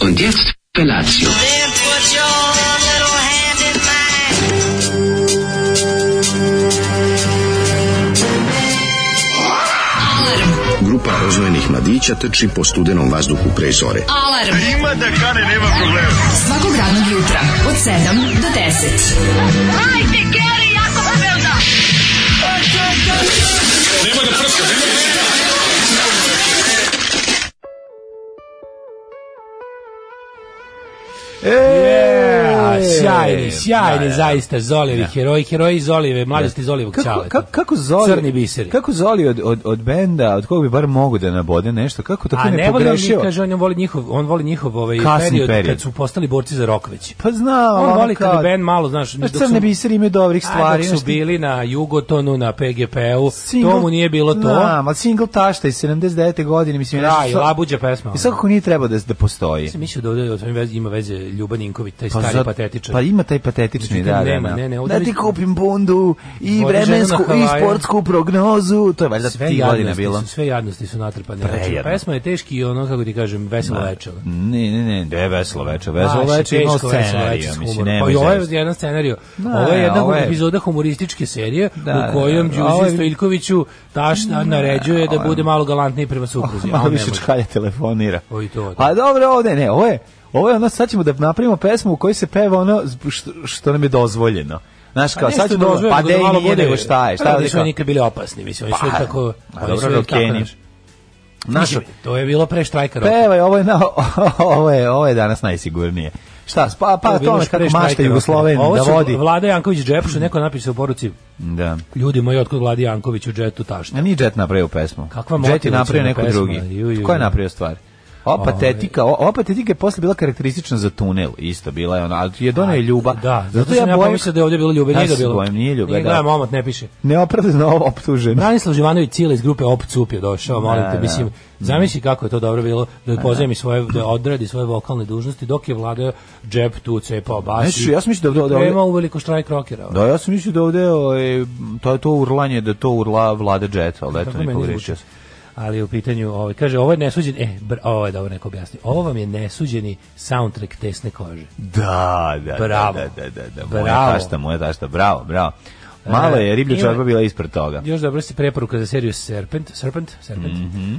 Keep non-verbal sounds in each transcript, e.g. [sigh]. Und jetzt Felatio. Then put your little hand in mine. Grupa rozvojenih mladića trči po studenom vazduhu pre zore. Alarm. Ima da kane, nema problema. Svakog radnog jutra, od 7 do 10. E, sjajni, da, sjajni, da. zaista, Zolijevi heroji, heroji Zolijeve, mladosti Zolijevog Kako, čaleta. kako, kako Zoli, Crni biseri. Kako Zoli od, od, od benda, od kog bi bar mogu da nabode nešto, kako tako A ne, ne voli on, pogrešio? kaže, on voli njihov, on voli njihov ovaj Kasni period, period. kad su postali borci za rok već. Pa znam, on ono voli kao- kad bi band malo, znaš, Znaš, dok crne su- biseri imaju dobrih A, stvari. dok znaš su ti- bili na Jugotonu, na PGP-u, Single- to mu nije bilo to. Znam, ali single tašta iz 79. godine, mislim, je Raj, nešto... labuđa pesma. ono. I svakako nije trebao da, da postoji. Mislim, mislio da ovdje od ovim veze, ima veze Ljuba Ninković, taj stari za- patetičar. Pa ima taj patetični, Međutim, da, da, nema, da. ne, ne, ovdje da mi- ti kupim bundu i Vodi ženu na vremensku i Havaje. sportsku prognozu. To je valjda sve ti godina jadnosti bilo. su, sve jadnosti su natrpane. Znači, Prejadno. pesma je teški i ono, kako ti kažem, veselo veče. ono. Ne, ne, ne, da je veselo večer. Veselo Baš je večer imao teško, veselo scenariju, veče s mislim, humorom. nema Pa i ovo je zezanja. jedan scenariju. Da, ovo je jedna ovo je- epizoda humorističke serije Da, u kojem da, da, ovo je- Mm, Đuzi Stojiljkoviću tašta naređuje da bude malo galantniji prema supruzi. a Malo on ne više može. čkalja telefonira. O, i to, da. A dobro, ovde ne, ovo je, ovo je ono, sad ćemo da napravimo pesmu u kojoj se peva ono zb- što, što nam je dozvoljeno. Znaš, kao, ne sad što ćemo, dozvoljeno, pa nego da de i malo nije bude- nego šta je, Pa šta da, je nisu oni nikad bili opasni, mislim, oni su uvijek tako... a oni su dobro, uvijek tako, rokeni. znaš. Znaš, Pa Mislim, to je bilo pre štrajka roka. Pevaj, ovo je, na, [laughs] ovo je, ovo je danas najsigurnije. Šta, pa, Ovo pa je bilo to ono još pre kako štrajka mašta roka. Jugosloven Ovo da su vodi. Vlada Janković džep, što neko napiše u poruci, Da. ljudi moji, otkud Vladi Janković u džetu tašta. A nije Jet napravio pesmu. Kakva Jet je motivaciona napravio neko pesma, drugi. ju, ju, Ovaj. ju. Ko je napravio stvar? Ova patetika, o- ova patetika je posle bila karakteristična za tunel, isto bila je ona, ali je donio je ljuba. Da, zato, sam ja pomislio da je ovdje bilo ljube, Ja nije ga se bilo. bojim, nije ljube, da. gledam, omot ne piše. neopravdano optužen. Branislav Živanović Cile iz grupe Op Cup je došao, molim te, mislim, zamisli kako je to dobro bilo da pozemi svoje, da odradi svoje vokalne dužnosti dok je vladao džep tu cepao bas. Znaš, ja sam mislio da ovde- da ovde- Nema uveliko štrajk rokera. Da, ja sam mislio da ovde ovaj, to je to urlanje, da to urla vlada Jet, ali eto Kako ne meni pogrešio. zvuči? Ali je u pitanju, ovaj, kaže, ovo je nesuđeni, e, br, ovo je da ovo neko objasni, ovo vam je nesuđeni soundtrack tesne kože. Da, da, Bravo. da, da, da, da, moja Bravo. E, tašta, moja tašta, bravo, bravo. Malo je riblja Ima- čorba bila ispred toga. Još dobro se preporuka za seriju Serpent, Serpent, Serpent, Mhm.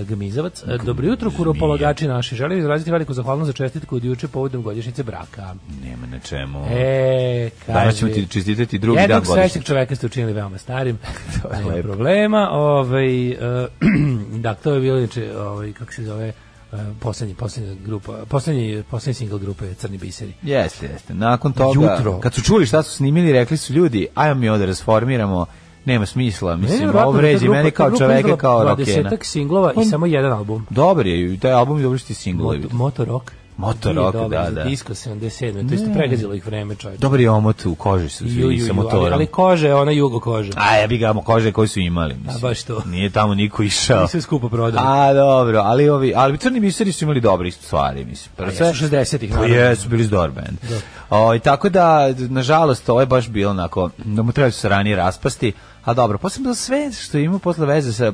e, Gmizavac. E, Dobro jutro, kuropolagači naši. Želim izraziti veliku zahvalnost za čestitku od juče povodom godišnjice braka. Nema na čemu. E, Danas kaže... ćemo ti čestitati drugi dan Jednog godišnjice. srećnog čoveka ste učinili veoma [laughs] starim. To je Nema lepo. problema. Ovaj, e, [clears throat] da, to je bilo inače, ovaj, kako se zove, e, poslednji, poslednja grupa, poslednji, poslednji single grupe je Crni biseri. Jeste, jeste. Nakon toga, Jutro. kad su čuli šta su snimili, rekli su ljudi, ajmo mi ovo da rasformiramo, nema smisla, mislim, Nevjerojatno ovo da ta vređi grupa- meni ta kao grupa čoveka, izdala kao rokena. 20-ak singlova On- i samo jedan album. Dobar je, i taj album je dobro što ti singlovi. Mot, motorok. Motor Nije Rock, dobar da, za da. Disco 77. To isto pregazilo ih vreme, čovječe. Dobar je omot u koži su Ju, ju, svi ju, sa ali, motorom. ali kože, je ona jugo kože. A ja bi ga kože koji su imali, mislim. A, baš to. Nije tamo niko išao. I sve skupo prodali. A dobro, ali ovi, ali crni biseri su imali dobre stvari, mislim. Pa sve- jesu 60-ih, Pa naravno. jesu, bili su dobar band. Ovaj, tako da, nažalost, ovo je baš bilo onako, da mu treba se ranije raspasti, a dobro, posebno za sve što ima posle veze sa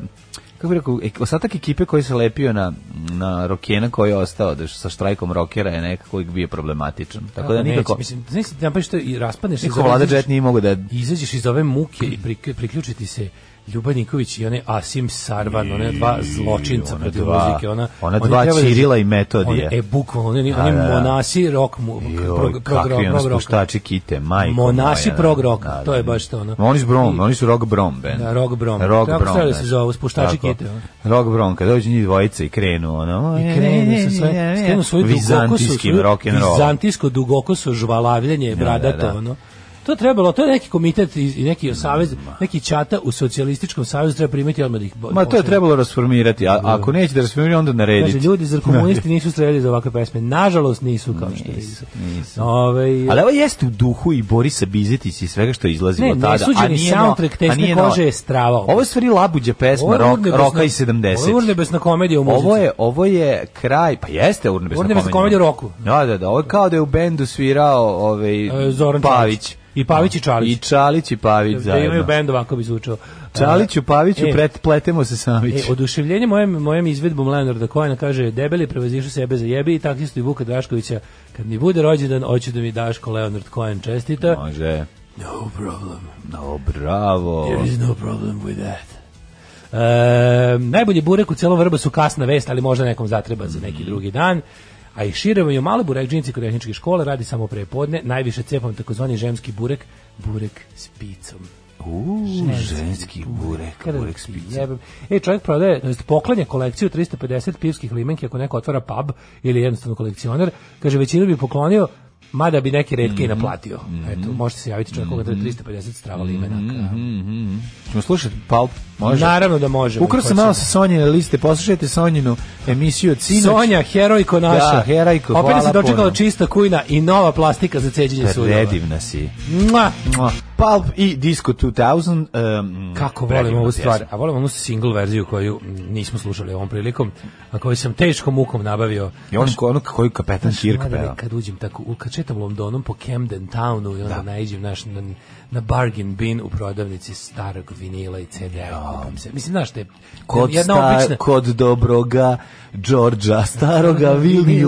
kako bih rekao, ek- ostatak ekipe koji se lepio na, na Rokena koji je ostao da sa štrajkom Rokera je nekako uvijek bio problematičan. Tako da Kako neće, nikako, Mislim, znaš, ti napraviš to i raspadneš se. nikako zaveziš- vlada Jet nije mogao da izađeš iz ove muke i prik- priključiti se Ljuba Nikolić i one Asim Sarvan, one dva zločinca ona protiv dva- muzike, ona, ona oni dva treba Cirila i Metodije. One, e, bukvalno, oni, Da, oni da, da. monasi rock mu, Joj, prog, prog, kakvi ono prog roka. spuštači kite, majko Monasi moja, da. prog roka, Da, da, to je da. baš to ono. Oni su brom, I- oni su rock brom band. Da, rock brom. Rock Kako brom. treba da se znači. zovu, spuštači Tako. kite, ono? Rock brom, kad dođu njih dvojica i krenu, ono... I krenu sa sve, skrenu svoju dugokosu, Vizantijskim svoju rock'n'rollom. vizantijsko dugokoso žvalavljenje, bradato, da, da. ono. To je trebalo, to je neki komitet iz- i neki savez, neki čata u socijalističkom savezu treba primiti odmah da ih bo- Ma to je pošalju. trebalo rasformirati, a ako neće da rasformirati, onda Kaže, narediti. ljudi, zar [laughs] komunisti nisu streljali za ovakve pesme? Nažalost nisu, kao što Nisu, nisu. nisu. Ovaj, Ali ovo jeste u duhu i Borisa Bizetić i svega što je izlazilo Ne, tada. nesuđeni no- soundtrack a nije tesne no- kože je strava. Ovo je stvari labuđa pesma, rock, urnebesna- roka i 70. Ovo je urnebesna komedija u muzici. Ovo je, ovo je kraj, pa jeste urnebesna komedija. Urnebesna komedija u roku. Da, da, da, ovo je kao da je u bendu svirao ovaj, E, Zoran Pavić. Pavić. I Pavić i Čalić. I Čalić i Pavić da imaju zajedno. bend ovako bi zvučao. Čaliću, Paviću, E. pret, pletemo se Savić. E, oduševljenje mojem, mojem izvedbom Leonarda Kojena kaže debeli prevazišu sebe za jebi i taksistu i Vuka Draškovića kad mi bude rođendan hoću da mi Daško Leonard Kojen čestita. Može. No problem. No, bravo. There is no problem with that. E, najbolji burek u celom vrba su kasna vest, ali možda nekom zatreba za neki drugi dan. A i širamo ju malo burek džinci kod tehničke škole, radi samo prepodne. Najviše cepam takozvani žemski burek, burek s picom. Uuu, ženski burek, burek s Ti pizza. jebem. E, čovjek prodaje, to jest poklanja kolekciju 350 pivskih limenki ako neko otvara pub ili jednostavno kolekcioner. Kaže, većinu bi poklonio, mada bi neke redke i naplatio. Eto, možete se javiti čovjek koga treba 350 strava limenaka. Ćemo slušati Palp? Može? Naravno da može. Ukrao sam malo sa Sonjine liste, poslušajte Sonjinu emisiju od sinoć. Sonja, herojko naša. Da, herojko, Opet nas hvala je dočekala puno. čista kujna i nova plastika za ceđenje sudova. Predivna si. Mua! Mua. Palp i Disco 2000. Um, Kako volim predivna ovu pjesma. stvar. A volim onu single verziju koju mm, nismo slušali ovom prilikom, a koju sam teškom mukom nabavio. I on, ono koju kapetan Kirk Mladene, peva. Kad uđem tako, u- kad četam Londonom po Camden Townu i onda naiđem naš, na, na bargain bin u prodavnici starog vinila i CD-a. kupim se. Mislim, znaš, te, Kod, jedna sta, obična... kod dobroga Đorđa [laughs] staroga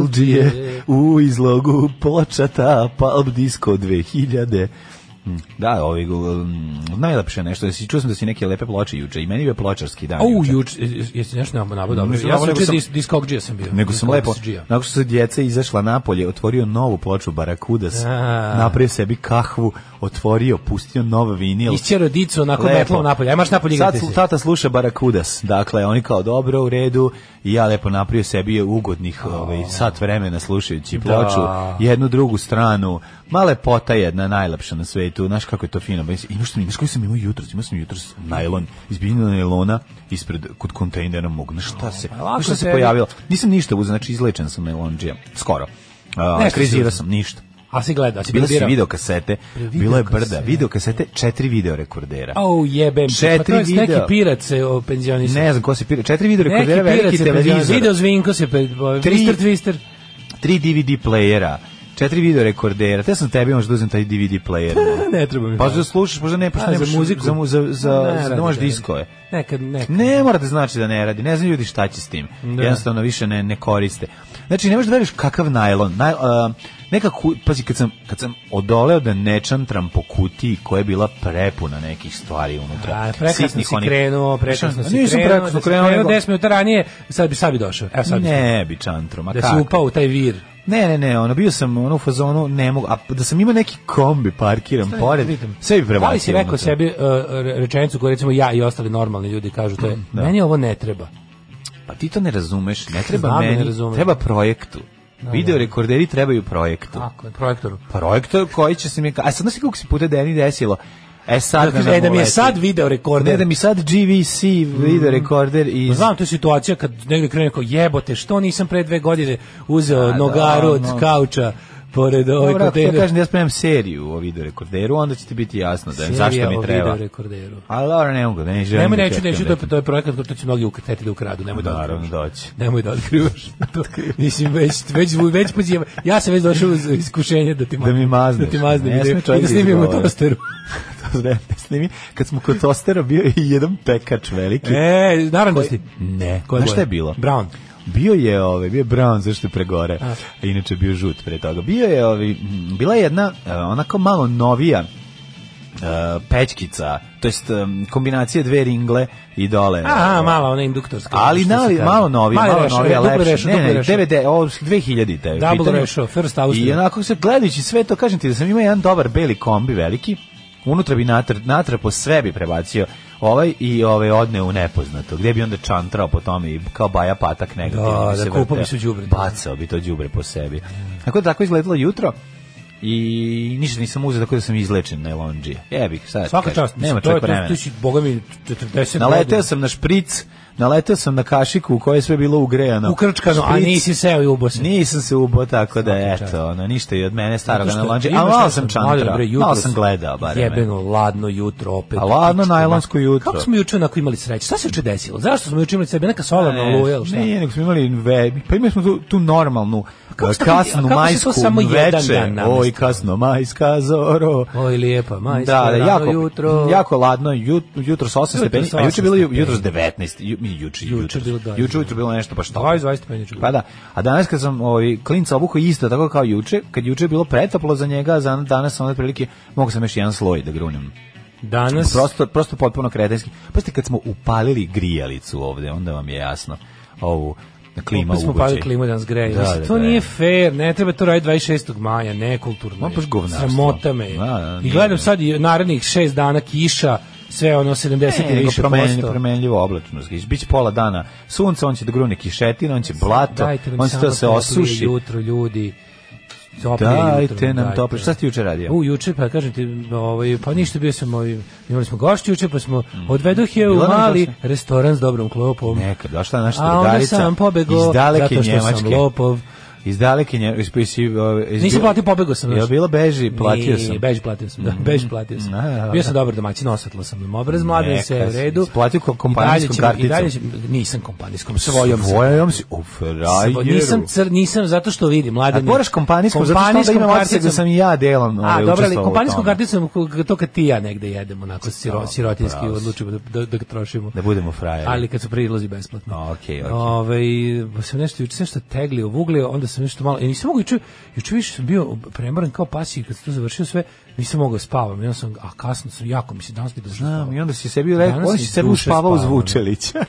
Vilnildžije u izlogu počata Palp Disco 2000 Mm, Da, ovi, um, najlepše nešto. Jesi- Čuo sam da si neke lepe ploče juče i meni je pločarski dan Au, juče. juče, jesi nešto nam nabao dobro? Ne, Ja nego sam juče sam- dis, diskogđija sam bio. Nego sam lepo, Diskogdžija. nakon što su djeca izašla napolje, otvorio novu ploču Barakudas, A. napravio sebi kahvu, otvorio, pustio nov vinil. Isćero dicu onako Lepo. metlom napolje. Ajmaš napolje Sad igrati se. tata sluša Barakudas, dakle, oni kao dobro u redu i ja lepo napravio sebi ugodnih ovaj, sat vremena slušajući ploču, jednu drugu stranu, ma lepota jedna, najlepša na svetu, znaš kako je to fino, Ba, imaš, sam- znaš koji sam imao jutro, imao sam jutro najlon, izbiljena najlona, ispred, kod kontejnera mogu, znaš šta se, lako znaš šta se tebi. pojavilo, nisam ništa uzeo, znači izlečen sam najlonđija, skoro, uh, Nešto si krizirao uzeo. sam, ništa. A si gledao, si Bila si birao. video kasete, bilo je brda, video kasete, četiri video rekordera. Au, jebem. ti. Četiri pa to je Neki videa. pirac se o, penzionisao. Ne znam ko se pira. Četiri video Neki rekordera, pirac veliki se penzionisao. Video televizor, Zvinko se... pe- o, Tri- Twister, Twister. tri DVD playera, četiri video rekordera. Te sam tebi možda da uzem taj DVD player. Ne treba mi. Pa da slušaš, možda ne, A, pošto ne za muziku? Za, mu- za, Ne za, za, radi, da možeš ne radi. diskove. Nekad, nekad. Ne mora da znači da ne radi. Ne znam ljudi šta će s tim. Da. Jednostavno više ne, ne koriste. Znači, ne možeš da veriš kakav najlon. Naj, a, neka ku- pazi, kad sam, kad sam odoleo da ne čantram po kutiji koja je bila prepuna nekih stvari unutra. A, prekasno Sitnih si onih- Pa krenuo, prekasno si krenuo. Nisam da prekasno si krenuo, nego- 10 minuta ranije, sad bi, sad bi došao. Evo sad bi. Ne bi čantro, ma Da si kako? upao u taj vir. Ne, ne, ne, ono, bio sam ono, u fazonu, ne mogu, a da sam imao neki kombi parkiran pored, Vidim. sve bi prebacio. Da li si rekao unutra. sebi uh, re- rečenicu koju recimo ja i ostali normalni ljudi kažu to je, meni ovo ne treba. Pa ti to ne razumeš, ne treba Znam da ne meni, razumem. treba projektu. Video rekorderi trebaju projektu. Tako je, projektoru. Projektor koji će se mi... ka- A sad znaš ti kako se puta Deni desilo? E sad... Da, kaže, nam e, da mi je uleti. sad video rekorder. Pa Ne, Mm. da mi sad GVC video rekorder iz... Znam, to je situacija kad negdje krene kao jebote, što nisam pre dve godine uzeo nogaru od ono. kauča pored ove Dobro, ako ti kontejnera. kažem da ja spremam seriju o video rekorderu, onda će ti biti jasno da je, zašto Serija o mi treba. video rekorderu. Ali dobro, ne mogu, da ne želim. Nemoj da neću, čekam neću, da to je, to je projekat koji će mnogi ukreteti u kradu, nemoj da Naravno, otkrivaš. doći. Nemoj [laughs] da otkrivaš. To, mislim, već, već, već pozivam. Ja sam već došao uz iskušenje da ti, ma- Da mi mazneš. Da ti maznem Ne i da- sme čovjek i da da snimimo izgovara. tosteru. To [laughs] ne, ne snimi. Kad smo kod tostera bio je i jedan pekač veliki. E, naranđasti. Ne, Koje znaš šta je boje? bilo? Brown. Bio je ovaj, bio je brown, zašto je pregore. A. Inače je bio žut pre toga. Bio je ovaj, mm, bila je jedna e, onako malo novija e, pećkica, to jest em, kombinacija dve ringle i dole. Aha, mala, ona induktorska. Ali ono što se nali, kaže. malo novi, Mali malo rešo, novi, duplo lepši. rešo, ne, duplo ne, rešo. 9, ovo, 2000 te. Double ratio, first Austrija. I onako se gledajući sve to, kažem ti da sam imao jedan dobar beli kombi veliki, unutra bi natr, natrpo sve bi prebacio ovaj i ovaj odneo u nepoznato, gde bi onda čantrao po tome i kao baja patak negativno. Da, bi se da, kupao bi vrteo. se u đubre. Bacao bi to đubre po sebi. Tako da tako je izgledalo jutro i ništa nisam uzeo, tako da sam izlečen na elonđije. Jebik, sad ti Svaka kažem, čast, mislim, nema to je čovjek to, vremena. tu si, boga mi, 40 godina. Naleteo sam na špric, naletao sam na kašiku u kojoj je sve bilo ugrejano. Ukrčkano, a Špric. nisi seo i ubo se. Nisam se ubo, tako da, Svaka čast. eto, ono, ništa i od mene, starog Zato što analonđe, imaš a malo nešto, sam mlađe, čantrao, bre, jutro malo su- sam gledao, barem. Jebeno, ladno jutro opet. A ladno Pičku, ma- najlonsko jutro. Kako smo juče onako imali sreće? Šta se juče desilo? Zašto smo juče imali sebe? Neka solarna Ne, oluja ili ono, šta? Nije, nego smo imali ve, pa imali smo tu, tu normalnu kako ste- a kasnu kako se to majsku samo jedan veče. dan namestilo? Oj, kasno majska zoro. Oj, lijepa, majsko, da, da, rano jako, jutro. jako ladno, jut, jutro sa 8 Jutro stepeni, sa a juče je bilo 8 ju- stepeni. jutro s 19, ju, mi juče, Juče jutro, bilo 20. juče, jutro bilo nešto, pa šta? 20, 20 meni juče bilo. Pa da, a danas kad sam ovaj, klinca obuko isto, tako kao juče, kad juče je bilo pretoplo za njega, a za danas sam onda prilike, mogu sam još jedan sloj da grunem. Danas, Prosto, prosto potpuno kretenski. Pa ste kad smo upalili grijalicu ovde, onda vam je jasno ovu klima opet smo pali klimu danas greje. Da, da, to nije fair, ne treba to raditi 26. maja, nekulturno. Ma, je. baš govnarstvo. Sramota me. je. Da, da, I nije, gledam nije. sad i narednih 6 dana kiša, sve ono 70 i Ne, nego više promenljivo, posto. promenljivo oblačnost. Biće pola dana sunca, on će da grune kišetina, on će blato, Dajte nam on će samo to se toplije osuši. Jutro, ljudi. Toplije Dajte nam dajte. to. Šta ste juče radio? U, juče, pa kažem ti, ovaj, pa ništa bio sam, ovaj, imali smo gošću juče, pa smo, odvedoh je u Mm. Bila nam mali gošća? restoran s dobrom klopom. Neka, došla je naša A onda drugarica sam pobegao, iz daleke zato što Njemačke. sam lopov. Iz daleke Njemačke. Iz, iz, iz, Nisi platio, pobegao sam. Ja znaš. bilo beži, platio Nije, sam. Mm. Beži platio sam, da, beži platio sam. Da, da, da. Bio sam dobar domaćin, osvetlo sam im obraz, mladen Neka sve je u si. redu. Si platio ko- kompanijskom I dalje ćemo- I karticom? dalje ćemo- nisam kompanijskom, svojom sam. Svojom si, u Svo- frajeru. Nisam cr, nisam zato što A vidim, mladen. moraš kompanijskom, zato što onda imam osjećaj da sam i ja delom A, ovaj, dobro, ali učestvovao u kompanijskom tome. karticom ko- to kad ti i ja negde jedemo, onako siro, sirotinski pravo si. odlučimo da, da, da ga trošimo. Da budemo frajeri. Ali kad su prilozi besplatno. Okej, okej. Ovaj pa sam nešto juče nešto teglio, vuglio, onda sam nešto malo. Ja nisam mogao juče, juče više sam bio premoran kao pasiji kad sam to završio sve, nisam mogao spavam. Ja sam a kasno sam jako mislim danas bi došao. Znam, spavam. i onda si sebi rekao, Danas on si iz sebi duše uspavao uz spavam, [laughs] Vučelića.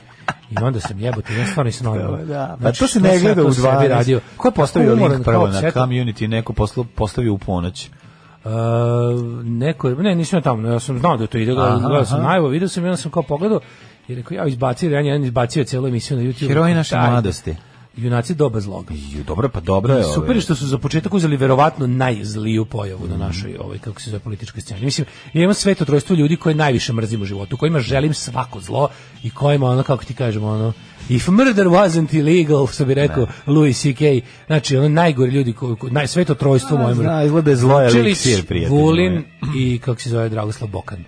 I onda sam jebote, ja [laughs] stvarno nisam normalan. Da, pa Znači, to se što ne sam ja gleda to u sebi 12. radio? Ko je postavio Umoran link prvo kao na pseta. community, neko poslo- postavio u ponoć. Uh, neko je, ne, nisam ja tamo, ja sam znao da je to ide, gledao, Aha, gledao sam aha. najavu, vidio sam i onda sam kao pogledao i rekao, ja izbacio, ja jedan izbacio celu emisiju na YouTube. Heroji naše Taj, mladosti. Junaci doba zloga. Ju, dobro, pa dobro je. Super ovaj. je što su za početak uzeli verovatno najzliju pojavu na našoj ovaj kako se zove političkoj sceni. Mislim, ja imam sveto trojstvo ljudi koje najviše mrzim u životu, kojima želim svako zlo i kojima ono kako ti kažemo ono if murder wasn't illegal, što bi rekao Louis CK, znači ono najgori ljudi koji ko, naj sveto trojstvo moje mrzim. Zna, izgleda je zlo je Čilić, Ovaj eliksir, prijatelj. Vulin i kako se zove Dragoslav Bokan.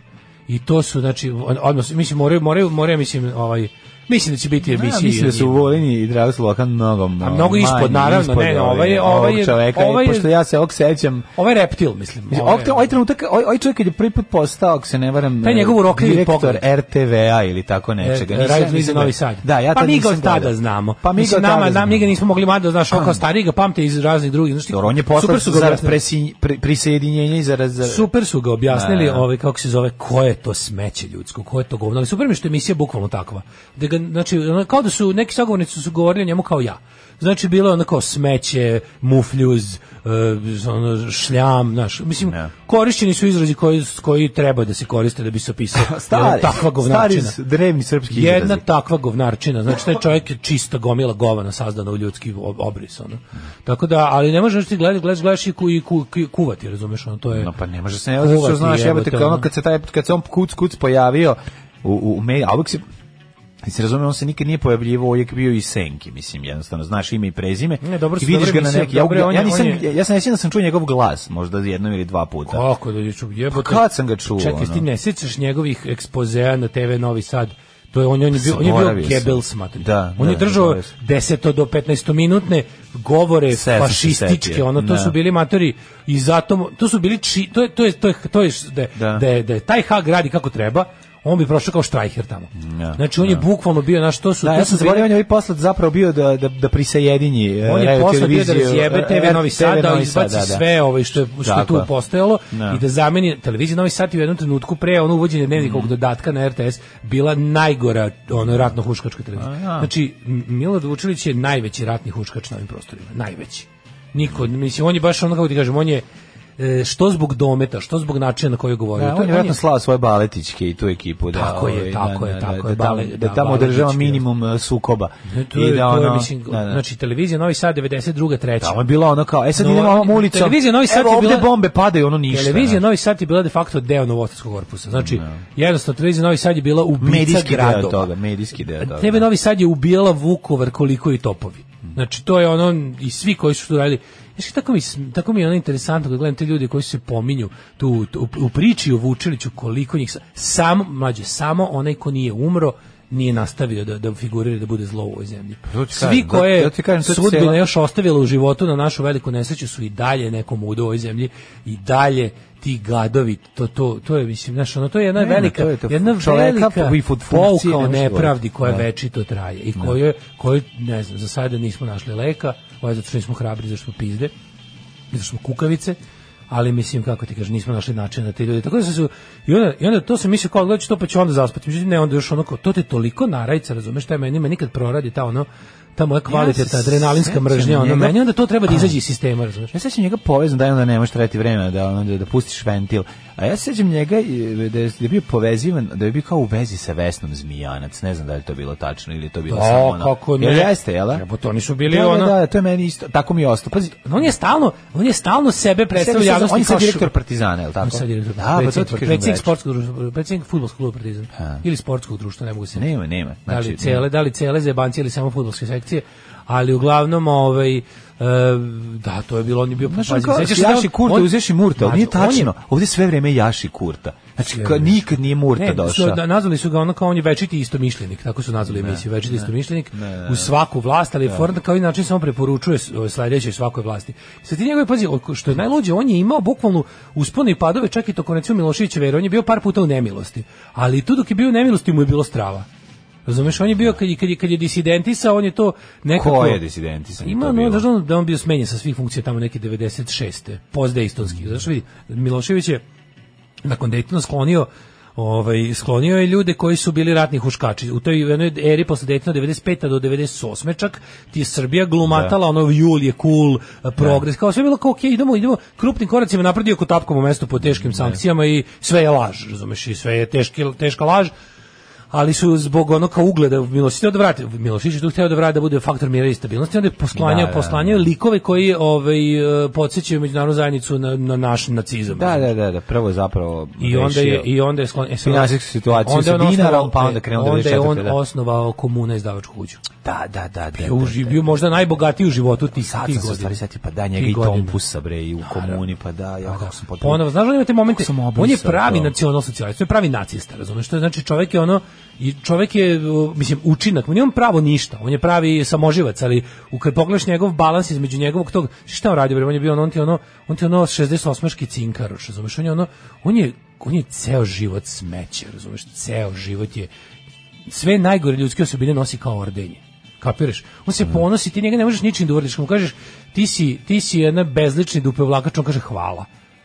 I to su znači on- odnos mislim moraju moraju moraju mislim ovaj mislim da će biti Ja, emisije. mislim da su Volini i Dragoslav Lokan mnogo, A mnogo, mnogo ispod, manji, naravno, ispod ne, ovih- ovaj je- ovaj ovog je- čoveka, ovaj je- pošto ja se ovog sećam, ovaj reptil mislim. Mislim, ovaj- Ovaj, ovaj trenutak, ovaj, ovaj čovjek kad je prvi put postao, ako se ne varam, Taj eh, njegov urokljivi direktor pogled. RTV-a ili tako nečega. E, Nisam- Radio Televizija nisam Novi gledao. Sad. Da, ja pa tad mi ga nisam od tada gledao. znamo. Pa mi Mislim, ga od nama, tada nam, mi ga znamo. nismo mogli mada, znaš, on kao stariji ga pamte iz raznih drugih. Znaš, ti, Dobro, on je postao super su ga za objasnili- presi- pri- prisjedinjenje i za... raz- za Super su ga objasnili, Da, da. ovaj kako se zove, ko je to smeće ljudsko, ko je to govno. Ali super mi je što je emisija bukvalno takva. Da ga, znači, ono, kao da su neki sagovornici su govorili o njemu kao ja. Znači bilo je ono kao smeće, mufljuz, e, ono, šljam, znaš. Mislim, Ne. korišćeni su izrazi koji, koji treba da se koriste da bi se opisao. [laughs] Stari, takva stari govnačina. s- drevni srpski izrazi. Jedna takva govnarčina, znači taj čovjek je čista gomila govana sazdana u ljudski ob- obris, ono. Tako da, ali ne možeš ti gledati, gledaš, gledaš i, ku, i ku, ku- kuvati, razumeš, ono, to je... No pa ne može se ne zato što Kuvati, znaš jebote jebote, kao ono ono. kad se taj kad se on kuc kuc pojavio u u, u mediji, a uvijek se I se razume, on se nikad nije pojavljivao, uvijek bio i senki, mislim, jednostavno, znaš ime i prezime. Ne, dobro su, i vidiš dobro ga na emisije, neki. Ja, dobro je, on ja, je- nisam, on je- ja, ja sam ne sjećam da sam čuo njegov glas, možda jednom ili dva puta. Pa Kako da je čuo, jebote. Kad sam ga čuo, Čekaj, ono? ti ne sjećaš njegovih ekspozea na TV Novi Sad? To je on, on je bio, on je Zaboravio bio sam. Goebbels materij. Da, on je da, držao zaboravio sam. 10 do 15 minutne govore Sad sam se fašističke, setio, ono to da. su bili matori i zato mu- to su bili či, to je to je to je to je da je- Da. da je, da je taj Hag radi kako treba, on bi prošao kao štrajher tamo. Da, znači on je da. bukvalno bio naš to su Da, to ja su sam bili- zaboravio, on je ovaj poslat zapravo bio da, da, eh, da prisajedinji on je posle bio da e, eh, razjebe TV Novi Sad, da izbaci da, da. sve ovo što je, što je Tako tu je. postojalo Da. i da zameni televizija Novi Sad je u jednom trenutku pre ono uvođenje Mm. dnevnikog dodatka na RTS bila najgora ono ratno huškačka televizija. A, ja. Znači M- Milorad Vučilić Mm. je najveći ratni huškač na ovim prostorima, najveći. Niko, mislim on je baš ono kako ti kažem, on je e, što zbog dometa, što zbog načina na koji je govorio. Da, To on je vjerojatno slao svoje baletićke i tu ekipu. Da, Tako je, ovaj, tako da, je, da, tako da, je, Da, tamo- bale- da, da tamo održava baletički, minimum e, sukoba. Ne, to je, I da, to je, ono, mislim, da, da. znači televizija Novi Sad 92. 3. Tamo je bilo ono kao, e sad No, idemo ovom ulicom. televizija Novi Sad evo, je ovde bila- bombe padaju, ono ništa. Televizija znaš. Novi Sad je bila de facto deo Novotarskog korpusa. Znači, jednostavno, televizija Novi Sad je bila ubica medijski gradova. deo toga, medijski deo toga. TV Novi Sad je ubijala Vukovar koliko i topovi. Znači, to je ono, i svi koji su tu radili, Znaš, tako mi, s- tako mi je ono interesantno kad gledam te ljudi koji se pominju tu, tu- u priči o Vučiliću koliko njih sa- samo mlađe samo onaj ko nije umro nije nastavio da da figurira da bude zlo u ovoj zemlji. Pa To ti Svi kažem, to- koje to ti kažem, to je sudbina cijela- još ostavila u životu na našu veliku nesreću su i dalje nekom u ovoj zemlji i dalje ti gadovi to to to je mislim znaš ono to je jedna Ne, ne, velika to je to. jedna Čoveka velika i fut- funkcije pouka o ne može nepravdi govoriti. koja Da. večito traje i koju, koju ne znam, za sada nismo našli leka, ovo je zato što nismo hrabri, zato što smo pizde, zato što smo kukavice, ali mislim, kako ti kažeš, nismo našli način da te ljudi, tako da su, i onda, i onda to sam mislio kao, gledat ću to pa ću onda zaspati, međutim ne, onda još ono kao, to te toliko narajca, razumeš, taj meni, meni kad proradi ta ono, ta moja kvalitetna se adrenalinska sećam mržnja, ono, njega. meni onda to treba da izađe iz sistema, razumeš. Ja se sećam njega povezan da je onda ne možeš trajati vreme da ono, da, da pustiš ventil. A ja se sećam njega i, da je, da je bio povezivan, da je bio kao u vezi sa Vesnom Zmijanac. Ne znam da li je to bilo tačno ili je to bilo samo O, kako ne. Jel jeste, jel? da? Jebo, to nisu bili da, ono- Da, da, to je meni isto, tako mi je ostalo. Pazi, On je stalno, on je stalno sebe predstavlja sebi sad- javnosti on je sad kao šu- direktor Partizana, jel tako? On je sad direktor. Da, pa to predsjednik, ti kažem predsjednik već. sportskog društva, predsjednik fudbalskog kluba Partizan. Ha. Ili sportskog društva, ne mogu se. Nema, nema. Da li Znači, cele, da li cele zebanci ili samo fudbalske sekcije, ali uglavnom ovaj e, da, to je bilo, on je bio Znaš, pazi, on kao, sećaš se da Jaši on- Kurta, ono on- uzeš i Murta, ali nije Znači, on je- tačno. Ovdje sve vreme Jaši Kurta. Znači, kao, nikad nije Murta Ne, došao. su- da, nazvali su ga ono kao on je večiti istomišljenik, tako su nazvali emisiju, večiti istomišljenik, u svaku vlast, ali Ford kao i način samo preporučuje s- o, sledećoj svakoj vlasti. Sad ti njegove, pazi, o- što je najluđe, on je imao bukvalno uspone i padove, čak i tokom recimo Miloševićeve, jer on je bio par puta u nemilosti, ali tu dok je bio u nemilosti mu je bilo strava. Razumeš, on je bio, kad je, kad je, kad je disidentisao, on je to nekako... Ko je disidentisan? Ima to ono bilo? da on da je on bio smenjen sa svih funkcija tamo neke 96. Mm. postdejtonski. Znaš vidi, Milošević je nakon Dejtona sklonio ovaj sklonio je ljude koji su bili ratni huškači. U toj jednoj eri posle Dejtona 95. do 98. čak ti je Srbija glumatala ono jul je cool, progres, kao sve je bilo kao okej, idemo, idemo krupnim koracima napred iako tapkamo mesto po teškim sankcijama i sve je laž, razumeš, i sve je teški, teška laž ali su zbog ono kao ugleda Milošić htio da vrati Milošić je tu htio da vrati da bude faktor mira i stabilnosti onda je Da, posklanjao da, posklanjao likove koji ovaj eh, podsećaju međunarodnu zajednicu na, na naš nacizam Da, da, da, da, prvo je zapravo i onda je i onda je sklon, e, sad- Finansijsku situaciju onda je sa on dinarom, osnovao- pa onda krenuo onda je 94., on da. osnovao komuna izdavačku kuću Da, da, da, da. bio, uži- bio možda najbogatiji u životu tih Sad tih sam se u godina. stvari setio, pa da, njega Tih i godina. Tompusa, bre, i u komuni, pa da, ja kako sam potpuno... Ponovo, znaš, on ima te momente, sam obrisao on je pravi to. nacional socijalist, on je pravi nacista, razumeš, to je, znači čovjek je ono, i čovjek je, o, mislim, učinak, on nije on pravo ništa, on je pravi samoživac, ali u kad pogledaš njegov balans između njegovog tog, šta on radio, bre, on je bio ono, on ti je ono, on ti je ono 68-ški cinkar, razumeš, on je ono, on je, on je ceo život smeće, razumeš, ceo život je, sve najgore ljudske osobine nosi kao ordenje. Kapiraš? On se ponosi, ti njega ne možeš ničim da uradiš. Kad mu kažeš, ti si, ti si jedna bezlični dupevlakač, on kaže hvala.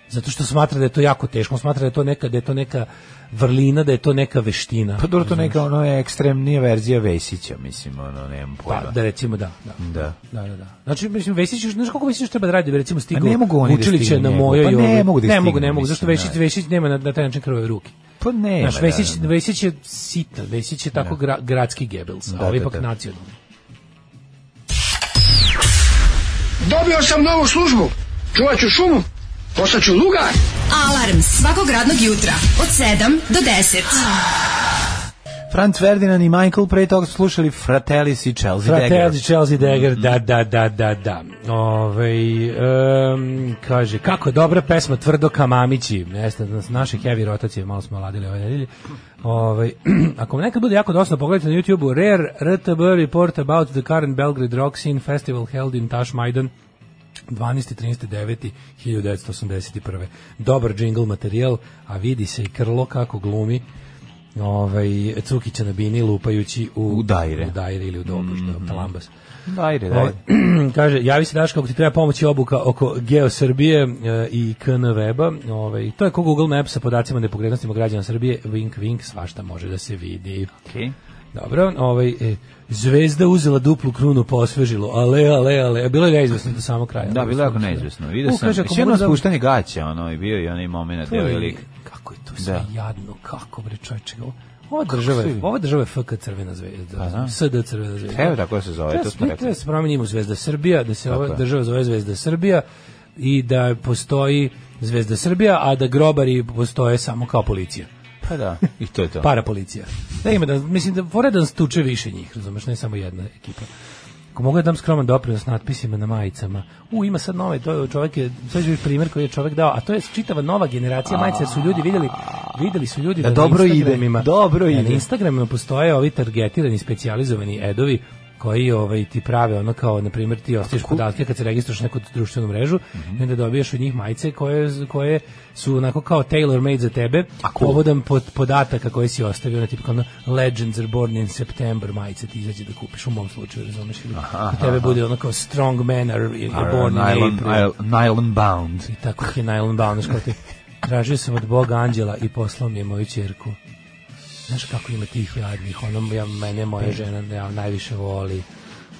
Zato što smatra da je to jako teško, on smatra da je to neka, da je to neka vrlina, da je to neka veština. Pa dobro, to neka ono je ekstremnija verzija Vesića, mislim, ono, nemam pojma. Pa, da recimo da, da. Da. Da, da, da. Znači, mislim, Vesić, još- znaš kako Vesić treba da radi, da bi recimo A stigao Pa ne mogu oni da Vučilića stignu na njega. mojoj... Pa ne ovoj- mogu da ne stignu, mogu, ne mogu, zašto mislim, Vesić, da. Vesić nema na, na taj način krvave ruke. Pa nema, Znaš, Vesić, da, da, da. Vesić je sitan, Vesić je tako gra- gradski Goebbels, a Da, ovo je da, ipak da. nacionalni. Dobio sam novu službu. Čuvat ću šumu. Postaću lugar. Alarm svakog radnog jutra od 7 do 10. Franz Ferdinand i Michael pre toga su slušali Fratellis i Chelsea Fratelli Fratellis. Chelsea Dagger, da, da, da, da, da. Ove, kaže, kako je dobra pesma Tvrdo ka mamići. Jeste, nas- naše heavy rotacije, malo smo ladili ove nedelje. Ovaj, [clears throat] ako vam nekad bude jako dosta, pogledajte na YouTube-u Rare RTB report about the current Belgrade rock scene festival held in Tashmaidan 12. 13. 9. 1981. Dobar jingle materijal, a vidi se i krlo kako glumi ovaj, Cukića na bini lupajući u, U daire. u daire ili u dobuš, mm talambas. Dajde, dajde. Ovaj, [clears throat] kaže, javi se Daško ako ti treba pomoći obuka oko Geosrbije e, i KN weba. Ovaj, to je ko Google Maps sa podacima o nepokretnostima građana Srbije. Vink, vink, svašta može da se vidi. Okay. Dobro, ovaj, e, zvezda uzela duplu krunu po osvežilu, ale, ale, ale, bilo je neizvesno do samog kraja. Da, bilo je jako neizvesno. Vidio sam, još jedno spuštanje gaća, ono, i bio je onaj moment, To bio je je, lik. kako je to sve Da. jadno, kako bre čovječe. ovo- Ova država, je, svi? ova država je FK crvena zvezda, Pa da. SD crvena zvezda. Evo tako se zove, to smo Treba, rekli. treba se promenimo u Zvezda Srbija, da se ova je. država zove Zvezda Srbija i da postoji Zvezda Srbija, a da grobari postoje samo kao policija. Pa da, i to je to. Para policija. Da ima da, mislim da poredan stuče više njih, razumeš, ne samo jedna ekipa. Ako mogu da dam skroman doprinos natpisima na majicama. U, ima sad nove, to je čovjek je, sad ću primjer koji je čovjek dao, a to je čitava nova generacija majica, jer su ljudi vidjeli, vidjeli su ljudi Da da, dobro na ide, Instagramima, dobro da na ide. Instagramima postoje ovi targetirani, specijalizovani edovi koji ovaj ti prave ono kao na primjer ti ostaviš podatke kad se registruješ na neku društvenu mrežu Mhm. i onda dobiješ od njih majice koje koje su onako kao tailor made za tebe povodom pod, podataka koje si ostavio na tipa kao ono, legends are born in September majice ti izađe da kupiš u mom slučaju razumeš ili kod tebe bude ono kao strong men are, are born in Nylon, April nylon bound. i tako ih je nylon bound, znaš kao ti. Tražio sam od Boga anđela i poslao mi je moju čerku. Znaš kako ima tih jadnih, ono, ja, mene moja žena ja, najviše voli.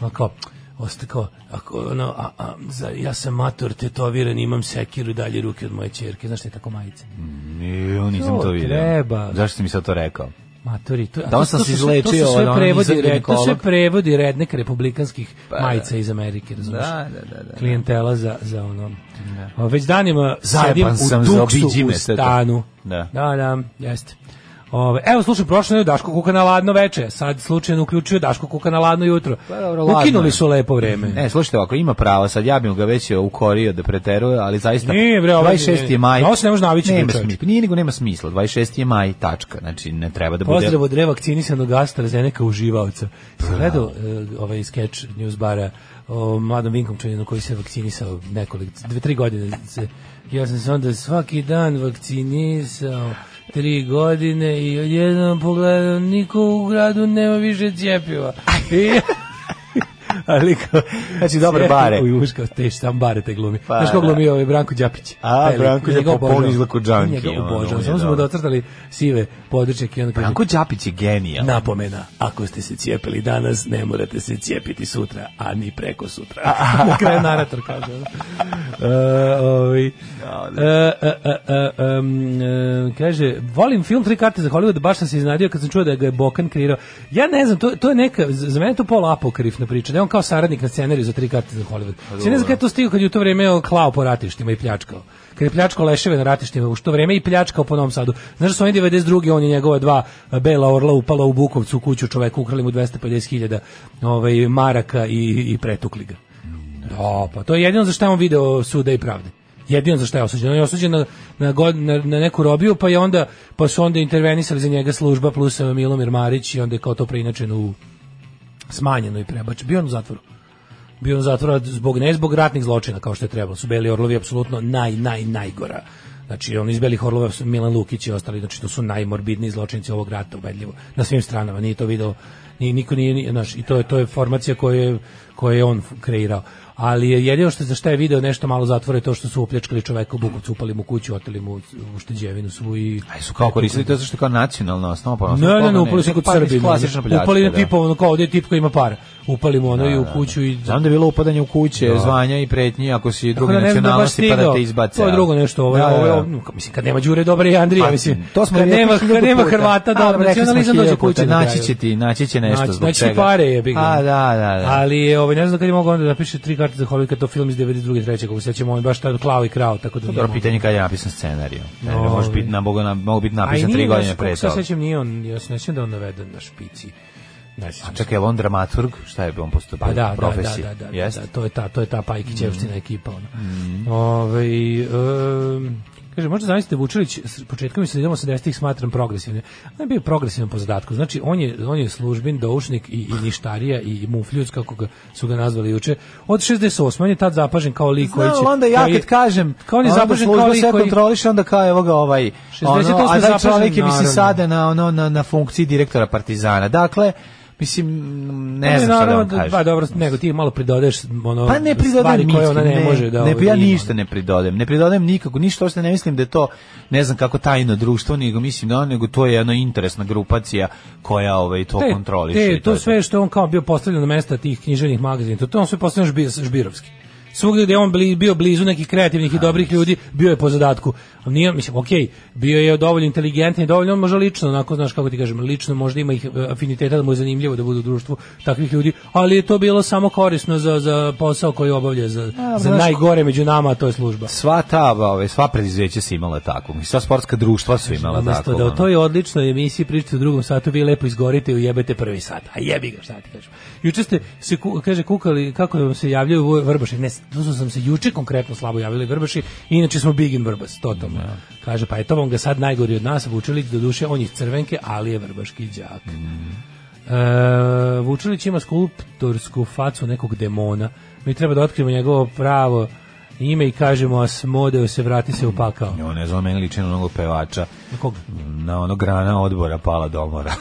Ono kao, osta kao, ako, ono, a, a, za, ja sam mator, tetoviran, imam sekiru dalje ruke od moje čerke, znaš te tako majice. Nije, nisam To to vidio. treba. Zašto si mi sad to rekao? Matori, to, a Da, on to- sam to se su sve- izlečio ono, to su sve od onog prevodi, red, to izaginekolog. sve prevodi rednek republikanskih da. majica iz Amerike, razumiješ? Pa, Da, da, da, da. Klijentela za, za ono. O, Već danima Zajeban sedim sam u za tuksu obiđime, u sve to. stanu. Da. da, da, jeste. Ove, evo, slušaj, prošlo je Daško Kuka na ladno veče. Sad slučajno uključio Daško Kuka na ladno jutro. Pa dobro, ladno je. Ukinuli su lepo vreme. [laughs] Ne, E, slušajte, ako ima pravo, sad ja bih mu ga već e, ukorio da preteruje, ali zaista Nije, bre, ovaj- 26. je maj. Na ovo se ne može navići, Nema bre, čoveče. smisla, nije nego nema smisla. 26. je maj, tačka. Znači ne treba da bude. Pa Pozdrav od revakcinisanog AstraZeneca uživaoca. Sam gledao e, ovaj skeč news bara o mladom Vinkomčaninu koji se vakcinisao nekoliko, dve, tri godine. Se, ja sam se onda svaki dan vakcinisao tri godine i odjednom pogledao niko u gradu nema više cjepiva. I, [laughs] ali ko- znači dobre Cjepivo bare. I uška, te sam bare te glumi. Pa, Znaš ko da. glumi ovaj Branko Đapić? A, Taj Branko lik, njega Đapić, obožavam. popolni izlako junkie, Njega ono, on obožavam. je Samo smo dobar. docrtali sive ono, područje i onda kaže, Branko Đapić je genijal. Napomena, ako ste se cijepili danas, ne morate se cijepiti sutra, a ni preko sutra. [laughs] Na kraju narator kaže. ono. E, ovaj, e, e, e, e, em, e, kaže, volim film Tri karte za Hollywood, baš sam se iznadio kad sam čuo da ga je Bokan kreirao. Ja ne znam, to, to je neka, za za mene je to pola apokrifna priča, da je on kao saradnik na scenariju za Tri karte za Hollywood. Se ne znam kada je to stigao kad je u to vreme klao po ratištima i pljačkao kad je pljačkao leševe na ratištima u što vreme i pljačkao po Novom Sadu. Znaš da su oni 92. on je njegova dva e, bela orla upala u Bukovcu u kuću čoveku, ukrali mu 250.000 ovaj, maraka i, i pretukli ga. Da, pa to je jedino za što je on video suda i pravde. Jedino za što je osuđen. On je osuđen na, na, god- na, na neku robiju, pa je onda, pa su onda intervenisali za njega služba plus eh, Milomir Marić i onda je kao to preinačeno u smanjeno i prebačeno. Bio on u zatvoru bio on zatvora zbog ne zbog ratnih zločina kao što je trebalo. Su beli orlovi apsolutno naj naj najgora. Znači on iz belih orlova su Milan Lukić i ostali, znači to su najmorbidniji zločinci ovog rata ubedljivo na svim stranama. Nije to video ni niko nije ni- znaš, i to je to je formacija koju je koju je on kreirao. Ali je jedino što za šta je video nešto malo zatvore je to što su opljačkali čoveka u Bukovcu, upali mu kuću, oteli mu ušteđevinu svu i Aj su Pa kao koristili to zašto je kao nacionalna osnova, pa ne, ne, ne, upali su kod Pa, Srbina. klasična pljačka, Upali na da. tipa, ono kao, ovdje je tip koji ima para. Upali mu ono i u kuću i Znam da je bilo upadanje u kuće, zvanja i pretnji, ako si Tako druge da ne znam da baš nacionalnosti pa da stigao. te izbace. To je ali- drugo nešto, ovo je, Da, da, ovo je, da. ovo- ka- mislim, kad nema Đure dobre i Andrija, Pa, mislim, to smo kad rekli nema, kad hiljadu nema puta. Hrvata, Ali da, rekli smo nacionalizam dođe hiljadu puta, kući na Naći kraju. će ti, naći će nešto Naći- zbog naći čega. pare, jebi ga. A, da, da, da. Ali je, ovaj, ne znam kad je mogao onda da piše tri karte za Hollywood, kad to film iz 92. 3. kako se sećamo, on je baš tada klao i krao, tako da nije Dobro mogao. pitanje kad je napisan scenarij. Ne, Ovi. može biti na mogu na mogu biti A i napisan nije 3 baš, godine koliko pre se ja toga. sećam, nije on, ja se ne sjećam da je on naveden na špici. Ne sjećam se. Čekaj, je li on dramaturg? Šta je on postupio? Pa da, da, da, profesiji? da, da, Jeste? da, to je ta, to je ta Mm. Pajkićevština ekipa. Ona. Ovaj, em, kaže, možda zamislite Vučilić, s početkom i sredinom 80-ih smatram progresivnim. On je bio progresivan po zadatku. Znači, on je, on je službin, doušnik i, i ništarija i mufljuc, kako ga, su ga nazvali juče. Od 68. On je tad zapažen kao lik koji će... Znam, onda ja koji je- kad kažem, Kao on je onda zapažen služba kao lik sve koji... kontroliše, onda kao evo ga ovaj, 68 ono, a da zapažen, čovjek je mislim naravno. sada na, ono, na, na funkciji direktora Partizana. Dakle, Mislim, ne znam šta da vam kažem. Pa dobro, nego ti malo pridodeš ono, Pa ne stvari pridodajem koje ništa, ona ne, može da... ne, pa ovaj, ja ima. ništa ne pridodajem. Ne pridodajem nikako, ništa uopšte ne mislim da je to ne znam kako tajno društvo, nego mislim da nego to je jedna interesna grupacija koja ovaj to Te- kontroliše. te- i to je sve što je on kao bio postavljen na mesta tih književnih magazina, to, to on sve postavljen žbi, žbirovski. Svugdje gde je on bli- bio blizu nekih kreativnih i dobrih ljudi, bio je po zadatku. A Nije, mislim, okej, bio je dovoljno inteligentan i dovoljno, on možda lično, onako, znaš kako ti kažem, lično možda ima ih e, afiniteta da mu je zanimljivo da bude u društvu takvih ljudi, ali je to bilo samo korisno za, za posao koji obavlja, za, za znaš- najgore među nama, a to je služba. sva ta, ovaj, sva preduzeća su imala tako. I sva sportska društva su imala Umesto tako. da o ono. toj odličnoj emisiji pričate u drugom satu, vi lepo izgorite i ujebete prvi sat. A jebi ga, šta ti kažem. Juče ste se, ku- kaže, kukali kako vam se javljaju voj- vrbaši. Ne, tu su sam se juče konkretno slabo javili vrbaši, inače smo big in vrbas, totalno. Kaže, pa eto vam ga sad najgori od nas, Vučilić, do duše, on je iz crvenke, ali je vrbaški đak. Mm. E, Vučilić ima skulptorsku facu nekog demona. Mi treba da otkrijemo njegovo pravo ime i kažemo, a smodeo se, vrati se u pakao. Jo, ne znam, meni liči na onog pevača. Na koga? Na ono grana odbora pala domora.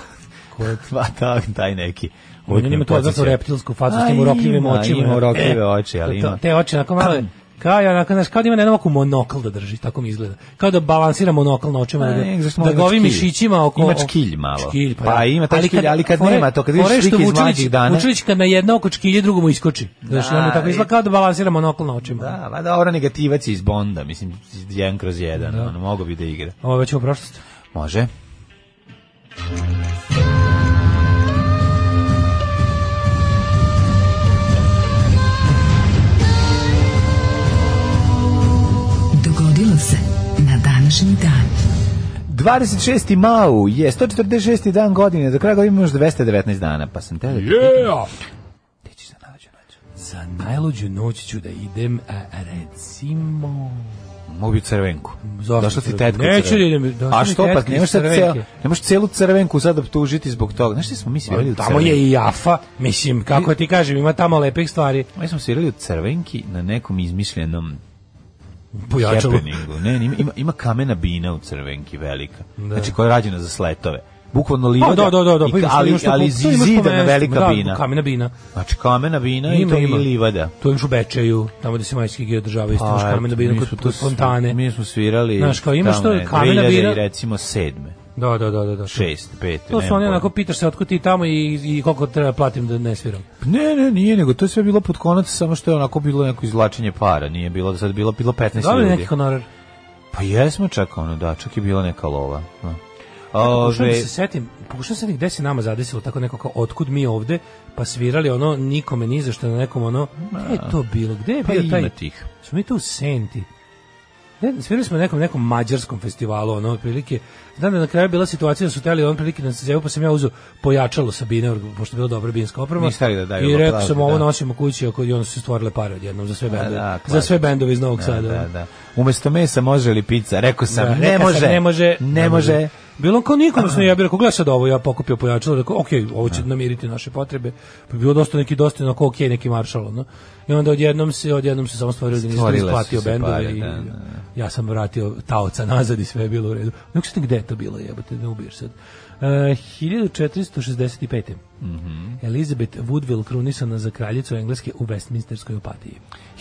Ko je [laughs] Pa tak, taj neki. On ima tu odvratnu reptilsku facu s A, tim urokljivim ima, očima. ima urokljive E, oči, ali to- ima. Te oči onako male, kao ja onako, znaš, kao da ima na jednom oku monokl da drži, tako mi izgleda. Kao da balansira monokl na očima, A, da, ne, zašto ga- da mora ga ovim imati škilj? mišićima oko... Ima škilj malo. Škilj, pa, Pa da. ima taj škilj, ali kad fore- nema to, kad vidiš fore što slike iz Vučilić- mlađih dana- Vučilić kad na jedno oko škilje, drugo mu iskoči. Znaš, Da, da, tako i- izgleda kao da balansira monokl na očima. Da, ma dobro, negativac je iz Bonda, mislim, jedan kroz jedan, ono, mogo bi da igra. Ovo je već u prošlosti. Može. Dogodilo se na današnji dan. 26. mau je 146. dan godine, do kraja godine imaš 219 dana, pa sam te... Yeah! Ti ćeš da nađu nađu. Za najluđu noć ću da idem, e, a, recimo... Mogu bi u crvenku. Zašto Zašto ti crvenku? tetku Neću da idem, došla A mi što tetka pa, iz ne možeš sad crvenke. cel, ne možeš celu crvenku sad optužiti zbog toga. Znaš što smo mi svirali u crvenku? Tamo je i Jafa, mislim, kako ti kažem, ima tamo lepih stvari. Mi smo svirali u crvenki na nekom izmišljenom Pojačalo. happeningu. Ne, ima, ima, ima kamena bina u crvenki velika. Znači koja je rađena za sletove. Bukvalno livada. Pa, da, da, da, da, i- pa ima što- ima ali, što- ali to ima što zidana mesta, velika da, bina. Kamena bina. Znači kamena bina i, to i livada. Pa, To imaš u Bečeju, tamo gdje se majski geo održava isto, imaš kamena bina mi kod smo kod tu- fontane. Mi smo svirali Znaš, kao imaš tamo, to, ne, kamena 2000 i bina. recimo sedme, Da, da, da, da, da. šest, pete. To su nemam oni pojma. onako pitaš se otkud ti tamo i, i koliko treba platim da ne sviram. Ne, ne, nije, nego to je sve bilo pod konac, samo što je onako bilo neko izvlačenje para, nije bilo da sad bilo bilo 15 Dobro je ljudi. neki honorar. Pa jesmo čak ono, da, čak je bila neka lova. da. Pokušam da Ove, se setim, pokušam se setim gde se nama zadesilo tako neko kao otkud mi ovde, pa svirali ono nikome ni za što na nekom ono, gde je to bilo, gde je pa bio taj... ima tih. Smo mi tu u Senti. Ne, Svirali smo na nekom, nekom mađarskom festivalu, ono, otprilike. Znam da je na kraju bila situacija da su teli, on prilike na sezevu, pa sam ja uzeo pojačalo sa bine, pošto je bila dobra binska oprema. Nisu hteli da daju I rekao aplauze, sam, ovo da. nosimo kući, ako i onda su se stvorile pare odjednom za sve bendove. da, za sve klasično. bendove iz Novog Da, Sada. ono. da, da. Umesto mesa može li pizza? Rekao sam, Da, ne, rekao može, sam, ne može. Ne može. Bilo kao nikom da sam ja bih rekao, gledaj sad ovo, ja pokupio pojačalo, rekao, ok, ovo će namiriti naše potrebe. Pa je bilo dosta neki, dosta onako ok, neki maršal, ono. I onda odjednom se, odjednom se samo stvorio da nisam Stvorile su isplatio se bendove pare, i da, da, da. ja sam vratio taoca nazad i sve je bilo u redu. Nego što gde je to bilo, jebote, ne ubiješ sad. E, 1465. Mhm. Elizabeth Woodville krunisana za kraljicu Engleske u Westminsterskoj opatiji.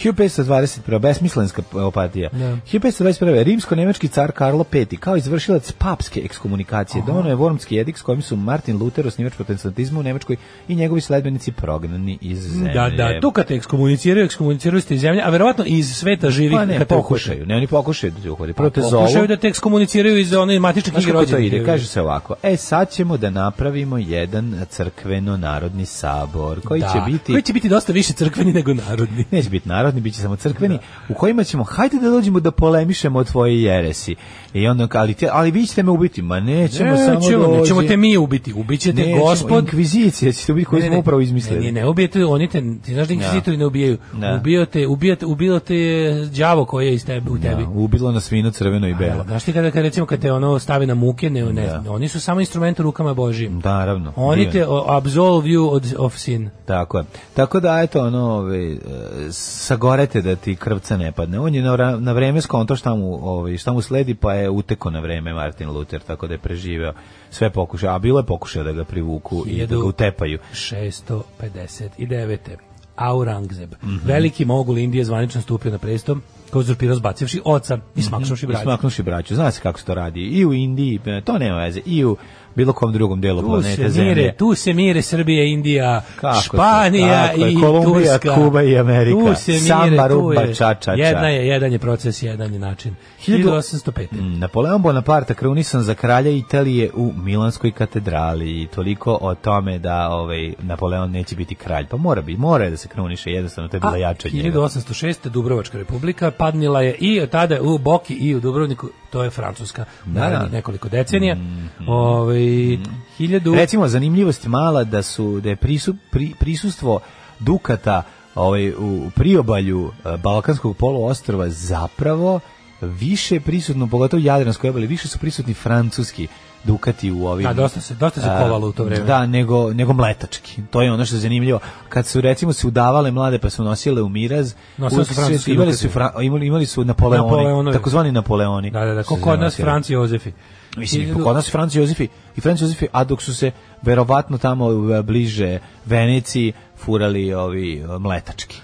1521. Besmislenska opatija. Da. 1521. Rimsko-nemački car Karlo V. Kao izvršilac papske ekskomunikacije donio je Wormski jedik s kojim su Martin Luther, osnivač protestantizma u Nemačkoj i njegovi sledbenici prognani iz zemlje. Da, da, tu kad te ekskomuniciraju, ekskomuniciraju ste iz zemlje, a verovatno i iz sveta živih Pa ne, kad te uhvate. pokušaju. Ne, oni pokušaju da te uhvate. Prvo te zovu. Pa Pokušaju da te ekskomuniciraju iz one matične Znaš knjige kako to rođenih. ide? Kaže se ovako. E, sad ćemo da napravimo jedan crkveno-narodni sabor koji Da. će biti... Koji će biti dosta više crkveni nego [laughs] narodni. neće biti narodni, bit će samo crkveni, u kojima ćemo, hajde da dođemo da polemišemo o tvoje jeresi. I onda, ali, te, ali vi ćete me ubiti, ma nećemo samo Nećemo, dođi. E, nećemo te mi ubiti, ubićete Nećemo, gospod. Inkvizicija ćete ubiti koju Ne, ne, smo upravo Ne, ne, izmislili. ne ubijete, oni te, ti znaš da inkvizitori ne ubijaju. Da. Ubio te, ubio te, ubilo te je đavo koje je iz tebe, u tebi. Da, ubilo nas vino crveno i belo. Znaš ti kada, kada recimo kad te ono stavi na muke, ne, ne, Da. oni su samo instrument u rukama Božijim. Da, naravno. Oni divan. te o, absolve you od, of sin. Tako je. Tako da, eto, ono, ove, e, sagorete da ti krvca ne padne. On je na, vra- na vreme skonto šta mu, ove, šta mu sledi, pa je uteko na vreme Martin Luther, tako da je preživeo sve pokušaje. A bilo je pokušaja da ga privuku i da ga Hiljadu- utepaju. 659. Aurangzeb, veliki mogul Indije, zvanično stupio na presto, kao uzurpirao zbacivši oca i Mhm. smakšavši braća. Smaknuši braću. Zna se kako se to radi. I u Indiji, e, to nema veze. I u bilo kom drugom delu Tu se planete mire, Zemlje. tu se mire Srbija, Indija, Kako se- Španija tako je, i Kolumbija, Turska. Kuba i Amerika. Tu se mire, Samba, tu rumba, je. ča, ča, ča. Jedna je, jedan je proces, jedan je način. 1805. Mm, Napoleon Bonaparte krunisan za kralja Italije u Milanskoj katedrali i toliko o tome da ovaj Napoleon neće biti kralj. Pa mora biti, mora je da se kruniše, jednostavno to je bilo A, jače od njega. 1806. Dubrovačka republika padnila je i od tada u Boki i u Dubrovniku, to je Francuska, Da, naravno da. nekoliko decenija. Ovaj, 1000 Recimo, zanimljivost je mala da su da je prisu, pri, prisustvo Dukata ovaj, u priobalju eh, Balkanskog poluostrva zapravo više prisutno, pogotovo u Jadranskoj obali, više su prisutni francuski Dukati u ovim Da, dosta se, dosta se kovalo u to vreme. Da, nego, nego mletački. To je ono što je zanimljivo. Kad su recimo se udavale mlade pa su nosile u miraz, Nosile u- su francuski imali Dukati. su, fra, imali, imali su Napoleoni, Napoleonovi. takozvani Napoleoni. Da, da, da, Što ko se kod nas nosile. Franci Jozefi. Mislim, i kod nas Franc Jozefi i Franc Jozefi, a dok su se verovatno tamo e, bliže Veneciji furali ovi e, mletački.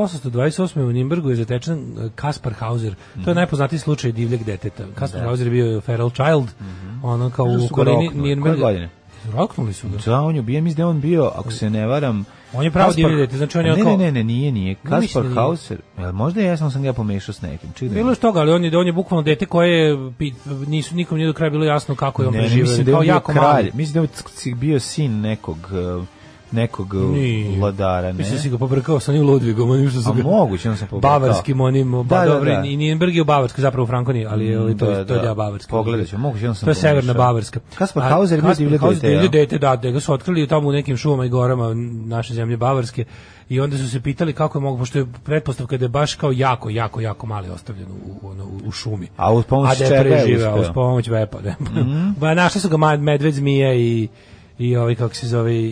1828. u Nimbergu je zatečen eh, Kaspar Hauser. To Mhm. je najpoznatiji slučaj divljeg deteta. Kaspar Hauser je bio feral child, ono kao Zato u Mhm. su ga okolini roknuli. Nirnberga. Koje godine? Roknuli su ga. Da, on je ubijen, mislim da je on bio, ako se ne varam... On je pravo Kaspar- divlji dete, znači on je ne, kao- Ne, ne, ne, nije, nije. mislim Kaspar da nije. Hauser, jel možda ja sam sam ga pomešao s nekim. Čekaj da Bilo je što, ali on je, on je bukvalno dete koje je pi- nisu, nikom nije do kraja bilo jasno kako je on Ne, ne, preživio. mislim da je kao on bio jako kralj. mali. Mislim da je on bio sin nekog e, nekog e, Nije. vladara, ne? Mislim da si ga pobrkao sa onim Ludvigom, onim što su A ga... moguće, on sam pobrkao. Bavarskim onim, ba, Da, da, dobro, da. i Nirnberg je u Bavarskoj, zapravo u Frankoniji, ali je li to, Da, da, to je da. deo Bavarske. Pogledat ću, moguće, jednom sam To je pomešao. severna Bavarska. Kaspar A Hauser je bio Kaspar divlje Hauser dete, divlje ja. dete, da, da ga su otkrili tamo u nekim šumama i gorama naše zemlje Bavarske i onda su se pitali kako je mogu, pošto je pretpostavka da je baš kao jako, jako, jako mali ostavljen u, u, ono, u šumi. A uz pomoć A da je čega je preživeo, uspeo? uz pomoć vepa. Ne? Mhm. Ba, našli su ga ma- medved, zmija i i ovi kako se zove i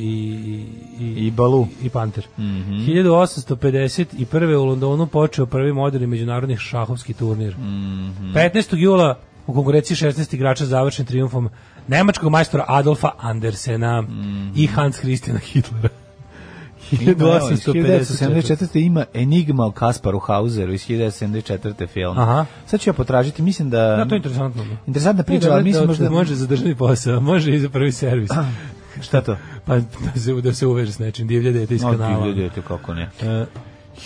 i, I Balu. Mhm. i Panter. 1851. u Londonu počeo prvi moderni međunarodni šahovski turnir. Mhm. 15. jula u konkurenciji 16 igrača završen triumfom nemačkog majstora Adolfa Andersena i Hans Christiana Hitlera. Ima, Mhm. evo, iz 1854. 1974. ima Enigma o Kasparu Hauseru iz 1974. film. Aha. Sad ću ja potražiti, mislim da... Da, to je interesantno. Interesantna priča, ali mislim možda... Može za državni posao, može i za prvi servis. Šta to? Pa da se, da se uveže s nečim, divlje dete iz Od kanala. ljudi, eto kako ne.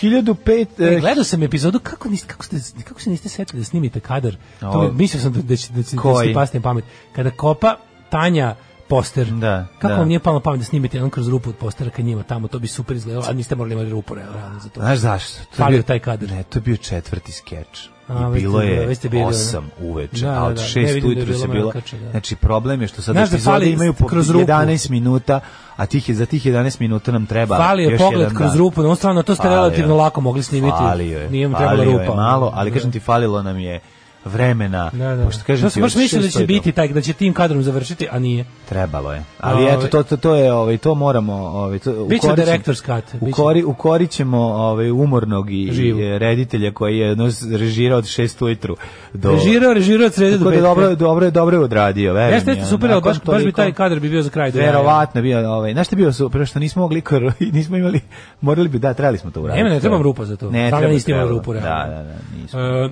1005... E, eh, gledao sam epizodu kako niste kako ste kako se niste setili da snimite kadar. To O, mi- mislio sam da da će da će da Ovaj. koji? ste pasne pamet. Kada kopa Tanja poster. Da, kako da. vam nije palo na pamet da snimite jedan kroz rupu od postera kad njima tamo, to bi super izgledalo, a niste morali imati rupu realno za to. Znaš zašto? To je Falio bio- taj kadar. Ne, to je bio četvrti skeč. A, I već bilo ste- je već ste bili, 8 uveče, Da, a od da, da, 6 ne vidim da je ujutru se bilo bilo... mrakače, da. Znači, problem je što sad Znaš da epizode fali imaju po kroz rupu. 11 minuta, a tih je, za tih 11 minuta nam treba Falio je još pogled jedan kroz dan. rupu, no stvarno to ste Falio je. relativno lako mogli snimiti. Falio je. Nije mu trebala falio je rupa. malo, ali kažem Da. ti falilo nam je vremena. Da, da. Pošto kažem To sam ti, baš od mislio da 600 će je do- biti taj, da će tim kadrom završiti, a nije. Trebalo je. Ali eto Ovaj. to to to je ovaj to moramo ovaj to Biće ukorit ćemo- director's cut, biće. Ukori ukorićemo ovaj umornog i, Živu. i reditelja koji je no, režirao od 6 ujutru do Režirao, režirao od srede do Tako da petka. dobro dobro je dobro je odradio, verujem. Jeste, jeste ja. super, ali Nakon baš, baš bi toliko- taj kadar bi bio za kraj. do jaja. Verovatno bio ovaj. Znaš šta je bio super što nismo mogli kor, [laughs] i nismo imali morali bi da trebali smo to uraditi. ovaj. Nema, ne trebam rupa za to. Ne, Stvarno treba, niste imali trebalo. rupu, Da, realno. da, da, nismo. E,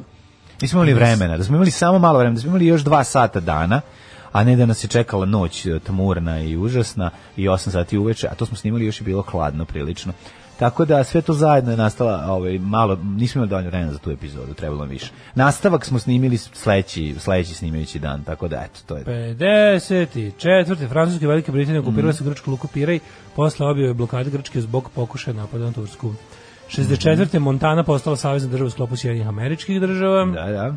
Nismo imali vremena, da smo imali samo malo vremena, da smo imali još dva sata dana, a ne da nas je čekala noć e, tmurna i užasna i 8 sati uveče, a to smo snimali još je bilo hladno prilično. Tako da sve to zajedno je nastala, ovaj, malo, nismo imali dovoljno vremena za tu epizodu, trebalo nam više. Nastavak smo snimili sledeći, sledeći snimajući dan, tako da eto, to je 54. Francuske i Velike Britanije okupirale Mhm. su grčku luku Pirej posle objave blokade Grčke zbog pokušaja napada na Tursku. 64. Mhm. Montana postala savezna država u sklopu Sjedinih američkih država. Da, da.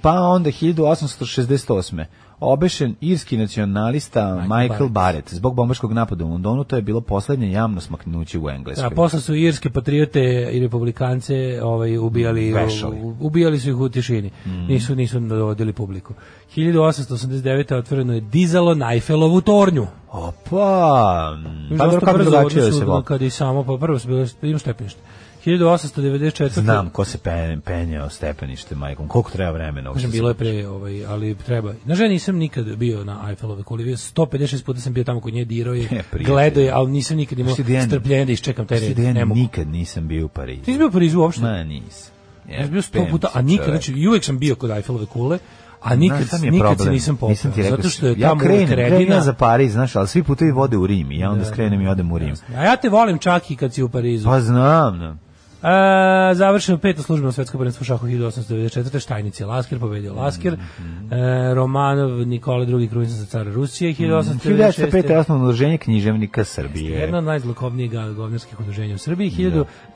Pa onda 1868. obešen irski nacionalista Michael, Barrett. Zbog bombaškog napada u Londonu to je bilo poslednje javno smaknuće u Engleskoj. A posle su irske patriote i republikance ovaj ubijali Vešali. Mhm. u- ubijali su ih u tišini. Nisu nisu dovodili publiku. 1889. otvoreno je dizalo na Eiffelovu tornju. Opa! Pa dobro, Dosta kako brzo drugačije da odnesu se vol- kad i samo pa prvo su bile im stepenište. 1894. Znam ko se pe, penjao stepenište majkom. Koliko treba vremena? uopšte Kažem, bilo je pre, ovaj, ali treba. Znaš, ja nisam nikad bio na Eiffelove kuli, bio 156 puta sam bio tamo kod nje, [laughs] dirao je, prijatelj. gledao je, ali nisam nikad imao E, Znaš ti da ja- strpljenja da iščekam taj Znaš ti red, da ja ne mogu. nikad nisam bio u Parizu. Ti nisi bio u Parizu uopšte? Ma, nisam. Ja sam bio sto Jebem puta, se, a nikad, čoveče. znači, i uvek sam bio kod Eiffelove kule, a Znaš nikad, šta mi je nikad se problem? nisam popao. Nisam ti rekao, zato što je ja tamo uvek krenem, krenem ja redina. za Pariz, znaš, ali svi putevi vode u Rim i ja onda skrenem i odem u Rim. A ja te volim čak i kad si u Parizu. Pa znam, da. E, završeno je peto službeno svetsko prvenstvo u šahu 1894. Štajnic je Lasker, pobedio Lasker. Mhm. E, Romanov Nikola II. krunisan za cara Rusije 1896. 1905. je osnovno udruženje književnika Srbije. Jedna od najzlokovnijih ga- govnarskih udruženja u Srbiji.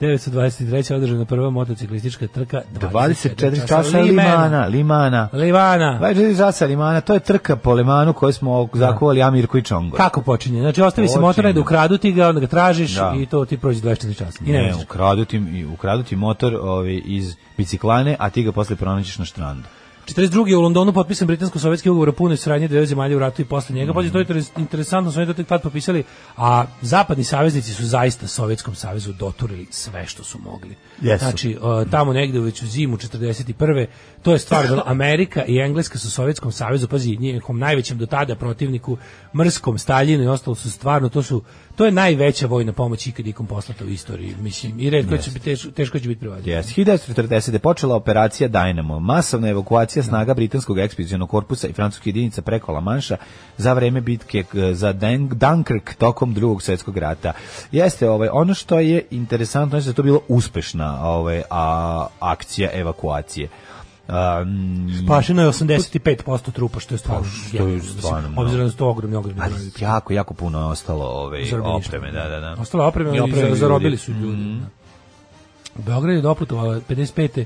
1923. održana prva motociklistička trka 24 časa Limana, Limana. Livana. 24 časa Limana, to je trka po Limanu koju smo zakovali Amirko i Čongor. Kako počinje? Znači, ostavi se Počinje. motor, da ukradu ti ga, onda ga tražiš Da. i to ti prođe 24 časa. I ne, Ne, možeš. ukradu ti, i ukradu ti motor ovaj, iz biciklane, a ti ga posle pronađeš na štrandu. 42. je u Londonu potpisan britansko-sovjetski ugovor o punoj sranji dve zemalja u ratu i posle njega. Pazi, to je interes- interesantno, su oni to tek tad popisali, a zapadni saveznici su zaista Sovjetskom savezu doturili sve što su mogli. Jesu. Znači, e, tamo negde već u zimu 41. To je stvar, bila Amerika i Engleska su Sovjetskom savezu, pazi, njihovom najvećem do tada protivniku, mrskom, Staljinu i ostalo su stvarno, to su to je najveća vojna pomoć ikad ikom poslata u istoriji, mislim, i redko će biti teško, teško će biti prevađena. Yes. 1940. je počela operacija Dynamo, masovna evakuacija snaga britanskog ekspedicionog korpusa i francuskih jedinica preko La Manša za vreme bitke k- za Dan- Dunkirk tokom drugog svjetskog rata. Jeste, ovaj, ono što je interesantno je da je to bilo uspešna ovaj, a, akcija evakuacije. Um, Spašeno je 85% trupa, što je stvarno, Pa što je jebeno, mislim, stvarno mnogo. obzirom da su to ogromni, ogromni ali brojevi. Pa jako, jako puno je ostalo ovaj, Zarobljeništvo. opreme. Da, da, da. Ostala oprema, I ali ljudi. Mhm. zarobili su ljudi. da. U Beograd je doputovala 55.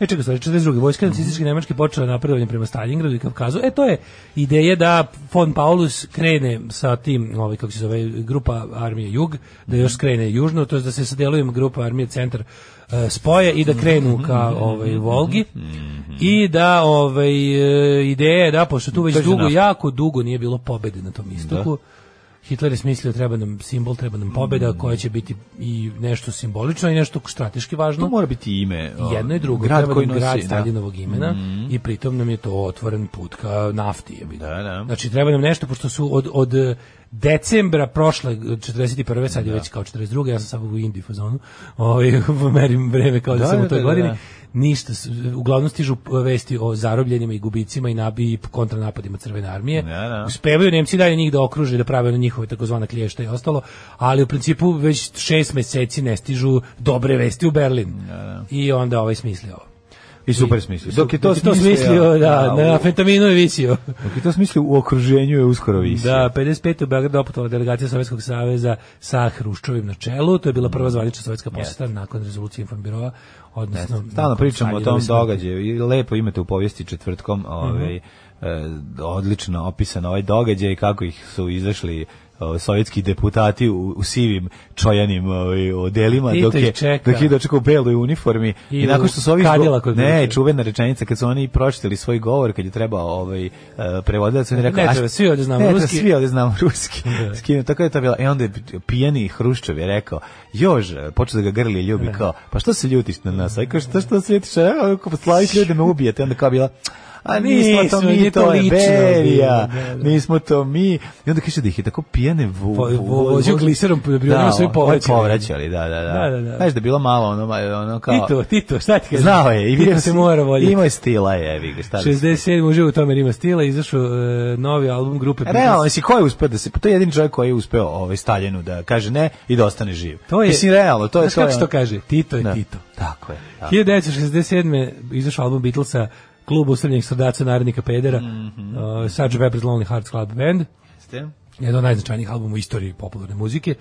E čekaj, sorry, 42. Mhm. Vojska nacističke Nemačke počela napredovanje prema Stalingradu i Kavkazu. E to je ideja da von Paulus krene sa tim, ovaj, kako se zove, grupa armije Jug, da Mhm. još skrene južno, to je da se sa delovima grupa armije Centar e, spoje i da Mhm. krenu ka ovaj Volgi i da ovaj e, ideja je da pošto tu već To je za dugo naftu. jako dugo nije bilo pobede na tom istoku Hitler je smislio treba nam simbol, treba nam pobeda Mm. koja će biti i nešto simbolično i nešto strateški važno. To mora biti ime. ovaj, I jedno i drugo, Grad treba koji nam nosi, grad da. Mm. Stalinovog imena i pritom nam je to otvoren put ka nafti. Je Da, da. Znači treba nam nešto, pošto su od, od eh, decembra prošle, eh, 41. sad je već kao 42. Ja sam samo u Indiji fazonu, ovaj, [laughs] merim vreme kao da, Da, sam u da, toj da, godini. da. Ništa, s- uglavnom stižu eh, vesti o zarobljenima i gubicima i nabi i kontranapadima Crvene armije. Da, da. Uspevaju Nemci dalje njih da okruže, da prave ono njihove takozvana klješta i ostalo, ali u principu već šest meseci ne stižu dobre vesti u Berlin. I onda ovaj smisli ovo. I super smislio. Dok je to, Dok smislio, da, na fentaminu je visio. Dok je to smislio u okruženju je uskoro visio. Da, 55. u Beogradu doputovala delegacija Sovjetskog saveza sa Hruščovim na čelu. To je bila prva zvanična sovjetska poseta nakon rezolucije Informbirova, odnosno... Stalno nakon pričamo o tom Staljinove smrti. događaju i lepo imate u povijesti četvrtkom Mhm. ovaj, e, odlično opisan ovaj događaj i kako ih su izašli ovaj, sovjetski deputati u, u sivim čojanim ovaj, odelima Tito dok ih je, čeka. dok je dočekao u beloj uniformi i, I nakon što su ovi u izgo- kadilaku je ne, dočekao. čuvena rečenica kad su oni pročitali svoj govor kad je trebao ovaj, e, prevodilac on je rekao, Ne "A, treba, svi ovdje znamo ne treba, ruski." svi ovdje znamo [laughs] ruski Skinu, tako je to bilo i onda je pijeni Hruščov je rekao Jož, počeo da ga grli ljubi kao pa što se ljutiš na nas, a i kao što, što se ljutiš a ako slaviš ljude me ubijete onda kao bila a nismo to Nismo, mi, nije to to je lično Berija, bilo, da, da. nismo to mi. I onda kaže da ih je tako pijene vo, Po- vo- vozio gliserom, da bi oni sve o- povraćali. povraćali, da, da, da. Da, da, da. Znaš da je bilo malo ono, ma- ono kao... Tito, Tito, šta ti kažem? Znao je, i Tito vidio se mora voljeti. Imao je stila, je, vi ga, šta da se- 67. uživo u tome jer ima stila, izašao e, novi album grupe Beatles. Realno, mislim, ko je uspeo da se, pa to je jedini čovjek koji je uspeo ovaj, Staljinu da kaže ne i da ostane živ. To je, mislim, realno, to je... znaš kako je ono- se to kaže? Tito je Da. Tito. Tako je. Tako. 1967. izašao album Beatlesa Klub usrednjih srdaca narodnika pedera mm Mhm. -hmm. uh, Sgt. Pepper's Lonely Hearts Club Band Jeste. jedan od najznačajnijih albuma u istoriji popularne muzike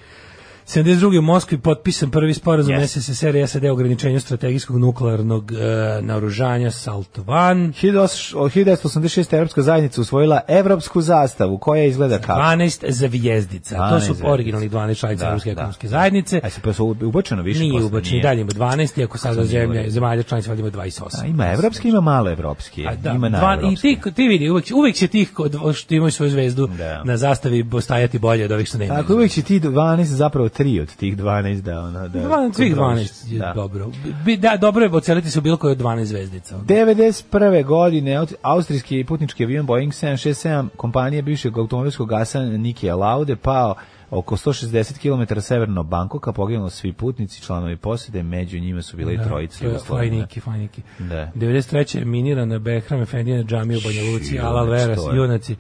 72. u Moskvi potpisan prvi sporazum yes. SSSR i SAD o ograničenju strategijskog nuklearnog e, naoružanja Salt One. 1986. Evropska zajednica usvojila evropsku zastavu, koja izgleda kao. 12 zvijezdica. To 12 su zvijezdica. originalnih 12 članica Da, Evropske da. ekonomske zajednice. Aj se pa su ubačeno više Nije posle, ubačen, nije. dalje ima 12, iako sada nije zemlja, ubačen. zemalja članica valjda ima 28. A, ima evropski, ima malo evropski. A, da, ima na dva, I evropski. ti, ti vidi, uvek, uvek će tih kod, što imaju svoju zvezdu Da. na zastavi bo- stajati bolje od ovih što nemaju. Tako uvijek će ti 12, zapravo 3 od tih 12 da ona da. Dva- Svih kontroliš. 12 je dobro. Bi, da, dobro je oceliti se u bilo koje od 12 zvezdica. 91. godine aut- austrijski putnički avion Boeing 767 kompanije bivšeg automobilskog gasa Nikija Laude pao oko 160 km severno od Bankoka, poginulo svi putnici, članovi posede, među njima su bile i trojice to je Jugoslavina. Fajniki, Fajniki. Da. 93. je minirana Behram Efendija džamija u Banja Luci, Junac, Alal Veras, znači, to je. junaci.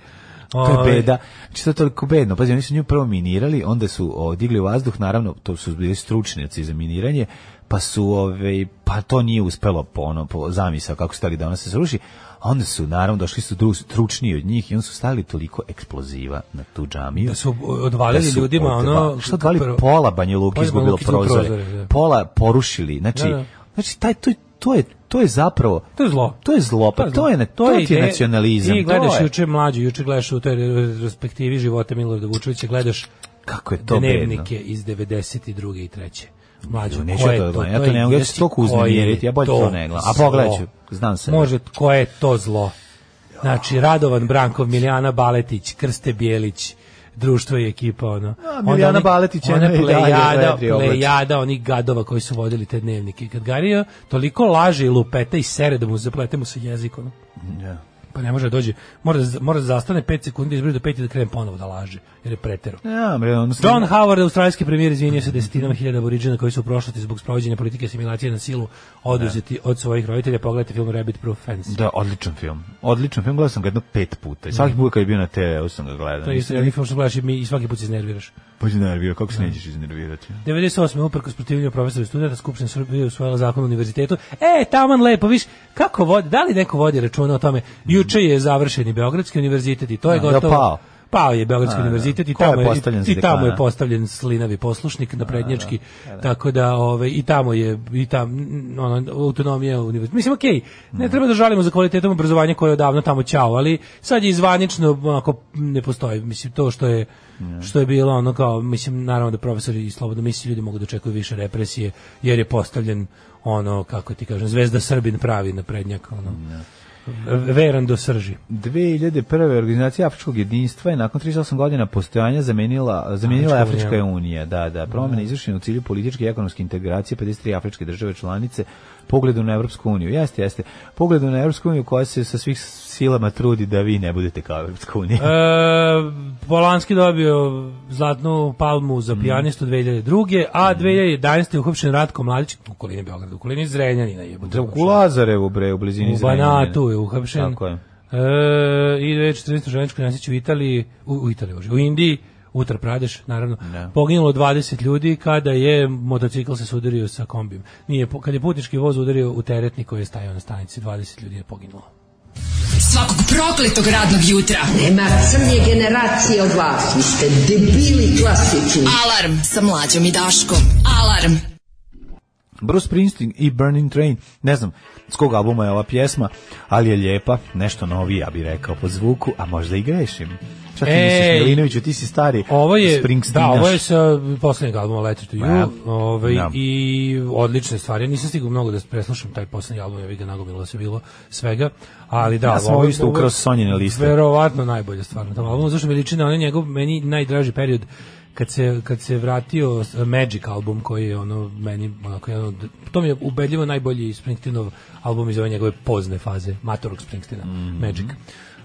To Ovaj, je beda. Znači, to je toliko bedno. Pazi, oni su nju prvo minirali, onda su o, digli u vazduh, naravno, to su bili stručnjaci za miniranje, pa su, ove, pa to nije uspelo po, ono, po zamisao kako stali da ona se sruši, a onda su, naravno, došli su dru- stručniji od njih i onda su stavili toliko eksploziva na tu džamiju. Da su odvalili ljudima, odva- ono, Što odvalili? prvo- Pola Banja Luki Pola Banja izgubilo Luke izgubilo prozore. prozore, da. Pola porušili. Znači, Da, da. znači taj, to, je- to je to je zapravo To je zlo. To je zlo, pa to je, na- to je, ti ideja- nacionalizam. Ti to gledaš je- juče mlađu, juče gledaš u toj retrospektivi života Milorada Vučevića, gledaš Kako je to bedno. dnevnike iz 92. i 3. Mlađo, Neću ko ja je to da to? gledam, ja to ne mogu, ja ću se toliko uznemiriti, ja bolje to ne gledam. A pogledat ću, znam se. se. Može, ko je to zlo? Znači, Radovan Brankov, Milijana Baletić, Krste Bijelić, društvo i ekipa, ono. Onda Milijana oni- Baletić je ona i dalje plejada, vedri oblači. plejada onih gadova koji su vodili te dnevnike. Kad Gario toliko laže i lupeta i sere da mu zaplete mu se jezik, ono. Pa ne može da dođe, mora, da- mora da zastane 5 sekundi, izbrije do 5 i da krene ponovo da laže, jer je pretero. Ja, bre, ono John Howard, australijski premijer, izvinio se desetinama hiljada aboriđina koji su u prošlosti zbog sprovođenja politike asimilacije na silu oduzeti od svojih roditelja. Pogledajte film Rabbit Proof Fence. Da, odličan film. Odličan film, gledao sam ga jedno pet puta. I Svaki put kad je bio na TV-u sam ga gledao. To je isto jedan film što gledaš i, mi, i svaki put se iznerviraš. Pa si nervirao, kako se nećeš iznervirati? 98. uprkos protivljenju profesora i studenta, Skupština Srbije usvojila zakon o univerzitetu. E, taman lepo, viš, kako vodi, da li neko vodi računa o tome? Juče je završeni Beogradski univerzitet i to je Da, da, gotovo. pao. Pao je Beogradski Da, da. univerzitet i Ko je tamo je, postavljen za i tamo je dekana? postavljen slinavi poslušnik na prednjački. Tako da ovaj i tamo je i tam n- ono autonomija univerziteta. Mislim okej, ne treba da žalimo za kvalitetom obrazovanja koje je odavno tamo ćao, ali sad je izvanično onako ne postoji. Mislim to što je što je bilo ono kao mislim naravno da profesori i slobodno misli ljudi mogu da očekuju više represije jer je postavljen ono kako ti kažem zvezda Srbin pravi na prednjak ono. V- Veran do srži. 2001. organizacija Afričkog jedinstva je nakon 38 godina postojanja zamenila, zamenila Afrička Afrička unija. Da, da, promjena izvršena u cilju političke i ekonomske integracije 53 afričke države članice pogledu na Evropsku uniju. Jeste, jeste. Pogledu na Evropsku uniju koja se sa svih silama trudi da vi ne budete kao Evropska unija. E, Polanski dobio zlatnu palmu Mm. za pijanistu 2002. A 2011. je uhopšen Ratko Mladić u kolini Beograda, u kolini Zrenjanina. jebote. ono, Da, E, u Lazarevu, bre, u blizini U Zrenjanina. Banatu je uhapšen. Tako je. E, I 2014. Ženičko nasić u Italiji, u, u Italiji, bože, u Indiji, Uttar Pradeš, naravno, Da. poginulo 20 ljudi kada je motocikl se sudario sa kombijem. Nije, po- kad je putnički voz udario u teretni koji je stajao na stanici, 20 ljudi je poginulo. Svakog prokletog radnog jutra. Nema crnje generacije od vas. Vi ste debili klasični. Alarm sa mlađom i Daškom. Alarm. Bruce Springsteen i Burning Train, ne znam s kog albuma je ova pjesma, ali je lijepa, nešto novija bi rekao po zvuku, a možda i grešim. Čak i Ej! misliš Milinoviću, ti si stari Ovo je, da, Springsteenaš. ovo je sa poslednjeg albuma Letter to You, Da. ovaj, Da. i odlične stvari. Ja nisam stigao mnogo da preslušam taj poslednji album, ja bih ga nagomilo se bilo svega, ali da. Ja sam ovo isto ukrao s Sonjine liste. Verovatno najbolja stvar na tom albumu, zašto mi liči na onaj njegov, meni najdraži period kad se, kad se vratio s- Magic album koji je ono meni onako jedan od, to mi je ubedljivo najbolji Springsteenov album iz ove njegove pozne faze matorog Springsteena, Mhm. Magic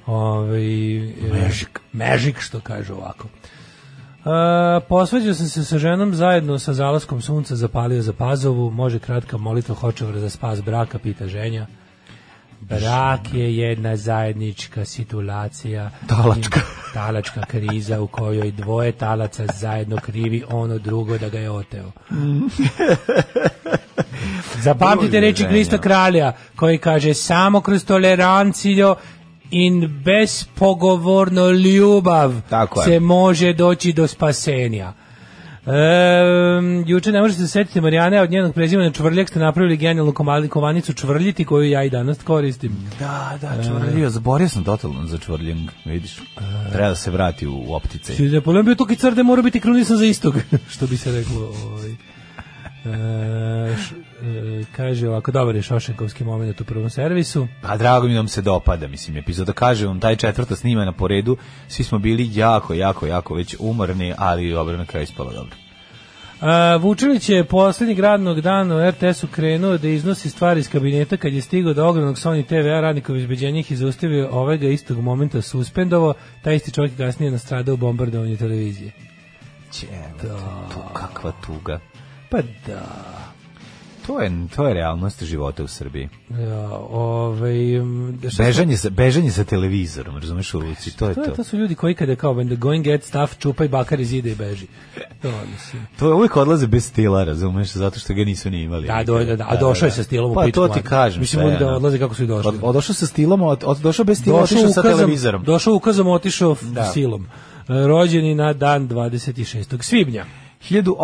Ove, Magic Magic što kaže ovako Uh, posvađao sam se sa ženom zajedno sa zalaskom sunca zapalio za pazovu može kratka molitva hočevara za spas braka pita ženja Brak je jedna zajednička situacija. Talačka. Talačka kriza u kojoj dvoje talaca zajedno krivi ono drugo da ga je oteo. Zapamtite Drugi reči ženja. Krista Kralja koji kaže samo kroz toleranciju in bespogovorno ljubav Tako je. se može doći do spasenja. Ehm, juče ne možete se setiti Marijane, a od njenog prezimena Čvrljak ste napravili genijalnu komali- kovanicu Čvrljiti koju ja i danas koristim. Da, da, E. čvrljio, zaborio sam totalno za čvrljing, vidiš. Treba da se vrati u, u optice. Svi je problem bio toki crde, mora biti krunisan za istog, [laughs] što bi se reklo. Ovaj. E, š- e, kaže ovako, dobar je Šošenkovski moment u prvom servisu. Pa drago mi da vam se dopada, mislim, epizoda. Kaže vam, taj četvrta snima na poredu, svi smo bili jako, jako, jako već umorni, ali dobro, na kraju ispalo dobro. A, Vučilić je poslednjeg radnog dana u RTS-u krenuo da iznosi stvari iz kabineta kad je stigao do ogromnog Sony TV-a radnikov izbeđenja ih je zaustavio ovaj ga istog momenta suspendovo, taj isti čovjek je kasnije nastradao u bombardovanju televizije. Čevo, tu, kakva tuga. Pa da. To je, to je realnost života u Srbiji. Ja, ovaj, m, šta smo- Bežanje sa, bežanje sa televizorom, razumeš u ulici, to je To, to. je, to su ljudi koji kada kao when the going gets tough, čupaj bakar iz ide i beži. To mislim. To je uvijek odlaze bez stila, razumeš, zato što ga nisu ni imali. Da, do, da, da, a došao je sa stilom u Pa pičku to ti materinu. kažem. Mislim, sve, oni da ono. odlaze kako su i došli. Od, odošao sa stilom, od, od, došao bez stila, otišao sa ukazom- televizorom. Došao ukazom, otišao f- Da. silom. E, Rođeni na dan 26. svibnja.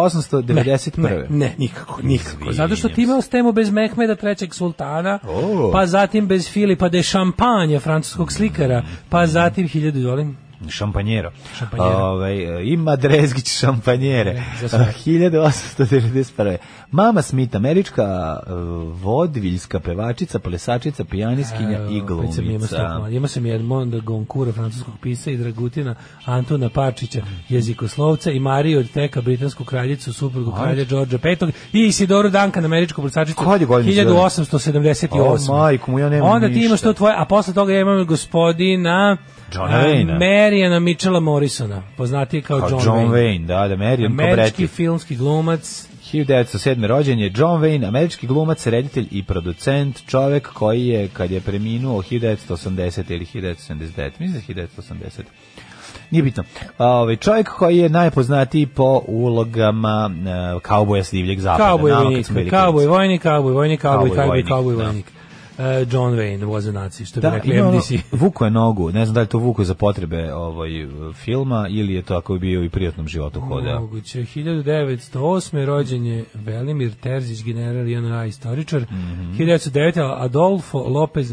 1891. Ne, ne, nikako, nikako. Izvinjam Zato što ti imao stemu bez Mehmeda trećeg sultana, O. pa zatim bez Filipa de Champagne, francuskog slikara, pa zatim hiljadu dolim. Šampanjero. Šampanjero. Ovaj, ima Drezgić šampanjere. [laughs] Za sve. 1891. Mama Smith, američka eh, vodviljska pevačica, plesačica, pijaniskinja i Ima E, se glumica. Imao sam Edmonda Gonkura, francuskog pisa i Dragutina Antona Pačića, jezikoslovca i Mariju od Teka, britansku kraljicu, suprugu kralja Đorđa V i Isidoru Duncan, američku brucačicu, Kad je godine Isidora? 1878. O, majko mu, ja nemam Onda ti ništa. imaš to tvoje, a posle toga ja imam gospodina Johna Wayna. Marijana Mitchella Morrisona, poznatiji kao, Kao John, Wayne. Pa Wayne, da, da, Marion Američki Cobretti. filmski glumac, 1907. rođen je John Wayne, američki glumac, reditelj i producent, čovek koji je, kad je preminuo 1980. ili 1979. mislim da je 1980. Nije bitno. Ovaj čovjek koji je najpoznatiji po ulogama e, kauboja s divljeg zapada. Cowboy Nama kad vojnik, smo bili cowboy klinci. vojnik, cowboy vojnik, cowboy, Cowboy cowboy, vojnik, cowboy da. vojnik. Uh, John Wayne was a Nazi, što bi Da, rekli ima ono, [laughs] MDC. vuko je nogu, ne znam da li to vuko za potrebe ovaj, filma ili je to ako je bio i u prijatnom životu hoda. Moguće, 1908. rođen je Velimir Terzić, general i NRA istoričar. Mhm. 1909. Adolfo Lopez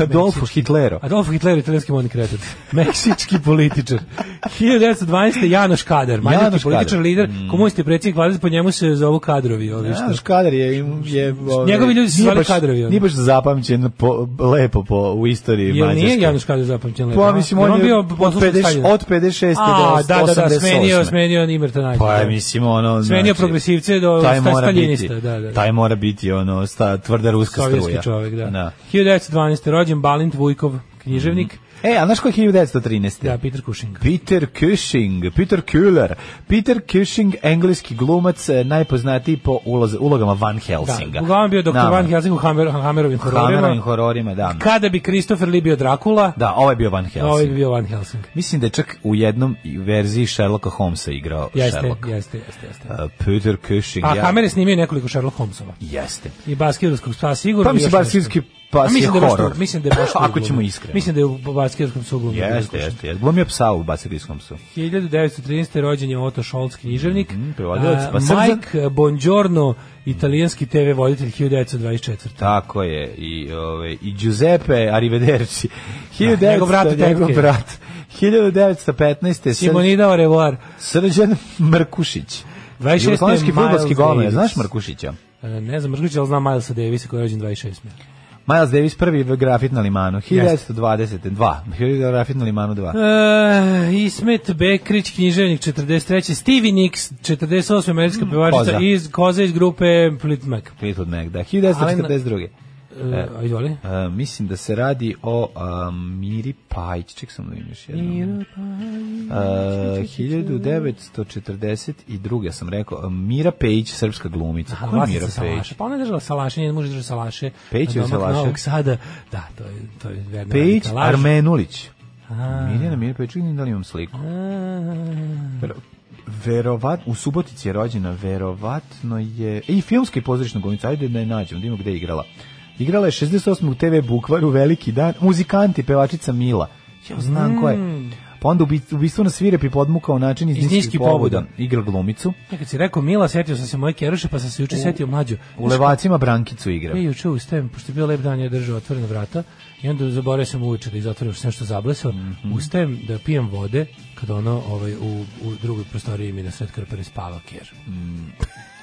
[laughs] Adolfo Meksički- Hitlero. Adolfo Hitler, italijanski modni kretar. [laughs] Meksički političar. 1912. Janoš Kadar, Janoš mađarski Kadar. Mm. političar, lider, komunisti predsjednik vlade, po njemu se zovu kadrovi. Ovi, što- Znaš, kadar je... je ovaj, Njegovi ljudi su nije zvali baš- kadrovi, ono. Nije baš zapamćen po, lepo po, u istoriji Jel Mađarske. nije Janoš Kadar zapamćen lepo? Pa, mislim, Jel on je bio od poslušnik 50 Staljina? od 56 do A, da, da, da, 88. smenio, smenio Nimerta Nađe. Pa, mislim, ono... Smenio progresivce do taj mora staljinista, biti- da, da. Taj mora biti, ono, sta, tvrda ruska Sovjetski struja. čovjek, da. 1912. rođen Balint Vujkov, književnik. E, a znaš ko je 1913? Da, Peter Cushing. Peter Cushing, Peter Kuller. Peter Cushing, engleski glumac, eh, najpoznatiji po ulaz, ulogama Van Helsinga. Da, uglavnom bio doktor Nama. Van Helsing u Hammer, Hammerovim Hammerovim hororima. hororima, da. Kada bi Christopher Lee bio Dracula, Da, ovaj je bio Van Helsing. ovaj bi bio Van Helsing. Mislim da je čak u jednom i verziji Sherlocka Holmesa igrao Jeste, Sherlock. jeste, jeste, jeste. Uh, Peter Cushing. A ja- Hammer je snimio nekoliko Sherlock Holmesova. Jeste. I Baskirovskog psa sigurno. Pa i mislim još bar nešto. Sirski A pas je mislim da je baš tu- horor. Mislim da je baš [laughs] tu Ako glumio. ćemo iskreno. Mislim da je u Baskirovskom psu glumio. Jeste, jeste, jeste. Glumio psa u Basilijskom su. 1913. rođen je Otto Scholz, književnik. Mhm, prevodilac. A, Pa Srđan- Mike Bongiorno, italijanski TV voditelj 1924. Tako je. I, ove, i Giuseppe Arrivederci. 1900, njegov brat i tetke. njegov brat. 1915. Sr- Simonida Orevoar. Srđan Mrkušić. 26. Jugoslovenski Miles futbolski golman. Davis. E, Znaš Mrkušića? Ne znam, Mrković, ali znam Milesa Davisa koji je rođen 26. Miles Davis prvi grafit na limanu. 1922. Grafit na limanu 2. E, Ismet Bekrić, književnik 43. Stevie Nicks, 48. američka pevačica Mm, Koza. iz Koza iz grupe Plitmak. Fleetwood Mac, da. 1942. E, a izvoli. E, mislim da se radi o a, Miri Pajić, ček sam da im još jednom. Mira Pajić. 1942. sam rekao, e, Mira Pejić, srpska glumica. Ko je Mira Vlasnica Pejić? Salaše. Pa ona je držala Salaše, njen muž je držao Salaše. Pejić je na domak Salaše? Novog Sada. Da, to je, to je verna Pejić velika laž. Armenulić. Mirjana Mira Pejić, čekaj da li imam sliku. Ver- Verovat, u Subotici je rođena, verovatno je... I filmska i pozorišna glumica, ajde da je nađem, da imamo gde je igrala. Igrala je Mm. 68. u TV Bukvaru, Veliki dan, muzikanti, pevačica Mila. Ja znam ko je. Pa onda ubi- ubistvo na svirepi podmukao način iz, niskih, pobuda. Igra glumicu. Ja kad si rekao Mila, setio sam se moje keruše, pa sam se juče setio mlađu. U levacima Brankicu igra. Ja juče ustajem, pošto je bio lep dan, ja držao otvorena vrata i onda zaboravio sam uveče da izotvorim što sam nešto zablesao. Mhm. Ustajem da pijem vode kad ono ovaj, u, u drugoj prostoriji mi na sred krpene spava ker. Mhm.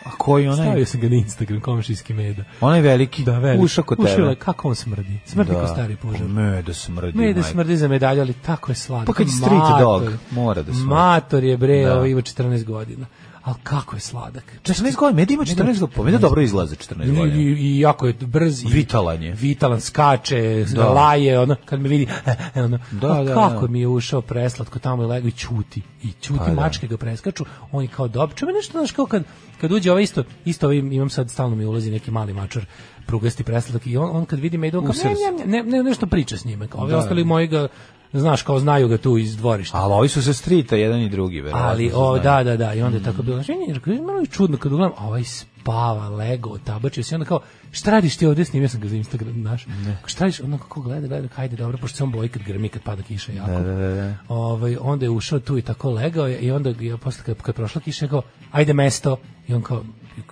A koji onaj? Stavio sam ga na Instagram, komšijski meda. Onaj veliki. Da, velik. Ušao kod tebe. Ušao je, kako on smrdi. Smrdi ko stari požar. Me da smrdi. Meda majko. smrdi za medalju, ali tako je slatko. Pa kad je street Mator. dog, mora da smrdi. Mator je bre, Da. ovaj, ima 14 godina. Ali kako je sladak. 14 godina, Meda ima 14 godina, pa Meda dobro izlazi 14 I, godina. i, i jako je brz i Vitalan je. Vitalan skače, Da. laje, ono kad me vidi, [laughs] ono. Da, a da, kako da. mi je ušao preslatko tamo i lego i ćuti. I ćuti Pa da. mačke ga preskaču, on je kao dob. Čume nešto znaš kao kad kad uđe ovaj isto, isto ovaj, imam sad stalno mi ulazi neki mali mačar prugasti preslatak i on, on kad vidi me ide on kao Usrao se. "Mjem, mjem, mjem", ne, ne, nešto priča s njime. Kao, ovi ostali moji ga znaš kao znaju ga tu iz dvorišta. Ali ovi su se strita, jedan i drugi, verovatno. Ali, se o, znaju. da, da, da, i onda je Mhm. tako bilo. Znači, nije, rekao, malo je čudno kad uglavnom, a ovaj spava, lego, tabačio se, i onda kao, šta radiš ti ovdje, snimio sam ga za Instagram, znaš, Kao, šta radiš, onda kako gleda, gleda, hajde, dobro, pošto se on boji kad grmi, kad pada kiša jako. Da, da, da. Ovaj, onda je ušao tu i tako legao je, i onda je posle kad, kad je prošla kiša je kao ajde mesto i on kao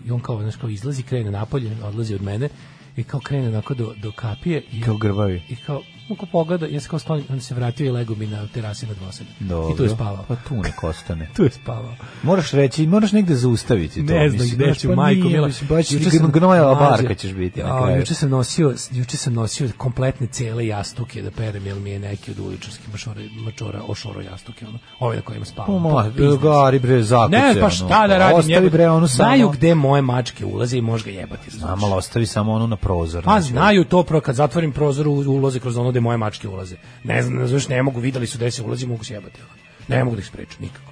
i on kao znaš kao izlazi krene napolje odlazi od mene i kao krene onako do, do kapije i Kao grbavi. i kao on kao pogleda ja se kao sklonim on se vratio i legao mi na terasi na dvosed i tu je spavao Pa tu nek ostane. [laughs] tu je spavao Moraš reći, moraš negde zaustaviti to. Ne znam mislim, gde znaš, ću, pa majko nije, mila. mislim, Baš Juče ti sam- gnojava Mlađe, barka ćeš biti na a, kraju. Juče sam nosio, juče sam nosio kompletne cele jastuke da perem, jer mi je neki od uličarskih mašora, mačora ošoro jastuke, ono, ove na kojima spavam. Pa, To je biznis. gari, bre, zakucaj, Ne, ono, pa šta da radim, ostavi, jebote. bre, onu samo. Znaju gde moje mačke ulaze i može ga jebati. A razumeš? malo ostavi samo ono na prozor. Pa znači, znaju to, pro, kad zatvorim prozor u- ulaze kroz ono gde moje mačke ulaze. Ne znam, razumeš, ne mogu, videli su gde se ulazi, mogu se jebati. ono. Ne mogu da ih spreču, nikako.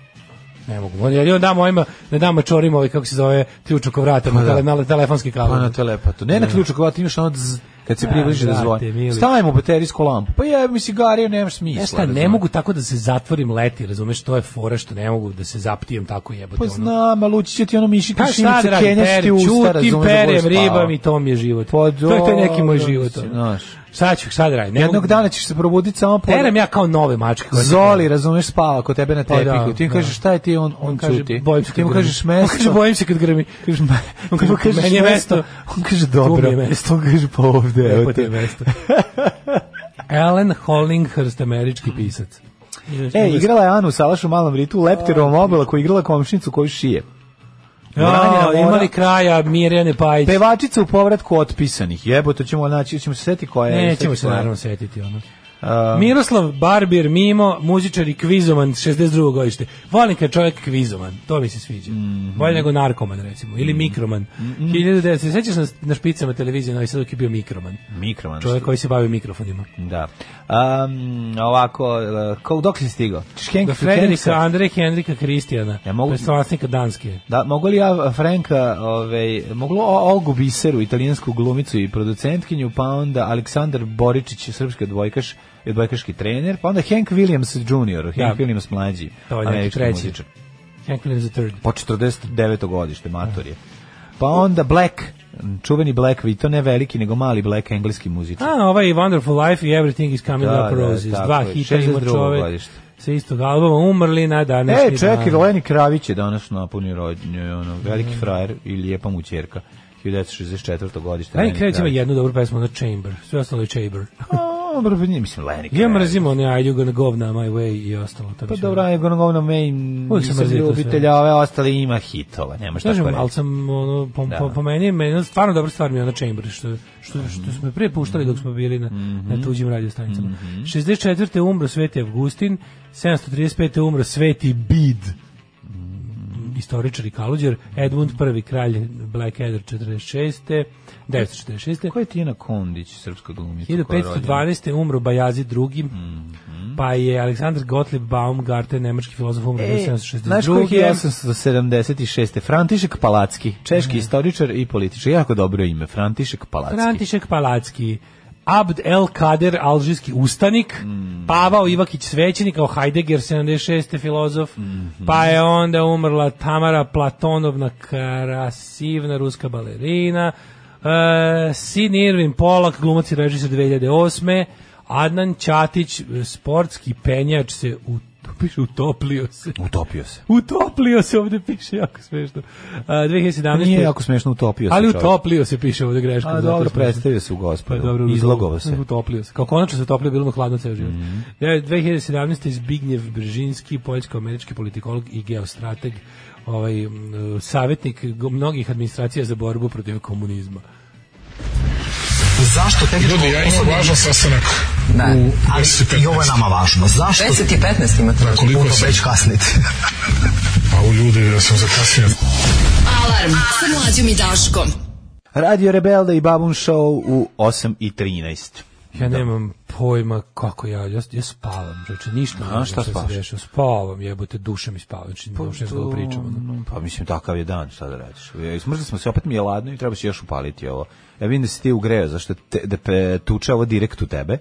Ne mogu. On, jer on da mojima, ne da mačorima, ovaj, kako se zove, ključ oko vrata, na, Pa da. tele- na telefonski kabel. Pa na telepatu. Ne na ključu kova ti imaš ono dzz, kad se Da, približi da brate, zvoni. mili. Stavimo baterijsku lampu. Pa je, mi cigariju nemaš smisla. Ne E, šta, ne razumeš. mogu tako da se zatvorim leti, razumeš, to je fora što ne mogu da se zaptijem tako jebote. Pa ono. znam, ali ući će ti ono miši Pa šta kišimice, da radim, kenjaš ti perem, usta, čutim, razumeš da budeš perem, spavao. ribam i to mi je život. Pa to je, to je neki moj dobro, život. mislim, ono. znaš. Šta ću, šta da radim? Ne Jednog mogu- dana ćeš se probuditi samo po... Perem ja kao nove mačke. koje- Zoli, razumeš, spava kod tebe na Pa da, tepiku. ti mu da. kažeš šta je ti, on, on, On kaže, čuti. bojim se kad ti mu grmi. kažeš [laughs] On kaže, mesto. bojim se kad grmi. Kažeš, me- [laughs] On ti mu kaže, kažeš [laughs] meni je mesto. On kaže, Tu dobro. mi je [laughs] mesto. On kaže, pa ovde. evo Lepo ti te. je [laughs] mesto. Ellen Hollinghurst, američki pisac. E, igrala je Anu Salaš u malom ritu, lepterom obela koja je igrala komšnicu koju šije. Branjena Ja, mora- imali kraja Mirjane Pajić. Pevačica u povratku otpisanih. Jebote, ćemo naći, ćemo se setiti koja je. Nećemo setiti se koja je. naravno setiti ono. Miroslav Barbir Mimo, muzičar i kvizoman 62. godište. Volim kad je čovjek kvizoman, to mi se sviđa. Bolje nego narkoman recimo, ili mikroman. 1900, se sjećaš na, na špicama televizije Novi Sad dok je bio mikroman? Mikroman. Čovjek koji se bavi mikrofonima. Da. Um, ovako, e, kao dok si stigao? Škenk Da Frederika Andre Henrika Kristijana, Ja mogu- predstavnika Danske. Da, mogu li ja Franka, ovaj, moglo o- Olgu Biseru, italijansku glumicu i producentkinju, pa onda Aleksandar Boričić, srpski odbojkaš, i odbojkaški trener, pa onda Hank Williams Jr., Hank Da. Williams mlađi, To je neki američki treći. muzičar. Hank Williams III. Po 49. godište, mator je. Pa onda Black, m, čuveni Black, i to ne veliki, nego mali Black, engleski muzičar. A, ovaj Wonderful Life i Everything is Coming Da, Up da, Roses. tako Dva je, hita ima 62. čovjek godište. sa istog albuma umrli na današnji E, čekaj, dan. Mm. Leni Kravić je danas napunio rodnju, ono, veliki frajer i lijepa mu ćerka. 1964. godište. Lenny Kravitz ima jednu dobru pesmu, ono Chamber, sve ostalo je Chamber. A, Dobro, pa nije, mislim, Lenny Kravitz. Ja mrzim one Are you gonna go na my way i ostalo. to mi Pa se- dobro, ja govorim govno main, Uvijek sam nisam mrzio to ljubitelj, sve. a ove ostale ima hitova, nema šta Kažem, ko reći. ali sam ono, po, Da. Mhm. po, po meni, meni stvarno dobra stvar mi je ona Chamber, što, što, što smo je prije puštali dok smo bili na, na tuđim radiostanicama. Mhm. 64. umro Sveti Avgustin, 735. umro Sveti Bid, Mhm. istoričar i kaluđer, Edmund I, kralj Blackadder 46. 946. Ko je Tijena Kondić, srpska glumica? koja je rođena? 1512. umro Bajazid II. Pa je Aleksandar Gottlieb Baumgarten, nemački filozof, umro Mhm. E, 1762. Znaš kojih je 876. František Palacki, češki istoričar i političar. Jako dobro ime, František Palacki. František Palacki. Abd El Kader, alžirski ustanik, Mm. Pavao Ivakić Svećenik, kao Heidegger, 76. filozof, Mhm. pa je onda umrla Tamara Platonovna, krasivna ruska balerina, uh, Sin Irvin Polak, glumac i režisar 2008. Adnan Ćatić, sportski penjač se u [laughs] piše utoplio se. Utopio se. Utoplio se ovde piše, jako smešno. E, A, 2017. Nije jako smešno, utopio se Ali čovjek. utoplio se piše ovde greškom. A zato dobro, je smešno. predstavio se u Pa gospodu. dobro, Izlogovao se. Mhm. Utoplio se. Kao konačno se toplio, bilo mu hladno ceo život. Mm -hmm. 2017. Zbignjev Bržinski, poljsko-američki politikolog i geostrateg, ovaj, m, savjetnik go- mnogih administracija za borbu protiv komunizma. Zašto tehničko Ljudi, ja imam važan sastanak. Da. Ali SC15. i ovo je nama važno. Zašto? 10 i 15 imate. Da, koliko puno sam? već kasnite. A u ljudi, da sam zakasnio. Alarm sa mlađom i Daškom. Radio Rebelde i Babun Show u 8 i 13. Ja nemam pojma kako ja, ja, ja spavam, znači ništa ne znam šta Pa se spavaš? dešava. Spavam, jebote, duša mi spava, znači uopšte ne znam da pričam. ono. Pa mislim, takav je dan, šta da radiš. E, Smrzli smo se, opet mi je ladno i treba se još upaliti ovo. Ja vidim da si ti ugreo, zašto te, da pe, tuča ovo direkt u tebe,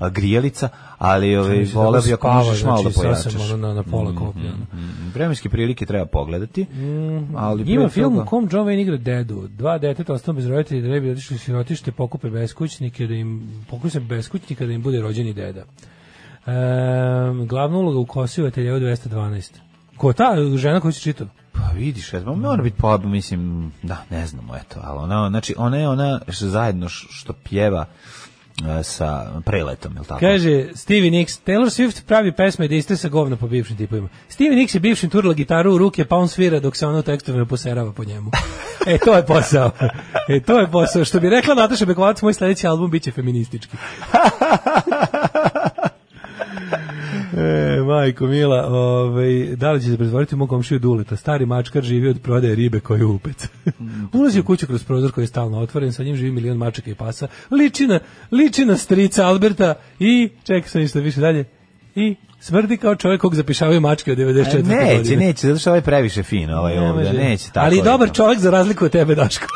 a, grijelica, ali ove, Mislim, vola dobro bi ako spava, možeš malo da znači, sad sam pojačaš. ono na- na pola koplja, ono. mm, vremenske prilike treba pogledati. ali Mm, Ima pre film u toga- kom John Wayne igra dedu. Dva deteta ostanu bez roditelja da ne bi otišli u sirotište, pokupe beskućnike da im pokupe beskućnika da im bude rođeni deda. Ehm, glavna uloga u Kosivatelju je u 212. Ko je ta žena koju si čitao? Pa vidiš, ja znam, Mm. mora biti pa, mislim, da, ne znamo, eto, ali ona, znači, ona je ona što zajedno š- što pjeva e, sa preletom, je li tako? Kaže, Stevie Nicks, Taylor Swift pravi pesme da iste sa govna po bivšim tipovima. Stevie Nicks je bivšim turla gitaru u ruke, pa on svira dok se ona u tekstovima poserava po njemu. [laughs] E, to je posao. E, to je posao. Što bi rekla Nataša Bekovac, moj sledeći album biće feministički. E, majko Mila, ovaj, da li će se pretvoriti u mog komšiju Duleta? Stari mačkar živi od prodaje ribe koju upec. Ulazi u kuću kroz prozor koji je stalno otvoren, sa njim živi milion mačaka i pasa. Liči na, liči na strica Alberta i, čekaj sam ništa više dalje, i smrdi kao čovjek kog zapišavaju mačke od 94. E, [laughs] Neće, godine. neće, zato što ovaj je previše fin, ovaj Ne ovdje, može. neće tako. Ali dobar jedno. čovjek za razliku od tebe, Daško.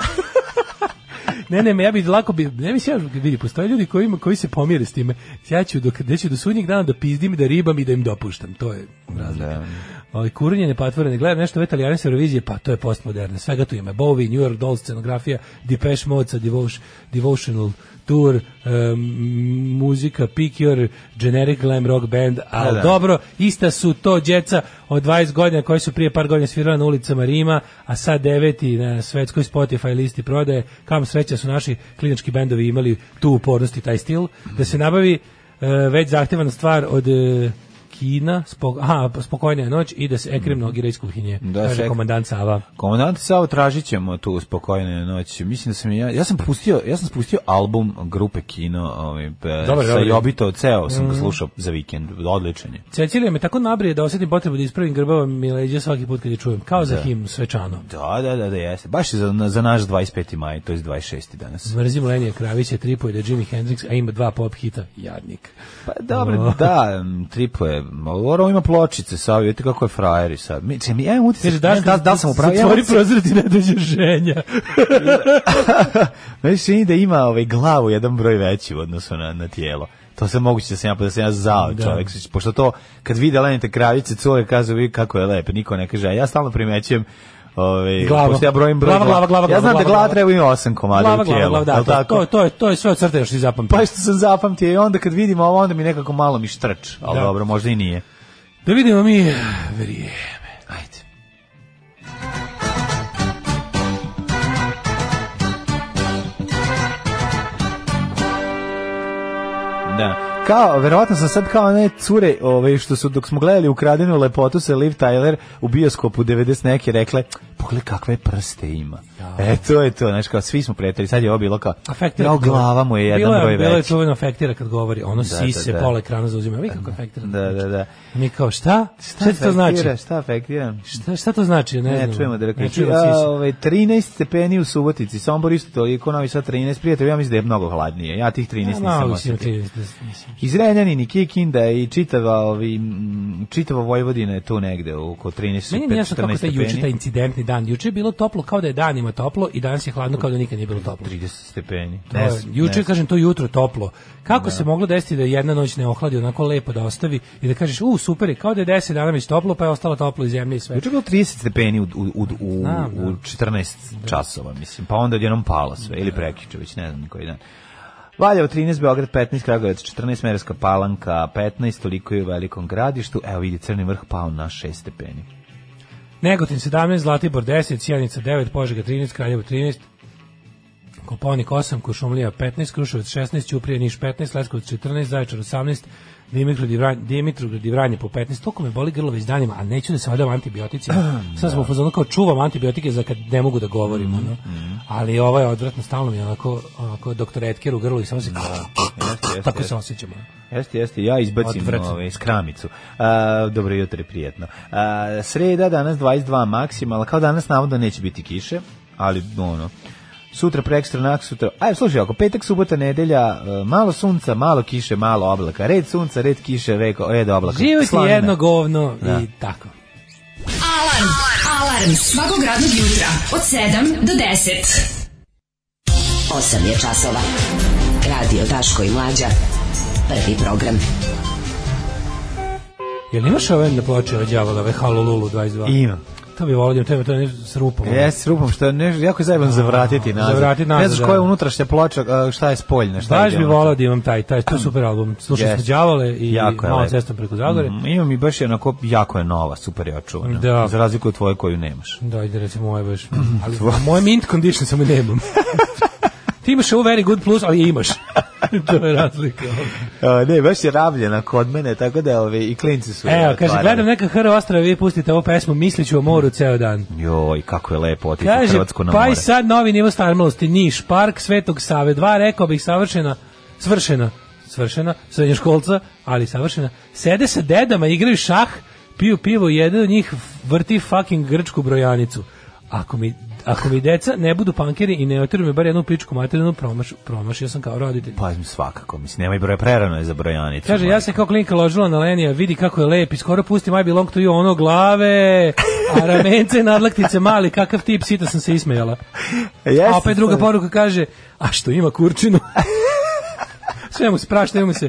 [laughs] ne, ne, ma ja bi lako bi, ne bi se ja vidi, postoje ljudi koji, ima- koji se pomire s time. Ja ću do, ja ću do sudnjeg dana da pizdim i da ribam i da im dopuštam. To je razlika. Da. Ovaj kuranje patvorene, gledam nešto ove italijanske Eurovizije, pa to je postmoderne. Svega tu ima Bowie, New York Dolls, scenografija, Depeche Mode sa Devotion, Devotional Tour, em, muzika Pick Your Generic Glam Rock Band, ali da. dobro, ista su to djeca od 20 godina koji su prije par godina svirala na ulicama Rima, a sad deveti na svetskoj Spotify listi prodaje. Kam sreća su naši klinički bendovi imali tu upornost i taj stil, da se nabavi e, već zahtevana stvar od e, Kina, spok, aha, spokojna je noć i da se ekrem nogira iz kuhinje, Da se kaže ekrem- komandant Sava. Komandant Savo tražit ćemo tu spokojne noći. Mislim da sam i ja, ja sam pustio, ja sam spustio album grupe Kino, ovaj, pe- Dobar, sa dobar. Jobito, ceo sam ga slušao za vikend, odličan je. Cecilija me tako nabrije da osetim potrebu da ispravim grbava mi leđa svaki put kad je čujem, kao za himnu svečano. Da, da, da, da, jeste. Baš je za, za naš 25. maj, to je 26. danas. Mrzim Lenija Kravića, tripuje da je Jimi Hendrix, a ima dva pop hita, jadnik. Pa dobro, da, m, tripo je. Ovo ima pločice, sad vidite kako je frajer i sad. Mi, če mi, ja imam utisak, Kaže, ne znam Daško, da, da, sam upravo, ja imam Zatvori utisak, prozor ti ne dođe [laughs] ženja. meni se čini da ima ovaj, glavu jedan broj veći u odnosu na, na tijelo. To se moguće da sam ja, pa da sam ja zao Da. čovjek, Znači, pošto to, kad vide lenite kravice, cure kaže, vidi kako je lepo, niko ne kaže, a ja stalno primećujem Ove, Glava. pošto ja brojim broj, Glava, glava, glava, ja znam glava, da glava glava. treba ima osam komada Glava, u tijelu. glava, glava, je da, li to, tako? to, to, je, to je sve od crte što si zapamtio. Pa što sam zapamtio i onda kad vidim ovo, onda mi nekako malo mi štrč, ali Da. dobro, možda i nije. Da vidimo mi vrijeme. Ajde. Da. Kao, verovatno sam sad kao one cure, ovaj, što su dok smo gledali ukradenu lepotu sa Liv Tyler u bioskopu 90 neke rekle, pogledaj kakve prste ima. E, to je to, znaš, kao svi smo prijatelji, sad je ovo bilo kao, Afektira. ja, glava mu je jedan bilo broj Bilo je veći. čuveno afektira kad govori, ono da, sise, da. pola ekrana zauzima. Vi kako afektira? Da, da, da. Mi kao, šta? znači. Šta, ti to znači? afektira, Šta afektiram? Šta, šta to znači? Ne, Ne, znam. čujemo da rekao. Ne čujemo A, sise. ovaj, 13 stepeni u Subotici, Sombor isto toliko, Novi Sad 13, prijatelj, ja mislim da je mnogo hladnije. Ja tih 13 Ma, nisam mislim, osetio. ti- mislim. Iz Renjanini, Kikinda i čitava, ovi, mm, čitava Vojvodina je tu negde oko 13, Meni nije jasno 14 kako taj juče, taj stepeni. incidentni dan. Juče je bilo toplo kao da je danima toplo i danas je hladno kao da nikad nije bilo toplo. 30 stepeni. To je- Juče, kažem, to jutro toplo. Kako se moglo desiti da jedna noć ne ohladi, onako lepo da ostavi i da kažeš, u, super je, kao da je 10 dana već toplo, pa je ostalo toplo i zemlje i sve. Juče je bilo 30 stepeni u, u, u, u, Znam, da. u 14 časova, mislim. Pa onda je jednom palo sve, ili prekiče, već ne znam ni koji dan. Valjevo 13, Beograd 15, Kragujevac 14, Merska Palanka 15, toliko je u velikom gradištu. Evo vidi, Crni vrh pao na 6 stepeni. Negotin 17, Zlatibor 10, Sjenica 9, Požega 13, Kraljevo 13, Koponik 8, Kuršumlija 15, Kruševac 16, Ćuprije Niš 15, Leskovac 14, Zaječar 18, Dimitru Divranje, Dimitru Divranje po 15. Toliko me boli grlo već danima, a neću da se odam antibioticima. [clears throat] Sad smo u fazonu kao čuvam antibiotike za kad ne mogu da govorim. ono. Ali ovo je odvratno, stalno mi je onako, onako doktor Etker u grlu i samo se... [clears throat] jeste, jeste, Tako jeste. se osjećam. ono. Jeste, jeste, ja izbacim Odvratno. ovaj, skramicu. A, dobro jutro, prijetno. A, sreda, danas 22 maksimalna, kao danas navodno neće biti kiše, ali ono, sutra, prekstra, nak sutra, aj slušaj, ako petak, subota, nedelja, e, malo sunca, malo kiše, malo oblaka, red sunca, red kiše, reko, red oblaka. Živjeti Slanina. jedno govno i tako. Alarm, alarm svakog radnog jutra od 7 do 10. 8 je časova. Radio Daško i Mlađa. Prvi program. Jel imaš ove na ploče od đavola, ove Halolulu 22? Imam. To bi volio, to je to je nešto s rupom. ono. Jes, s rupom, što je ne, jako je zajebano za vratiti nazad. Za vratiti nazad, Ne znaš koja je da. unutrašnja ploča, a, šta je spoljna, šta Baš ide bi unutra. volao da imam taj, taj, to je super album. Slušali Jeste. smo đavole i Jako je malo lepo. cestom preko Zagore. Mm, ima mi baš je onako, jako je nova, super je očuvana. Da. Za razliku od tvoje koju nemaš. Da, ide recimo moje [clears throat] baš. Ali moje mint condition samo [laughs] nemam. Ti imaš ovu very good plus, ali je imaš. to je razlika. ono. A, ne, baš je rabljena kod mene, tako da ove, i klinci su... je Evo, kaže, otvarali. gledam neka HR ostrava, vi pustite ovu pesmu, misliću o moru ceo dan. Joj, kako je lepo otići u Kaže, Hrvatsku na pa more. i sad novi nivo starmalosti, Niš, park Svetog Save, dva, rekao bih, savršena, svršena, svršena, srednjoškolca, ali savršena, sede sa dedama, igraju šah, piju pivo, jedan od njih vrti fucking grčku brojanicu. Ako mi, ako mi deca ne budu pankeri i ne otiru me bar jednu pičku materinu, promaš, promašio sam kao roditelj. Pa svakako, mislim, nemoj broja, prerano je za brojanicu. Kaže, ja se kao klinka ložila na Lenija, vidi kako je lep i skoro pustim I belong to you, ono glave, a ramence, nadlaktice mali, kakav tip, sita sam se ismejala. [laughs] Jeste, A opet druga sad- poruka kaže, a što ima kurčinu? [laughs] Sve mu se prašta, mu se,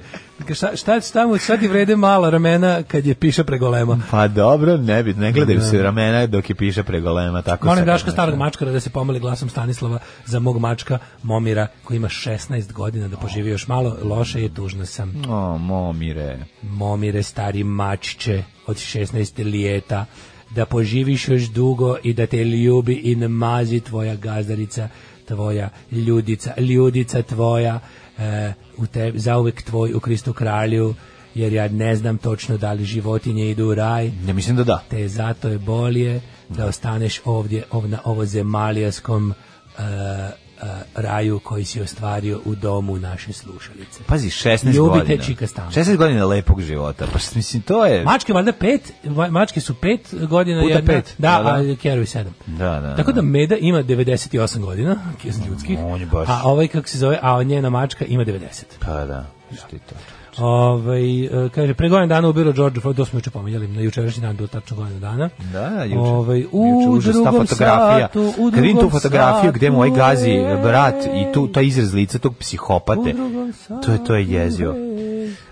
šta, šta, šta, mu, šta ti vrede mala ramena kad je piša pregolema? Pa dobro, ne, bi, ne gledaju se ramena dok je piše pregolema, tako Molim se- Daška starog mačkara da se pomoli glasom Stanislava za mog mačka Momira koji ima 16 godina da poživi još malo, loše je, tužna sam. O, momire. Momire stari mačiće od 16 lijeta, da poživiš još dugo i da te ljubi i namazi tvoja gazdarica, tvoja ljudica, ljudica tvoja, e, u te, zauvek tvoj u Kristu kralju, jer ja ne znam točno da li životinje idu u raj, Ja mislim da da. te zato je bolje da ostaneš ovdje ov, na ovozemalijaskom e, e, raju koji si ostvario u domu naše slušalice. Pazi, 16 Ljubite godina. čika stalno. 16 godina lepog života. Pa što- mislim, to je... Mačke valjda pet, ma- mačke su pet godina Puta jedna. pet. Da, Da, da. a Kerovi sedam. Da, da, Tako da da. Meda ima 98 godina, kjes ljudskih. on je baš- A ovaj kako se zove, a njena mačka ima 90. Pa da, što je to? Ovaj e, kaže pre godinu dana ubiro George Floyd, to smo juče pominjali, na jučerašnji dan do tačno godinu dana. Da, da, juče. Ovaj Juče u užas, ta drugom fotografija. satu, u Kad vidim tu drugom fotografiju gde moj satu gazi je- brat i tu taj izraz lica tog psihopate, U drugom to je to je jezivo.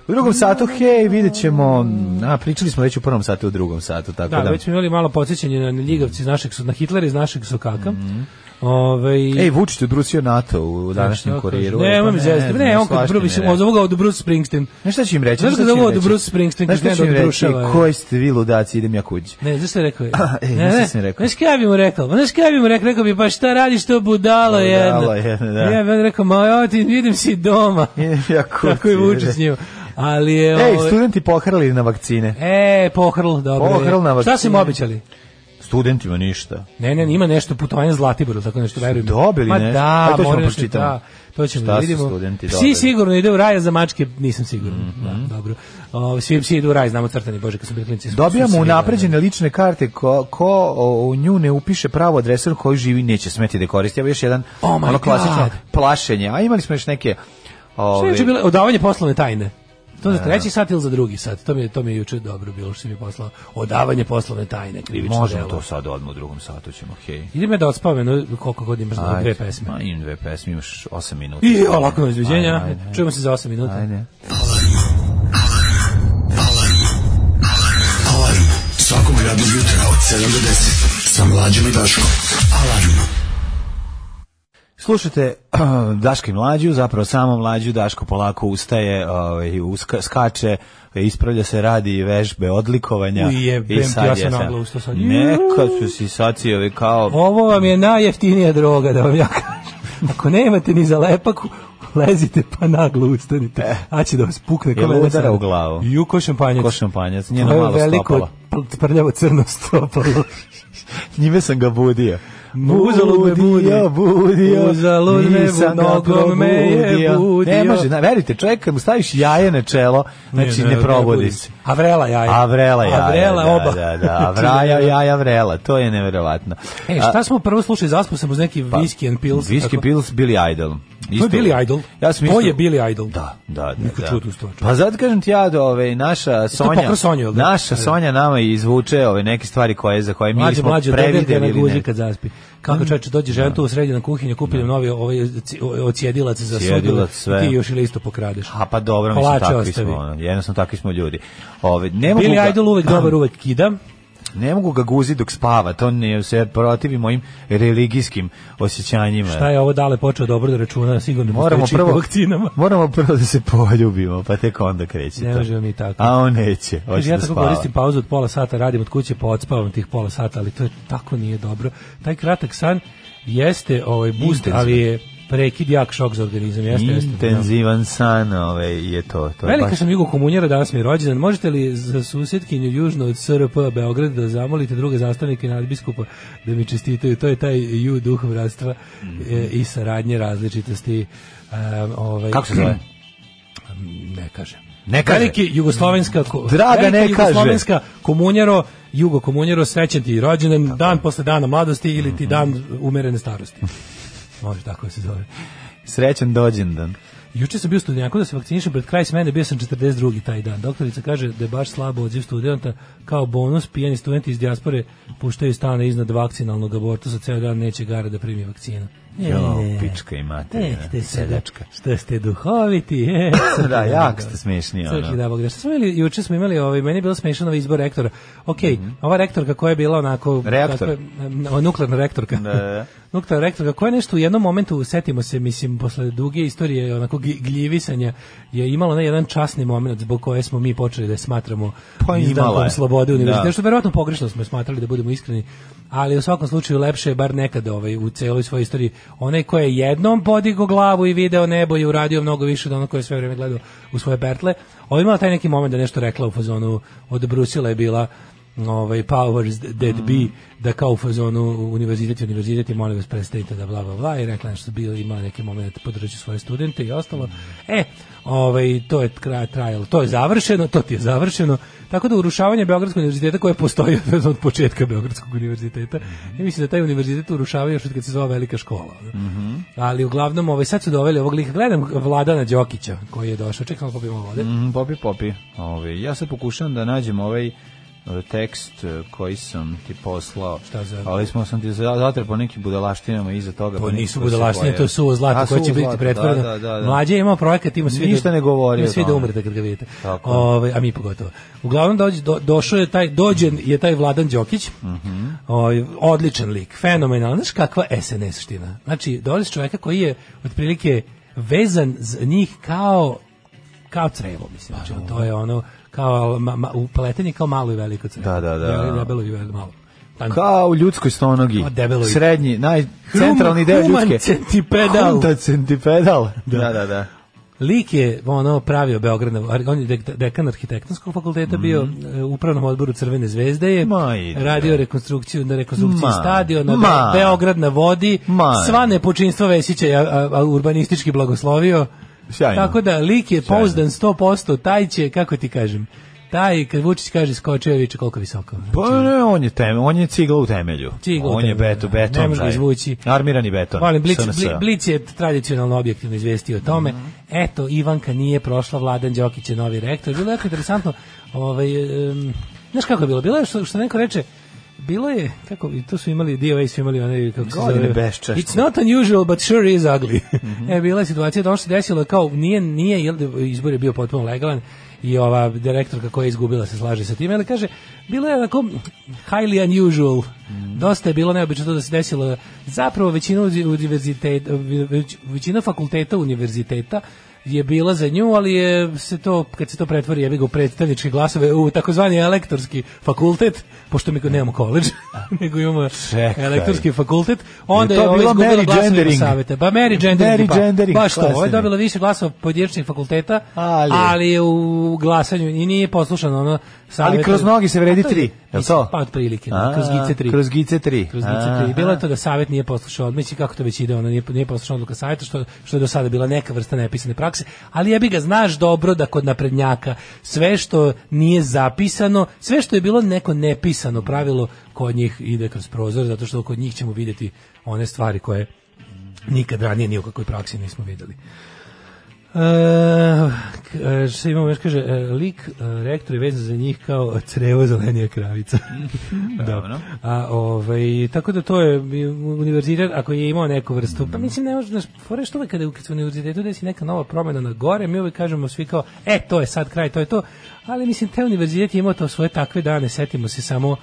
U drugom satu, hej, vidjet ćemo, a pričali smo već u prvom satu, u drugom satu, tako Da, Pa da. već smo imali malo podsjećanje na ljigavci iz našeg su na Hitlera iz našeg sokaka. Ovaj Ej, Vučić je odbrusio NATO u današnjem kuriru. Ne, Pa imam zvezde. Ne, on kad svašta prvi mi se rekao. od ovoga od Bruce Springsteen. Znaš šta ću im reći? Znaš šta kada ću im ovo od reći? Bruce Springsteen Znaš kad šta ću gleda im od reći? Bruševa, je. Koji ste vi ludaci, idem ja [laughs] kući. Ne, znaš šta je rekao? je? Aha, [laughs] ej, znaš šta sam rekao? Znaš kaj bi mu rekao? Ma Znaš kaj bi mu rekao? Rekao bi, pa šta radiš to budalo jedno? Budalo jedno, da. Ja bi on rekao, ma evo ti, vidim si doma. [laughs] Idem ja kući. Tako i vuče s njim. Ali je... Ej, ovaj, studenti pohrali na vakcine. E, pohrl, dobro. je. Pohrl na Šta su im vakcine. običali? Studentima ništa. Ne, ne, ima nešto putovanje Zlatiboru, tako nešto verujem. dobili Ma nešto? Da, Aj, to ćemo moraju nešto, pročitati. da, to ćemo Šta da su vidimo. studenti psi dobili? Mhm. sigurno ide u raj, a za mačke nisam siguran. da, dobro. O, svi psi idu u raj, znamo crtani, bože, kad su bili klinci. su- su Dobijamo svi- unapređene lične karte ko, ko o, u nju ne upiše pravo adresu koji živi neće smeti da koristi. Evo još jedan Oh my ono klasično God. plašenje. A imali smo još neke Što je ove, juče bilo odavanje poslovne tajne? To za treći sat ili za drugi sat? To mi je, to mi je juče dobro bilo što si mi poslao. Odavanje poslovne tajne, krivično Možemo delo. to sad odmah u drugom satu ćemo, hej. Idem ja da odspavim, no, koliko god imaš na dve Ajde, pesme. Ma, imam dve pesme, imaš 8 minuta. I o, lako nam izviđenja. Ajde, ajde. Čujemo se za 8 minuta. Ajde. Svakog radnog jutra od 7 do 10 sa Mlađom i Daškom. Alarm. Slušajte [clears throat] Daška i Mlađu, zapravo samo Mlađu, Daško polako ustaje, ovaj, uska, skače, ispravlja se, radi vežbe odlikovanja. Ujebem ti, ja sam naglo ustao sad. Neka su si sacijevi kao... Pa Ovo vam je najjeftinija droga, da vam ja kažem. Ako nemate ni za lepaku, lezite pa naglo ustanite. A će da vas pukne. E. Jel kao udara Aleksandar. u glavu? Ju, ko šampanjac. Ko šampanjac, njeno To je malo veliko stopalo. pl- prljavo crno [laughs] stopalo. Njime sam ga budio. Uzalud me budio, budio, uzalud me bu- nisam ga nogom probudio. me je budio. Ne može, na, verujte, čovjek kad mu staviš jaje na čelo, znači ne, probudi se. A vrela jaja. A vrela jaja, A vrela da, oba. Znači, Da, [laughs] da, a vraja jaja vrela, to je neverovatno. E, šta smo prvo slušali, zaspao sam uz neki Pa, Whiskey and Pills. Whisky tako. Pills, Billy Idol. To je Billy Idol. Ja sam To isto- je Billy Idol. Da, da, da. Neka da. čudna stvar. Pa zato kažem ti ja da ove naša Sonja, pokro Sonje, jel da? naša Da. Sonja nama izvuče ove neke stvari koje za koje mi Mlađe, smo mlađe, dodir prevideli na ili guzi ne. Mm. kad zaspi. Kako čovječe, dođe žena tu u sredinu kuhinju, kupi nam novi ovaj c- ocijedilac za sudu, Ocijedilac, sve. ti još ili isto pokradeš. A pa dobro, mislim Kolače takvi ostavi. smo, ono, jednostavno takvi smo ljudi. Ove, ne mogu Billy ga, Idol [clears throat] uvek dobar, uvek kida. ne mogu ga guzi dok spava, to ne se protivi mojim religijskim osjećanjima. Šta je ovo dale počeo dobro da računa, sigurno E. Moramo postoji čip prvo u vakcinama. Moramo prvo da se poljubimo, pa tek onda kreće Ne to. možemo mi tako. A on neće, hoće Kaže, ja da tako spava. koristim pauzu od pola sata, radim od kuće, pa odspavam tih pola sata, ali to je tako nije dobro. Taj kratak san jeste ovaj boost, Intenzivan. ali je prekid jak šok za organizam. Jeste, jeste. Intenzivan san, ove, je to. to je Velika baš- sam Jugo Komunjera, danas mi je rođendan. Možete li za susjetkinju južno od SRP Beograd da zamolite druge zastavnike nadbiskupa da mi čestitaju? To je taj ju duh bratstva Mhm. e, i saradnje različitosti. E, ovaj, Mm, Kako se zove? Ne kažem. Ne kaže. Veliki jugoslovenska, ko- Draga, velika ne kaže. jugoslovenska komunjero, Jugo Komunjero, srećen ti rođendan, dan posle dana mladosti ili ti dan Mhm. umerene starosti. Može tako se zove. Srećan dođendan. Juče sam bio u studentku da se vakcinišem pred kraj smene, bio sam 42. taj dan. Doktorica kaže da je baš slabo odziv studenta, kao bonus pijani studenti iz dijaspore puštaju stane iznad vakcinalnog abortusa, ceo dan neće gara da primi vakcinu. Jo, E, pička i materina. Eh, te seljačka. seljačka. Što ste duhoviti, [laughs] e. Da, jako ste smiješni. Crki Ono. da bog. da. Šta smo imali, juče smo imali, ovaj, meni je bilo smešan ovaj izbor rektora. Ok, Mhm. ova rektorka koja je bila onako... Reaktor. kako je, em, o, nuklearna rektorka. Da, da, da. nuklearna rektorka koja je nešto u jednom momentu, setimo se, mislim, posle duge istorije onako gi- gljivisanja, je imala onaj jedan časni moment zbog koje smo mi počeli da je smatramo Pa izdankom imala je. slobode univerziteta, Da. što verovatno pogrešno smo je smatrali da budemo iskreni, ali u svakom slučaju lepše je bar nekada ovaj, u celoj svojoj istoriji onaj ko je jednom podigao glavu i video nebo i uradio mnogo više od onog koji je sve vrijeme gledao u svoje bertle. Ovo je imala taj neki moment da je nešto rekla u fazonu od Brusila je bila ovaj powers that be da kao u fazonu univerziteti univerziteti molim vas prestanite da bla bla bla i rekla je nešto bilo imala neki moment podržat ću svoje studente i ostalo e ovaj to je kraj trajalo to je završeno to ti je završeno tako da urušavanje beogradskog univerziteta koje postoji [laughs] od- od početka beogradskog univerziteta ja mislim da taj univerzitet urušava još od kad se zove velika škola ali uglavnom ovaj sad su doveli ovog lika gledam Vladana Đokića koji je došao čekam popijemo vode Mm, popi, popi. Ove, ja sad pokušavam da nađem ovaj e, tekst e, koji sam ti poslao. Šta za- Ali smo sam ti za- zatrpao nekim budalaštinama iza toga. To pa nisu nekako budalaštine, se to je suvo zlato A, koje će suvo biti zlato, pretvoreno. Da, da, da, da. Mlađe je imao projekat, ima svi Ništa da, ne govori ima o svi da tome. umrete kad ga vidite. Tako. Ovaj, a mi pogotovo. Uglavnom dođe, do, došao je taj, dođen je taj Vladan Đokić, Mhm. ovaj, odličan lik, fenomenalan, znaš kakva SNS ština. Znači, dolazi čovjeka koji je otprilike vezan za njih kao kao crevo, mislim. Znači, Pa, to je ono, kao ma, ma, upletenje kao malo i veliko crevo. Da, da, da. Debelo- Debelo i veliko, malo. Tanko. Kao u ljudskoj stonogi. O, debelo je. Srednji, naj, centralni deo human ljudske. centipedal. Hunta centipedal. Da, da, da. Lik je ono pravio Beograd, na- on je dek- dekan arhitektonskog fakulteta bio e, u upravnom odboru Crvene zvezde je Mm. Ma, ide. radio rekonstrukciju na rekonstrukciji Ma, stadiona Be- ma. Beograd na vodi Ma. sva nepočinstva Vesića je a- a- urbanistički blagoslovio Sjajno. tako da lik je pouzdan 100% taj će, kako ti kažem taj kad Vučić kaže skočio je viče koliko visoko Pa ne, on je, tem, on je cigla u temelju. Znači- Cigla u on je temelju, beto, da. Ne beton. može ga taj. izvući. Armirani beton. Molim, Blic, SNS. Bli- Blic je tradicionalno objektivno izvestio o tome. Eto, Ivanka nije prošla, Vladan Đokić je novi rektor. Bilo je jako interesantno. Ovaj, em, znaš kako je bilo? Bilo je što, što neko reče, bilo je, kako, i tu su imali, DOA su imali one, kako se Godine zove, beščašća. It's not unusual, but sure is ugly. e, bila je situacija, da ono što se desilo, kao, nije, nije, jel, izbor je bio potpuno legalan, i ova direktorka koja je izgubila se slaže sa time, ali kaže, bilo je onako highly unusual, dosta je bilo neobično to da se desilo, zapravo većina univerziteta, već- većina fakulteta univerziteta je bila za nju, ali je se to, kad se to pretvori, jebi ga u predstavničke glasove, u takozvani elektorski fakultet, pošto mi nemamo koleđ, [laughs] nego imamo Čekaj. elektorski fakultet, onda Je to je ovo bilo izgubila Mary glasove Gendering? saveta. Pa Mary Gendering, Mary pa, Gendering, baš to, ovo je klasni. dobila više glasova pojedinačnih fakulteta, Ali- ali, je u glasanju i nije poslušano ono saveta. Ali kroz nogi se vredi Pa to je- tri, je li to? Pa otprilike, A, kroz gice tri. Kroz gice tri. Kroz Nice Aha. tri. Bilo je to da savet nije poslušao odmeći kako to već ide, ona nije, nije poslušao odluka saveta, što, što je do sada bila neka vrsta nepisane prakse, ali jebi ga, znaš dobro da kod naprednjaka sve što nije zapisano, sve što je bilo neko nepisano pravilo, kod njih ide kroz prozor, zato što kod njih ćemo vidjeti one stvari koje nikad ranije ni u kakvoj praksi nismo videli. E, k- e, šta imamo još kaže, e, lik e, rektor je vezan za njih kao crevo zelenija kravica. Dobro. A, ovaj, tako da to je bi- univerzitet, ako je imao neku vrstu, pa mislim ne može, znaš, fore što uvek kada u- kad se u univerzitetu desi neka nova promjena na gore, mi uvek kažemo svi kao, e, to je sad kraj, to je to, ali mislim, te univerzitet je imao to svoje takve dane, setimo se samo,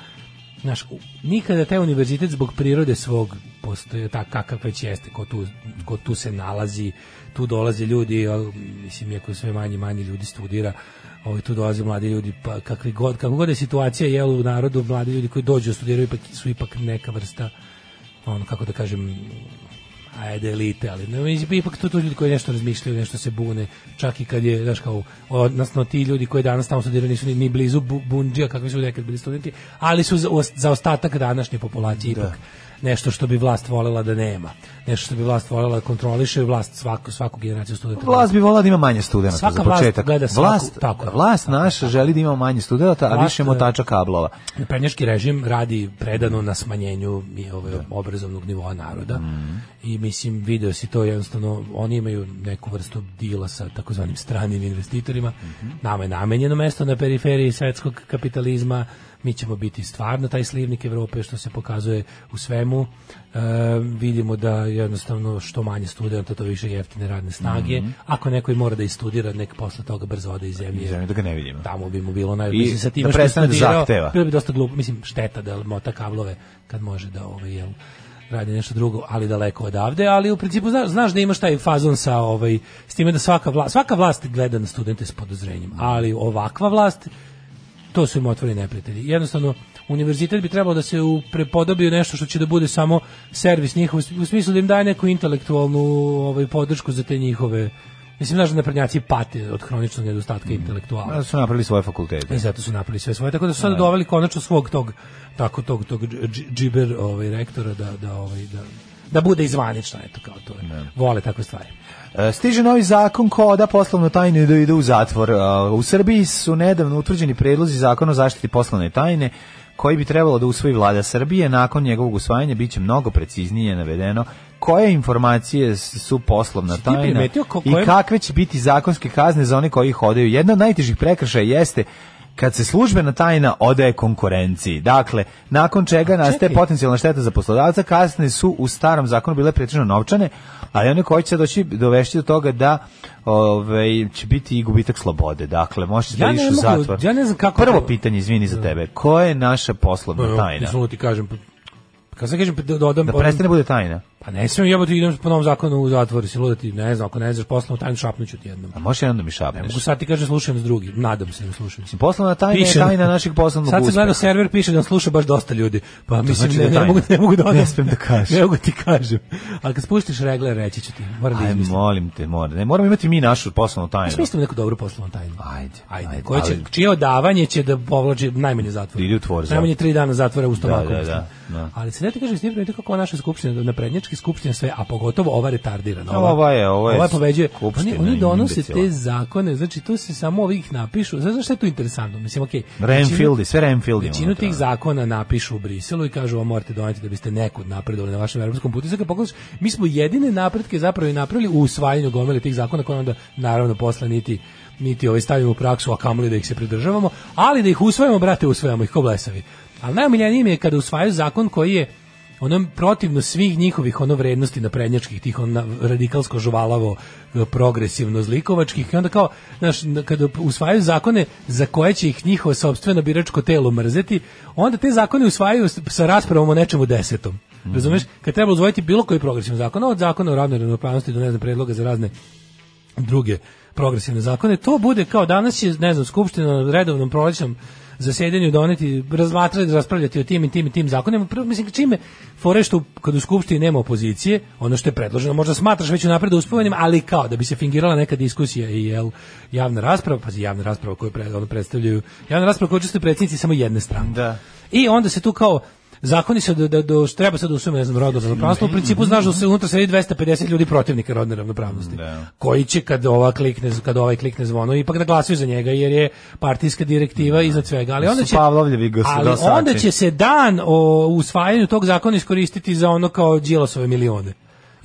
znaš, u- nikada taj univerzitet zbog prirode svog postoje tak, kakav već jeste, ko tu, ko tu se nalazi, tu dolaze ljudi, a, mislim, iako sve manje i manje ljudi studira, ovaj tu dolaze mladi ljudi pa kakvi god kako god je situacija jel u narodu mladi ljudi koji dođu studiraju ipak su ipak neka vrsta on kako da kažem ajde elite, ali no, mislim, ipak tu, tu ljudi koji nešto razmišljaju, nešto se bune, čak i kad je, znaš kao, odnosno ti ljudi koji danas tamo studiraju nisu ni, ni blizu bu, bundžija kakvi su nekad bili studenti, ali su za, os- za ostatak današnje populacije ipak nešto što bi vlast volela da nema, nešto što bi vlast volela da kontroliše, vlast svaku, svaku generaciju studenta. Vlast bi volala da ima manje studenata Svaka za vlast početak. gleda svaku- vlast, tako je. vlast naša želi da ima manje studenata, a Vlast, e, više motača kablova. Prednjački režim radi predano na smanjenju mi ovaj obrazovnog nivoa naroda i mislim video si to jednostavno oni imaju neku vrstu dila sa takozvanim stranim investitorima nama je namenjeno mesto na periferiji svetskog kapitalizma mi ćemo biti stvarno taj slivnik Evrope što se pokazuje u svemu E, vidimo da jednostavno što manje studenta to više jeftine radne snage ako neko i mora da istudira nek posle toga brzo ode iz zemlje Zemlje da ga ne vidimo. tamo bi mu bilo naj I mislim sa da time što je prestane da studirao, zahteva. Bilo bi dosta glupo, mislim šteta da mota kablove kad može da ovaj jel radi nešto drugo, ali daleko odavde, ali u principu znaš, znaš da imaš taj fazon sa ovaj s time da svaka vlast, svaka vlast gleda na studente s podozrenjem, ali ovakva vlast to su im otvoreni neprijatelji. Jednostavno, univerzitet bi trebalo da se u prepodobio nešto što će da bude samo servis njihov, u smislu da im daje neku intelektualnu ovaj, podršku za te njihove Mislim, znaš da naprednjaci pate od hroničnog nedostatka intelektuala. Da su napravili svoje fakultete. I zato su napravili sve svoje. Tako da su sada doveli konačno svog tog tako tog tog dž- dž- džiber ovaj rektora da da ovaj da da bude izvanično eto kao to. je. Vole takve stvari. E, Stiže novi zakon ko oda poslovnu tajnu i da ide u zatvor. E, U Srbiji su nedavno utvrđeni predlozi zakona o zaštiti poslovne tajne koji bi trebalo da usvoji vlada Srbije. Nakon njegovog usvajanja bit će mnogo preciznije navedeno koje informacije s- su poslovna ti tajna primetio ko- i kojem- kakve će biti zakonske kazne za one koji ih odaju. Jedna od najtežih prekršaja jeste kad se službena tajna odaje konkurenciji. Dakle, nakon čega nastaje čekaj. potencijalna šteta za poslodavca, kasne su u starom zakonu bile pretežno novčane, ali one koji će sad doći dovešći do toga da ovaj će biti i gubitak slobode. Dakle, možeš Ja da ne ideš u mogu- zatvor. ja ne znam kako Prvo to- pitanje, izvini za tebe, koja je naša poslovna tajna? Samo ti kažem pa- kad sad kažem pa da dodam Da prestane bude tajna. pa ne smijem jebote idem po novom zakonu u zatvor si luda ti ne znam ako ne znaš poslovnu tajnu šapnuću ti jednom. A možeš jedan da mi Ne šapneš? mogu sad ti kažem slušam s drugim. Nadam se da slušam. Mislim, Poslovna tajna Piše. je tajna našeg poslovnog Sad se uspeha. gledao server piše da nas sluša baš dosta ljudi. Pa mislim znači ne, da je ne tajna. mogu ne mogu da odem. Ne smem da kažem. [laughs] Ne mogu ti kažem. Ali kad spustiš regle reći ću ti. Moram da Aj, izmislim. molim te, mora. Ne, moramo imati mi našu poslovnu Pa tajnu. smislimo neku dobru poslovnu tajnu. Ajde, Ajde, ajde, koja će, ali- čije odavanje će da povlači najmanje zatvora. Ili u tvor zatvora. Najmanje tri dana zatvora u stomaku. da, mislim. da, da. Ali se ne ti kažem, snimljeno je kako ova naša skupština, na prednjački skupština sve, a pogotovo ova retardirana. Ova je- ova je pobeđuje. Oni, skupština oni donose imbecila. te zakone, znači tu se samo ovih napišu. Znaš znaš šta je tu interesantno? Mislim, okej. većinu- Renfieldi, sve Renfieldi. Većinu tih zakona napišu u Briselu i kažu vam morate doneti da biste nekud napredovali na vašem evropskom putu. I Sad kad pogledaš, mi smo jedine napretke zapravo i napravili u usvajanju gomile tih zakona koje onda naravno posle niti niti ovaj stavimo u praksu, a kamoli da ih se pridržavamo, ali da ih usvajamo, brate, usvajamo ih ko blesavi. Ali najomiljenije mi je kada usvajaju zakon koji je ono protivno svih njihovih ono vrednosti na prednjačkih tih on radikalsko žuvalavo e, progresivno zlikovačkih i onda kao znaš na- kada usvajaju zakone za koje će ih njihovo sopstveno biračko telo mrzeti onda te zakone usvajaju s- sa raspravom o nečemu desetom razumeš kad treba usvojiti bilo koji progresivni zakon od zakona o ravnoj ravnopravnosti do ne znam predloga za razne druge progresivne zakone. To bude kao danas je, ne znam, Skupština na redovnom prolećnom zasedanju doneti, razmatrati, raspravljati o tim i tim i tim zakonima. Prvo, mislim, čime fore što kad u Skupštini nema opozicije, ono što je predloženo, možda smatraš već unapred uspovenim, ali kao da bi se fingirala neka diskusija i jel, javna rasprava, pazi, javna rasprava koju pre, ono predstavljaju, javna rasprava koju učestvuju predsjednici samo jedne strane. Da. I onda se tu kao zakoni se da, da, da treba sad da usvojimo, ne znam, rodno ravnopravstvo, u Mhm, principu znaš da se unutra sedi 250 ljudi protivnika rodne ravnopravnosti, koji će kad ova klikne, kad ovaj klikne zvono, ipak da glasaju za njega, jer je partijska direktiva iznad svega, ali onda Su će... Pavlovljevi gos- ali glasači. onda će se dan o usvajanju tog zakona iskoristiti za ono kao Đilasove milione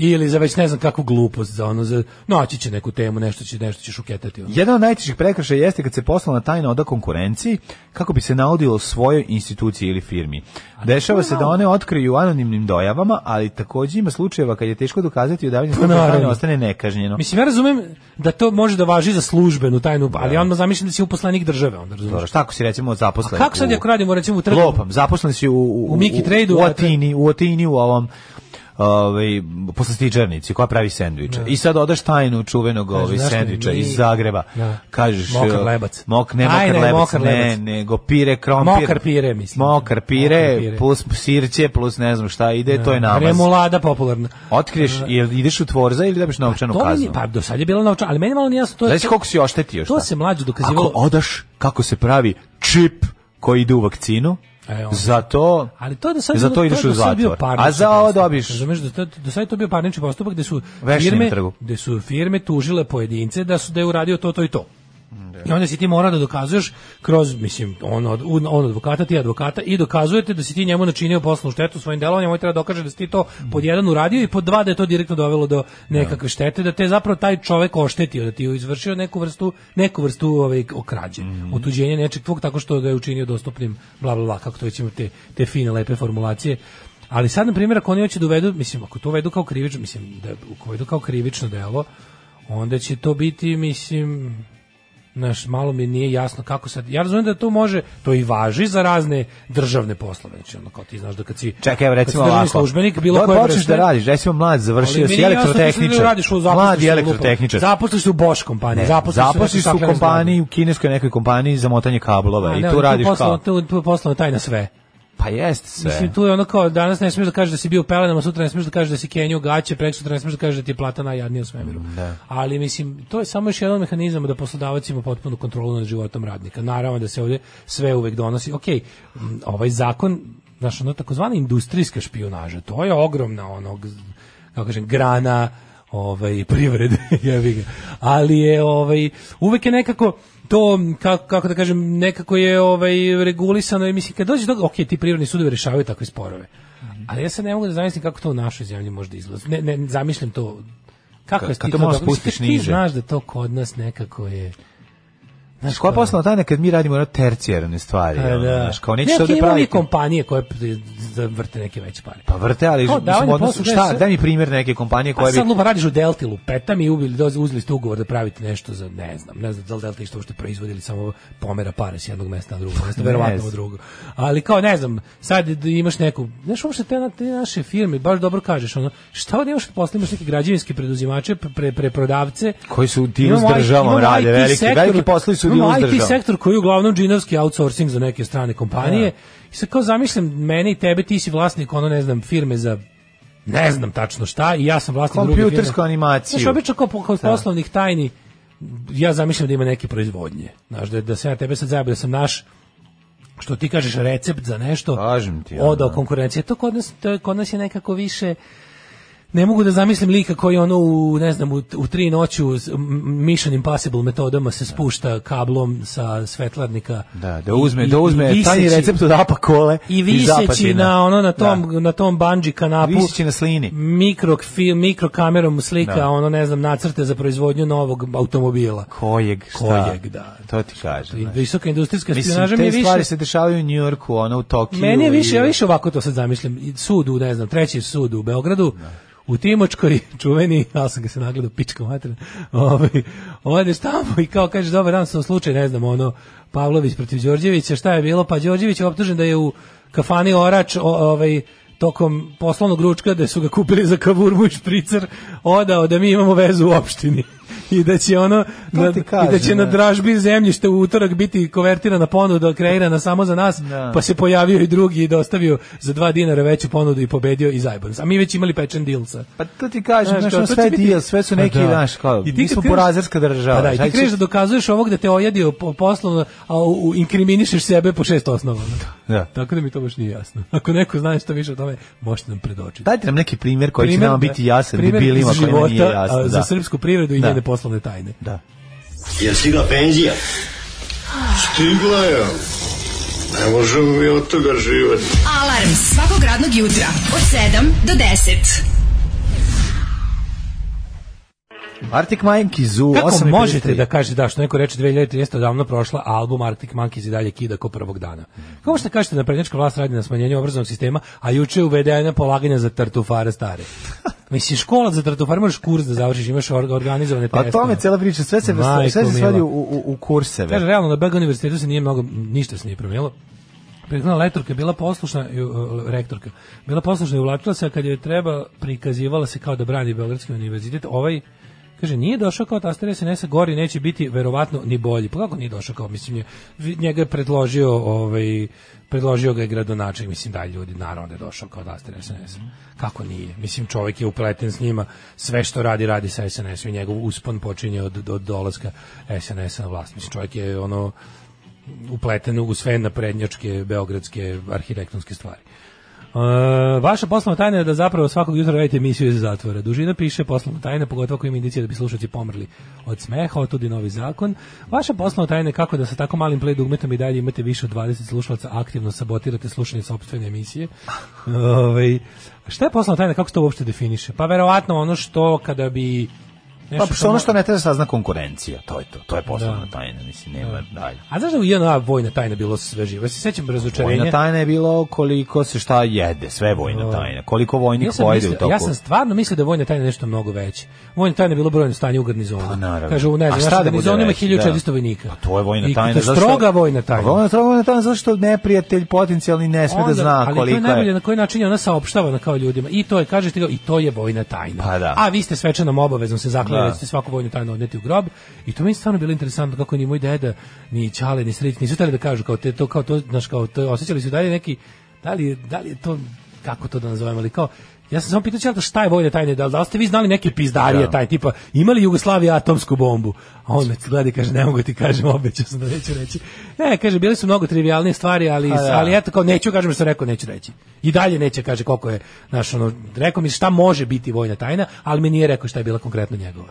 ili za već ne znam kakvu glupost za ono za naći će neku temu nešto će nešto će šuketati ono. Jedan od najtežih prekršaja jeste kad se poslovna tajna oda konkurenciji kako bi se naudio svojoj instituciji ili firmi. Dešava se da one otkriju anonimnim dojavama, ali također ima slučajeva kad je teško dokazati odavljanje poslovne tajne Pa naravno. ostane nekažnjeno. Mislim, ja razumem da to može da važi za službenu tajnu, ali ja onda zamišljam da si uposlenik države, onda Dobro, razumeš. šta ako si recimo zaposlen? Kako sad u- ako radimo, recimo, u trgu? Lopam, zaposlen si u, u, U Miki Trade-u, u a- Atini, u Atini, u ovom ovaj poslastičarnici koja pravi sendviče. I sad odaš tajnu čuvenog ovaj znaš šta, sendviča mi- iz Zagreba. Da. Kažeš Mokar e, lebac. Mok ne Tajna mokar je lebac, mokar ne, lebac. nego pire krompir. Mokar pire, mislim. Mokar pire, Mokar pire. plus sirće, plus ne znam šta ide, to je namaz. Remolada popularna. Otkriješ, jel ideš u tvorza ili dobiš novčanu To mi, kaznu? je- pa do sad je bilo naučano, ali meni malo nije jasno to. Znaš koliko si oštetio? To šta? se mlađe Ako dokazivalo. odaš kako se pravi čip koji ide u vakcinu, E, onda. za to, Ali to je da sad za bilo- to je ideš do u sad bio zatvor. parnični A za ovo postupak. dobiš Razumeš da to- do sad je to bio parnični postupak gde su Vešni na firme trgu. gde su firme tužile pojedince da su da je uradio to to i to. I onda si ti mora da dokazuješ kroz, mislim, on, od, un- on advokata, ti advokata i dokazujete da si ti njemu načinio poslovnu štetu svojim delovanjem, on treba da dokaže da si ti to pod jedan uradio i pod dva da je to direktno dovelo do nekakve štete, da te zapravo taj čovek oštetio, da ti je izvršio neku vrstu, neku vrstu ovaj, okrađe, otuđenje nečeg tvog tako što ga je učinio dostupnim, bla, bla, bla, kako to već ima te, te fine, lepe formulacije. Ali sad, na primjer, ako oni hoće da uvedu, mislim, ako to uvedu kao krivično, mislim, da ako uvedu kao krivično delo, onda će to biti, mislim, Znaš, malo mi nije jasno kako sad. Ja razumijem da to može, to i važi za razne državne poslove. Znači, ono kao ti znaš da kad si Čekaj, evo kad si recimo državni ovako. službenik bilo Da koje počneš vrste, da radiš, recimo mlad, ali završio meni si nije jasno što ti elektrotehničar. radiš u zaposliš mladi u lupama. elektrotehničar. Zaposliš se u Boškom kompaniji, Ne, zaposliš, zaposliš se u kompaniji, u kineskoj nekoj kompaniji za motanje kablova i tu radiš kao. kao... Tu, tu je poslovna tajna sve. Pa jest sve. Mislim, tu je ono kao, danas ne smiješ da kažeš da si bio u pelenama, sutra ne smiješ da kažeš da si kenju gaće, prek sutra ne smiješ da kažeš da ti je plata najjadnija u svemiru. Ali, mislim, to je samo još jedan mehanizam da poslodavac ima potpunu kontrolu nad životom radnika. Naravno da se ovdje sve uvek donosi. Ok, m, ovaj zakon, znaš, ono takozvana industrijska špionaža, to je ogromna ono, onog, kako kažem, grana ovaj, [laughs] privrede, jebi ga. Ali je, ovaj, uvek je nekako, to kako, kako da kažem nekako je ovaj regulisano i mislim kad dođe do ok ti privredni sudovi rešavaju takve sporove Mhm. ali ja se ne mogu da zamislim kako to u našoj zemlji može da izgleda ne ne zamišljam to kako Ka- je kad ti to to malo dobro- mislim, spustiš ti niže. znaš da to kod nas nekako je Znaš, Koja je kao- poslovna tajna kad mi radimo ono tercijarne stvari? Pa ono, da. znaš, kao nećeš ovdje Ne, okej, imamo mi praviti- kompanije koje za- vrte neke veće pare. Pa vrte, ali Kao mislim, davanje u odnosu- posla, šta, sve- daj mi primjer neke kompanije A koja bi... sad lupa radiš u Delti lupeta mi ubili, doz, uzeli ste ugovor da pravite nešto za, ne znam, ne znam da li Delta što ste proizvodili, samo pomera pare s jednog mesta na drugo mesta, verovatno u znam. drugo. Ali kao, ne znam, sad d- imaš neku, znaš uopšte te, na- te naše firme, baš dobro kažeš, ono, šta ovdje imaš posle, imaš neke građevinske preduzimače, pre, pre, preprodavce. Koji su u dealu s Imamo IT državom, imamo rade IT veliki- sektor, veliki poslovi su u dealu imamo s IT državom. sektor koji je uglavnom džinovski outsourcing za neke strane kompanije. I sad kao zamišljam mene i tebe, ti si vlasnik, ono, ne znam, firme za ne znam tačno šta i ja sam vlasnik druge firme. Kompjutersku animaciju. Znaš, obično kao po- kod poslovnih tajni, ja zamišljam da ima neke proizvodnje. Znaš, da, da se ja tebe sad zajabio, da sam naš što ti kažeš recept za nešto Kažem ti, ono. ja, odao da. konkurencije to kod nas to je, kod nas je nekako više ne mogu da zamislim lika koji ono u, ne znam, u, u tri noću s m- Mission Impossible metodama se spušta kablom sa svetlarnika. Da, da uzme, da i uzme viseći- tajni recept od apa kole i i viseći zapatina. na ono na tom Da. na tom bungee kanapu Viseći na slini. mikrofilm mikrokamerom mu slika Da. ono ne znam nacrte za proizvodnju novog automobila Kojeg, šta? Kojeg, da. To ti kažem. I znaš. visoka industrijska spionaža Mislim, mi te je više stvari se dešavaju u Njorku, ono, u Tokiju. meni je više i- ja više ovako to sad zamišljam I sud u ne znam treći sud u Beogradu u Timočkoj, [laughs] čuveni, ali sam ga se nagledao, pička materna, [laughs] ovaj, odeš tamo i kao kažeš, dobar dan, sam slučaj, ne znam, ono, Pavlović protiv Đorđevića, šta je bilo? Pa Đorđević je optužen da je u kafani Orač, o- ovaj, tokom poslovnog ručka, da su ga kupili za kavurmu i špricer, odao da mi imamo vezu u opštini. [laughs] I da će ono, To na, ti i da će kažem, na da. dražbi zemljište u utorak biti konvertirana ponuda, kreirana samo za nas, Da. pa se pojavio i drugi i dostavio za dva dinara veću ponudu i pobedio i zajban. A mi već imali pečen deal sa. Pa to ti kažem, znaš, kao, ono, to sve će biti- deal, sve su Pa neki, da. znaš, kao, I ti mi kad smo kreneš- porazarska država. znači, Pa Šta da, i ti će- kreneš da dokazuješ ovog da te ojadio po, poslovno, a u, u- inkriminišeš sebe po šest osnova. Da. Tako da mi to baš nije jasno. [laughs] Ako neko zna što više o tome, možete nam predočiti. Dajte nam neki primjer koji će Primer, nama da, biti jasan, primer debilima iz kojima nije života, a, jasno. Za Da. srpsku privredu i Da. njene poslovne tajne. Da. Jel stigla penzija? Stigla je. Ne možemo mi od toga živati. Alarm svakog radnog jutra od 7 do 10. Arctic Monkey Zoo, Kako 8 možete da kažete da što neko reče 2013 odavno prošla, a album Arctic Monkeys i dalje kida ko prvog dana. Kako što kažete da prednjačka vlast radi na smanjenju obrazovnog sistema, a juče je uvedena polaganja za tartufare stare. Mislim, škola za tartufare moraš kurs da završiš, imaš orga- organizovane Pa o testove. tome je cijela priča, sve se, Majko sve se mila. svodi u, u, u Kaže, kurseve. realno, na Beg univerzitetu se nije mnogo, ništa se nije promijenilo. Prethodna lektorka je bila poslušna, i, uh, rektorka, bila poslušna i uvlačila se, a kad joj treba, prikazivala se kao da brani Beogradski univerzitet. Ovaj, kaže, nije došao kao taster SNS-a, gori neće biti verovatno ni bolji. Pa kako nije došao kao, mislim, nje- njega je predložio, ovaj, predložio ga je gradonačelnik, mislim, da ljudi, naravno da je došao kao taster SNS-a. Kako nije? Mislim, čovjek je upleten s njima, sve što radi, radi sa SNS-om i njegov uspon počinje od, od dolaska SNS-a na vlast. Mislim, čovjek je ono, upleten u sve naprednjačke beogradske arhitektonske stvari. E, vaša poslovna tajna je da zapravo svakog jutra radite emisiju iz zatvora. Dužina piše poslovna tajna, pogotovo ako ima indicije da bi slušalci pomrli od smeha, od tudi novi zakon. Vaša poslovna tajna je kako da sa tako malim play dugmetom i dalje imate više od 20 slušalaca aktivno sabotirate slušanje sopstvene emisije. Ovaj, šta je poslovna tajna, kako se to uopšte definiše? Pa verovatno ono što kada bi... Pa nešto što ono što ne treba sazna konkurencija, to je to, to je poslovna tajna, mislim, nema dalje. A znaš da je u JNA vojna tajna bilo sve živo? Ja se sećam razočarenja. Vojna tajna je bilo koliko se šta jede, sve je vojna tajna. Koliko vojnik Ovaj. Ja sam, pojede u mislio- toku. ja sam stvarno mislio da je vojna tajna nešto mnogo veće. Vojna tajna je bilo brojno stanje u garnizonu. Pa, naravno. Kaže, u A ne znam, šta naš da bude garnizon ima veće, 1400 da. vojnika. Pa to je vojna I tajna. To je zašto- stroga vojna tajna. Pa Vojna stroga vojna tajna, zato što neprijatelj potencijalni ne sme da Onda- zna ali to je koliko najbolje je. na koji način je ona saopštavana kao ljudima. I to je, kažete ga, i to je vojna tajna. Pa da. A vi ste svečanom obavezom se zaklali Da. da ćete svaku vojnu tajnu odneti u grob. I to mi je stvarno bilo interesantno kako ni moj deda, ni Ćale, ni Sreć, nisu hteli da kažu kao te, to, kao to, znaš, kao to, osjećali su dalje neki, da li, je- da li je to, kako to da nazovem, ali kao, Ja sam samo pitao Ćaleta šta je vojna tajna, da li, da li ste vi znali neke pizdarije taj tipa, imali Jugoslavija atomsku bombu? A on me gleda i kaže, ne mogu ti kažem, obećao sam da neću reći. Ne, kaže, bili su mnogo trivialnije stvari, ali, Pa da. ali eto kao neću kažem što sam rekao neću reći. I dalje neće kaže koliko je naš ono rekao mi šta može biti vojna tajna, ali mi nije rekao šta je bila konkretno njegova.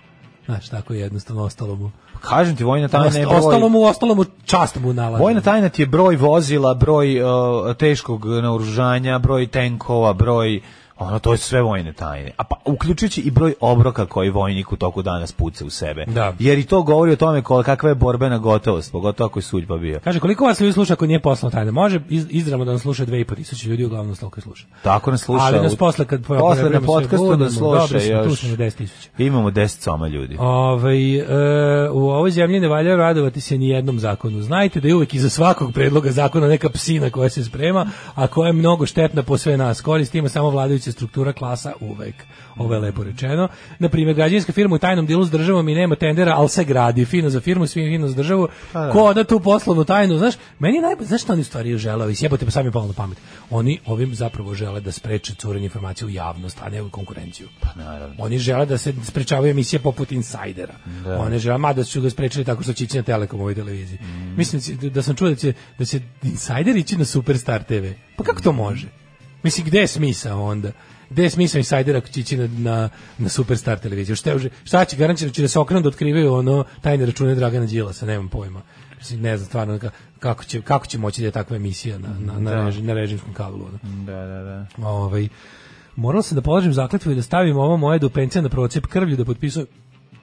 Znaš, tako je jednostavno ostalo mu. Kažem ti, vojna tajna je Ost- broj- ostalo mu, ostalo mu čast mu nalazi. Vojna tajna ti je broj vozila, broj uh, teškog naoružanja, broj tenkova, broj ono to je sve vojne tajne. A pa uključujući i broj obroka koji vojnik u toku dana spuca u sebe. Da. Jer i to govori o tome kol, kakva je borbena gotovost, pogotovo ako je suđba bio. Kaže, koliko vas ljudi sluša ako nije poslovna tajna? Može iz, izravno da nas sluša 2,5 tisuće ljudi, uglavnom nas toliko sluša. Tako nas sluša. Ali nas u- posle kad posle na prebrojimo sve, podcastu budemo, nas sluša dobri smo, tu još. smo na 10.000. Imamo 10 soma ljudi. Ovaj, e, u ovoj zemlji ne valja radovati se ni jednom zakonu. Znajte da je uvek iza svakog predloga zakona neka psina koja se sprema, a koja je mnogo štetna po sve nas. Korist ima samo vladajuća struktura klasa uvek. Ovo je lepo rečeno. Na primjer, građevinska firma u tajnom dilu s državom i nema tendera, ali se gradi fino za firmu, svi fino za državu. Ko oda tu poslovnu tajnu, znaš? Meni najbolje, znaš što oni u stvari žele? Sjebate pa sami palo na pamet. Oni ovim zapravo žele da spreče curenje informacija u javnost, a ne u konkurenciju. Pa naravno. Oni žele da se sprečavaju emisije poput Insajdera. Oni žele, mada su ga sprečili tako što će ići na Telekom u ovoj televiziji. Mislim da će- da sam čuo da će, da će Insajder ići na Superstar TV. Pa kako to može? Mislim, gde je smisao onda? gde je smisao insajdera ići na, na, na Superstar televiziju. Šta, je uže- šta će garantirati će da se okrenu da otkrivaju ono tajne račune Dragana Đilasa, nemam pojma. Mislim, Ne znam stvarno ka- kako će, kako će moći da je takva emisija na, na, na, reži, na režimskom kablu. Ono. Da, da, da. Ovaj morao sam da položim zakletvu i da stavim ovo moje do pencija na procep krvlju da potpisujem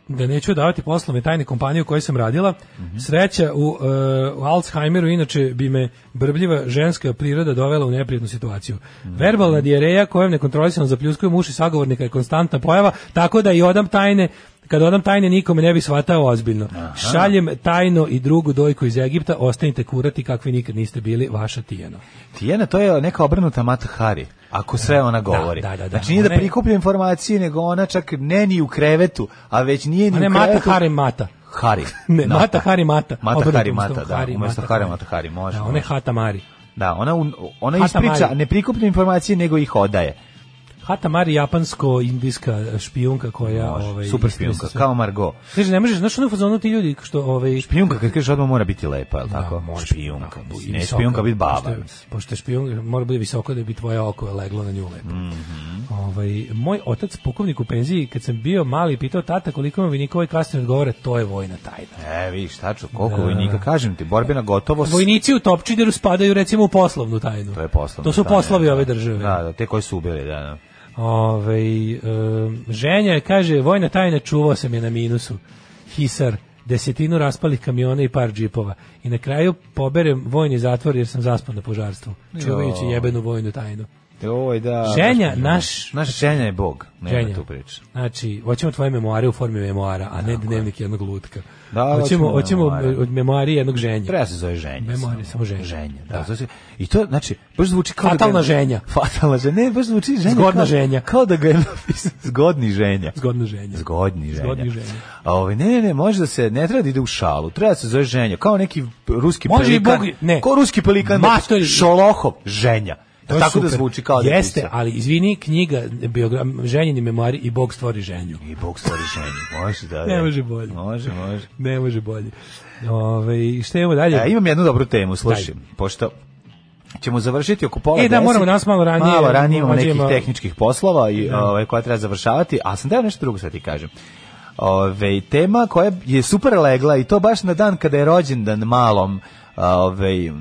da neću davati poslove tajne kompanije u kojoj sam radila. Sreća u, e, u Alzheimeru inače bi me brbljiva ženska priroda dovela u neprijatnu situaciju. Verbalna dijareja kojom nekontrolisano zapljuskujem uši sagovornika je konstantna pojava, tako da i odam tajne kad odam tajne nikome ne bi shvatao ozbiljno. Šaljem tajno i drugu dojku iz Egipta, ostanite kurati kakvi nikad niste bili, vaša Tijena. Tijena, to je neka obrnuta Mata Hari, ako sve ona govori. da, da, da. Znači nije da Ona je- prikuplja informacije, nego ona čak ne ni u krevetu, a već nije ni A ne u Mata krevetu. Harem Mata. Hari. [laughs] Ne, Da. Mata Hari Mata. Mata Obrnuto, Hari umesto Mata, da, Hari, umesto Mata Hari Hari. Mata Hari, može, Da, ona može. je Hata Mari. Da, ona, un- ona Hata ispriča, Mari. ne prikuplja informacije, nego ih odaje. Hata Mari japansko-indijska špijunka koja... ovaj, Super špijunka, istresa sve. kao Margot. Kaže, ne možeš, znaš ono u fazonu ti ljudi što... Ovaj, Špijunka, kad kažeš odmah mora biti lepa, je li tako? može, špijunka. onako, mislim, i ne visoko, špijunka biti baba. Pošto, je- pošto je špijunka, mora biti visoko da bi tvoje oko leglo na nju lepo. Mhm. ovaj, moj otac pukovnik u penziji, kad sam bio mali, pitao tata koliko ima vojnika, ovaj kasnije odgovore, to je vojna tajna. E, vidiš, tačno, koliko vojnika, kažem ti, borbena gotovost. Vojnici u Topčideru spadaju recimo u poslovnu tajnu. To je poslovno. To su da, poslovi da, ove da. države. Da, da, te koji su ubili, da, da. Ove, um, ženja je, kaže, vojna tajna čuvao sam je na minusu. Hisar, desetinu raspalih kamiona i par džipova. I na kraju poberem vojni zatvor jer sam zaspao na požarstvu. Čuvajući jebenu vojnu tajnu. Oj, da. Ženja, baš mi je naš- žao. Naš ženja je bog. Nema Ženja. tu priče. Znači, hoćemo tvoje memoare u formi memoara, a ne dnevnik jednog lutka. Da, hoćemo hoćemo, hoćemo memoare. od memoari jednog ženja. Treba se zove ženja. Memorije, samo ženja. Ženja, da. Da. zove se- I to, znači, baš zvuči kao Fatalna da ga je- ženja. Fatalna ženja. Ne, baš zvuči ženja. Zgodna kao- ženja. Kao da ga je napisao. Zgodni ženja. Zgodno ženja. Zgodni ženja. Zgodni ženja. A ovaj, ne, ne, ne, može da se, ne treba da ide u šalu, treba da se zove ženja, kao neki ruski Može i pelikan. Bog- ne. Ko ruski pelikan, Maštor- šolohov, ženja. To je tako da super. zvuči kao da je Jeste, pisao. ali izvini, knjiga, biogram, ženjeni memoari i Bog stvori ženju. I Bog stvori ženju, može da. Ne da. može bolje. Može, može. Ne može bolje. Ove, šta imamo dalje? E, imam jednu dobru temu, slušaj, pošto ćemo završiti oko pola E, da, deset. moramo danas malo ranije. Malo ranije imamo Mlađe nekih ima- tehničkih poslova i ovaj, koja treba završavati, a sam teo nešto drugo sad ti kažem. Ove, tema koja je super legla i to baš na dan kada je rođendan malom ove,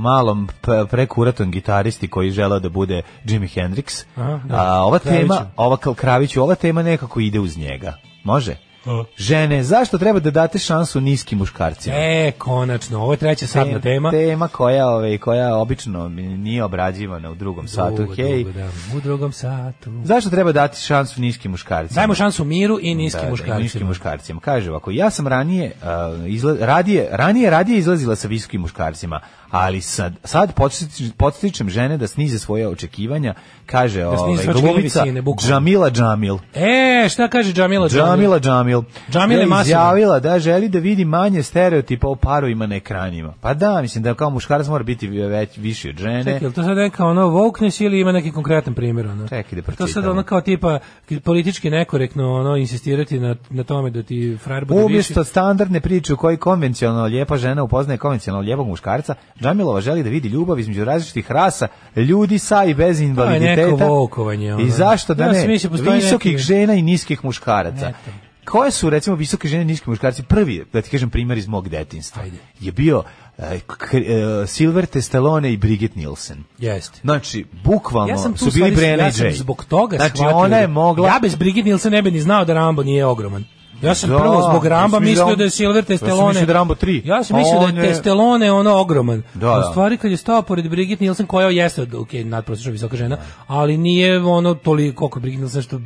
malom p- prekuratom gitaristi koji žela da bude Jimi Hendrix. Aha, da. A, ova Kraviću. tema, ova kao Kraviću, ova tema nekako ide uz njega. Može? A. Žene, zašto treba da date šansu niskim muškarcima? E, konačno, ovo je treća sadna tema. Tema koja, ovaj, koja obično nije obrađivana u drugom satu. Drugo, hej. drugo, da, u drugom satu. Zašto treba dati šansu niskim muškarcima? Dajmo šansu miru i niskim Da, da, muškarcima. niskim muškarcima. Kaže ovako, ja sam ranije, uh, izla- radije, ranije, radije izlazila sa visokim muškarcima, ali sad, sad podstič- podstičem žene da snize svoje očekivanja, kaže snize ovaj, svoje glumica očekivanje visine, bukvalno. Džamila Džamil. E, šta kaže Džamila? Džamila Džamil. Džamila je Masina. izjavila da želi da vidi manje stereotipa o parovima na ekranima. Pa da, mislim da kao muškarac mora biti već viši od žene. Čekaj, je li to sad neka ono wokeness ili ima neki konkretan primjer? Ono? Čekaj da To sad pročitam. ono kao tipa politički nekorektno ono, insistirati na, na tome da ti frajer bude viši. Umjesto standardne priče u kojoj konvencionalno lijepa žena upoznaje konvencionalno lijepog muškarca, Džamilova želi da vidi ljubav između različitih rasa, ljudi sa i bez invaliditeta. neko volkovanje, ono. I zašto da Ja ne? sam mislio, postoji Visokih neki- žena i niskih muškaraca. Eto. Koje su recimo visoke žene i niski muškarci? Prvi, da ti kažem primjer iz mog detinjstva, Ajde. je bio e, k- e, Silverte Stallone i Brigitte Nielsen. Jeste. Znači, bukvalno Ja sam tu su bili u stvari- Brenna ja i sam Jay. zbog toga znači, shvatio ona da- je mogla... Ja bez Brigitte Nielsen ne bi ni znao da Rambo nije ogroman. Ja sam Da, prvo zbog ja sam Ramba mislio da mislio on- da je Silver ja sam Testelone. mislio da je Rambo tri. Ja sam A mislio da on je je- Testelone ono ogroman. Da, A da. u stvari kad je stao pored Brigitte Nielsen koja jeste ok, nadprosječno visoka žena, ali nije ono toliko koliko je Brigitte Nielsen što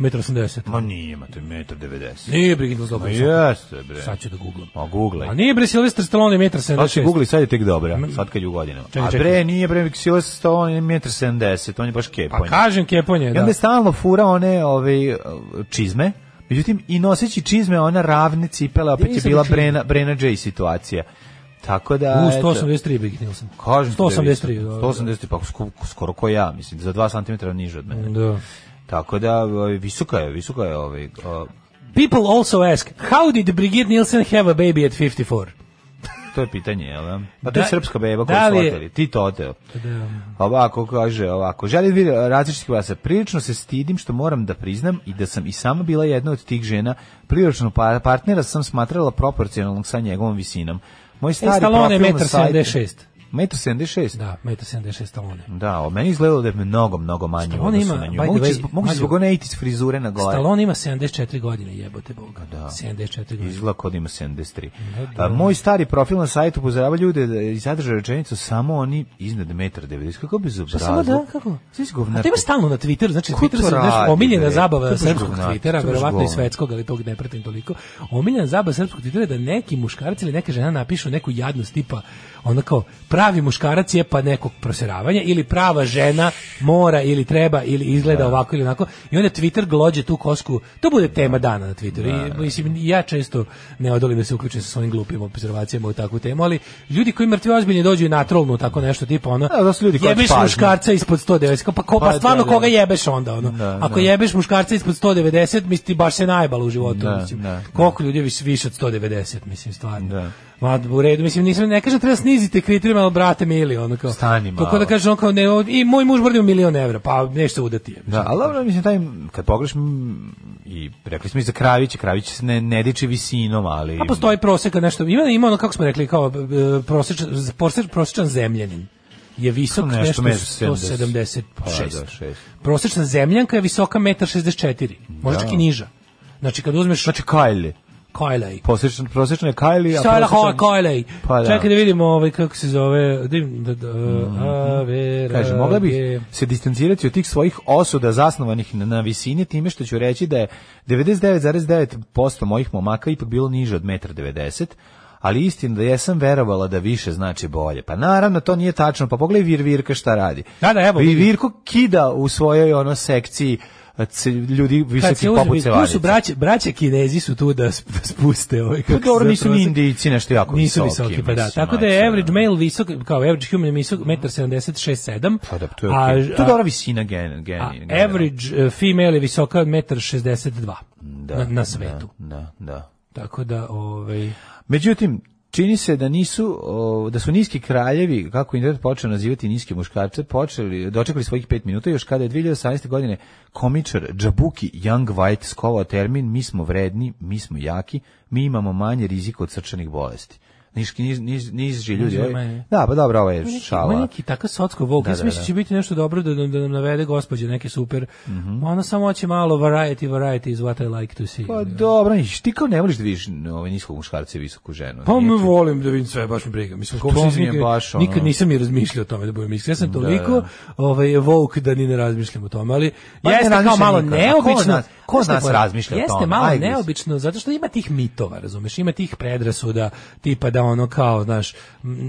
1,80 m. Ma nije, imate 1,90 m. Nije Brigitte Nielsen dobro. Jeste, bre. Sad ću da googlam. Ma googlaj. A nije bre Silvester Stallone 1,76 m. Znači, Google sad je tek dobra, sad kad je u godinama. Čekaj, A čekaj. bre, nije bre, Vixios, to on je 1,70 on je baš Pa keponj. kažem keponje, I onda da. je stalno fura one ove, čizme, međutim, i noseći čizme, ona ravne cipela, opet je Nisam bila čizme. Brena, Brena J situacija. Tako da... U eto, 183 Brigitte Nielsen. Kažem ti da je 183, visok. da. 183, pa sko- skoro ko ja, mislim, za 2 cm niže od mene. Da. Tako da, ovaj, visoka je, visoka je ovaj, o, People also ask, how did Brigitte Nielsen have a baby at 54? to je pitanje, jel? da? Pa to je Da- srpska beba koju da su li je- Pa oteli. Ti to oteo. Ovako kaže, ovako. Želim vidjeti različitih vasa. Prilično se stidim što moram da priznam i da sam i sama bila jedna od tih žena. Prilično pa- partnera sam smatrala proporcionalnog sa njegovom visinom. Moj E, stari Stallone je profil na metar sajtu- 76. Metar 76? Da, metar 76 Stallone. Da, o meni izgledalo da je mnogo, mnogo manje u Stallone odnosu ima, na nju. by the Moguće way, zbog- moguće Mađo, zbog one 80s frizure na glavi. Stallone ima 74 godine, jebote boga. Da. 74 godine. Izgleda kod ima 73. A, moj stari profil na sajtu upozorava ljude da i sadrža rečenicu samo oni iznad 1,90 Kako bi Pa samo da, kako? A to ima stalno na Twitteru, znači Ko Twitter to sam znaš, radi, omiljena bre? To je zabava baš srpskog govnato, to je Twittera, baš verovatno i govno. svetskog, ali tog ne pratim toliko. Omiljena zabava srpskog Twittera je da neki muškarac ili neka žena napišu neku jadnost tipa ono kao pravi muškarac je pa nekog proseravanja ili prava žena mora ili treba ili izgleda ovako ili onako i onda Twitter glođe tu kosku to bude tema dana na Twitteru I, mislim, ja često ne odolim da se uključim sa svojim glupim observacijama u takvu temu ali ljudi koji mrtvi ozbiljni dođu i natrolnu tako nešto tipa ono Da, da su ljudi koji jebeš pažnju. muškarca ispod 190 kao, pa ko Pa pa da, stvarno da. koga jebeš onda ono. Da, Ako da. jebeš muškarca ispod 190, misli ti baš se najbalo u životu, Da, mislim. da, da. Koliko ljudi više, više od 190, mislim stvarno. Da. Ma u redu, mislim nisam ne kažem treba sniziti kriterijum, al brate mili ono kao. Stani malo. Kako da kažem on kao ne, o- i moj muž brdio milion evra, pa nešto udati je. Da, ali dobro, mislim, taj, kad pogledaš, mm, i rekli smo i za Kravića, Kravić se ne, ne diči visinom, ali... A Pa postoji proseka nešto. Ima ima ono kako smo rekli kao e, prosečan prosečan, prosečan zemljanin je visok Nešto nešto, među 176. Pa da, šest. Prosečna zemljanka je visoka 1,64 m. Možda čak i niža. Znači kad uzmeš znači, Znači, Kylie. Kajlej. Prosečno, prosečno je Kylie, a Šta je prosečan- lahko Kajlej? Pa da. Mhm. Čekaj da vidimo ovaj, kako se zove. Da, im- da, da, a, vera, Kaže, mogla bih E, je- se distancirati od tih svojih osuda zasnovanih na, na visini time što ću reći da je 99,9% mojih momaka ipak bilo niže od 1,90 m, ali istina da jesam verovala da više znači bolje. Pa naravno, to nije tačno. Pa pogledaj Vir Virka šta radi. Da, da, evo, Vi, vidi. Virko kida u svojoj ono sekciji e, c- ljudi Kad se visoki uzme, poput tu su Cevarice. braće, braće Kinezi su tu da sp- spuste ovaj Pa kako se dobro, zove nisu ni prosek. Indijci nešto jako Nisu visoki, visoki, pa da. mislim, Tako da je majče, average ono. male visok, kao average human je visok 1,76-7. Pa da, to je okej. To je dobra visina gen, gen, A generalno. average e, female je visoka 1,62 Da, na, na svetu. Da, da. Tako da, ovaj... Međutim, čini se da nisu o, da su niski kraljevi, kako internet počeo nazivati niske muškarce, počeli dočekali svojih 5 minuta još kada je 2018. godine komičar Džabuki Young White skovao termin mi smo vredni, mi smo jaki, mi imamo manje rizika od srčanih bolesti. Niški niz, niz, niži ljudi. Niži, ovi- manje. Da, pa dobro, ovo je Ima šala. neki takav sotsko vok. Da, ja da, sam mislio da. Mhm. će biti nešto dobro da, nam- da nam navede gospođe neke super. Ona samo hoće malo variety, variety is what I like to see. Pa dobro, niš, ti kao ne voliš da vidiš ovaj niskog muškarca i visoku ženu. Pa nije ti- volim da vidim sve, baš mi briga. Mislim, To uopšte mi je nikad, baš ono- nikad nisam i razmišljao o tome, da budem iskren. Ja sam toliko da. ovaj, vok da ni ne razmišljam o tome, ali Pa ne jeste kao razmišljam malo nikad. A ko neobično. od nas- ko od Znaš šta je nas fora? razmišlja o Jeste tome? malo Ajde. neobično, zato što ima tih mitova, razumeš, ima tih predrasuda, tipa da ono kao, znaš, m-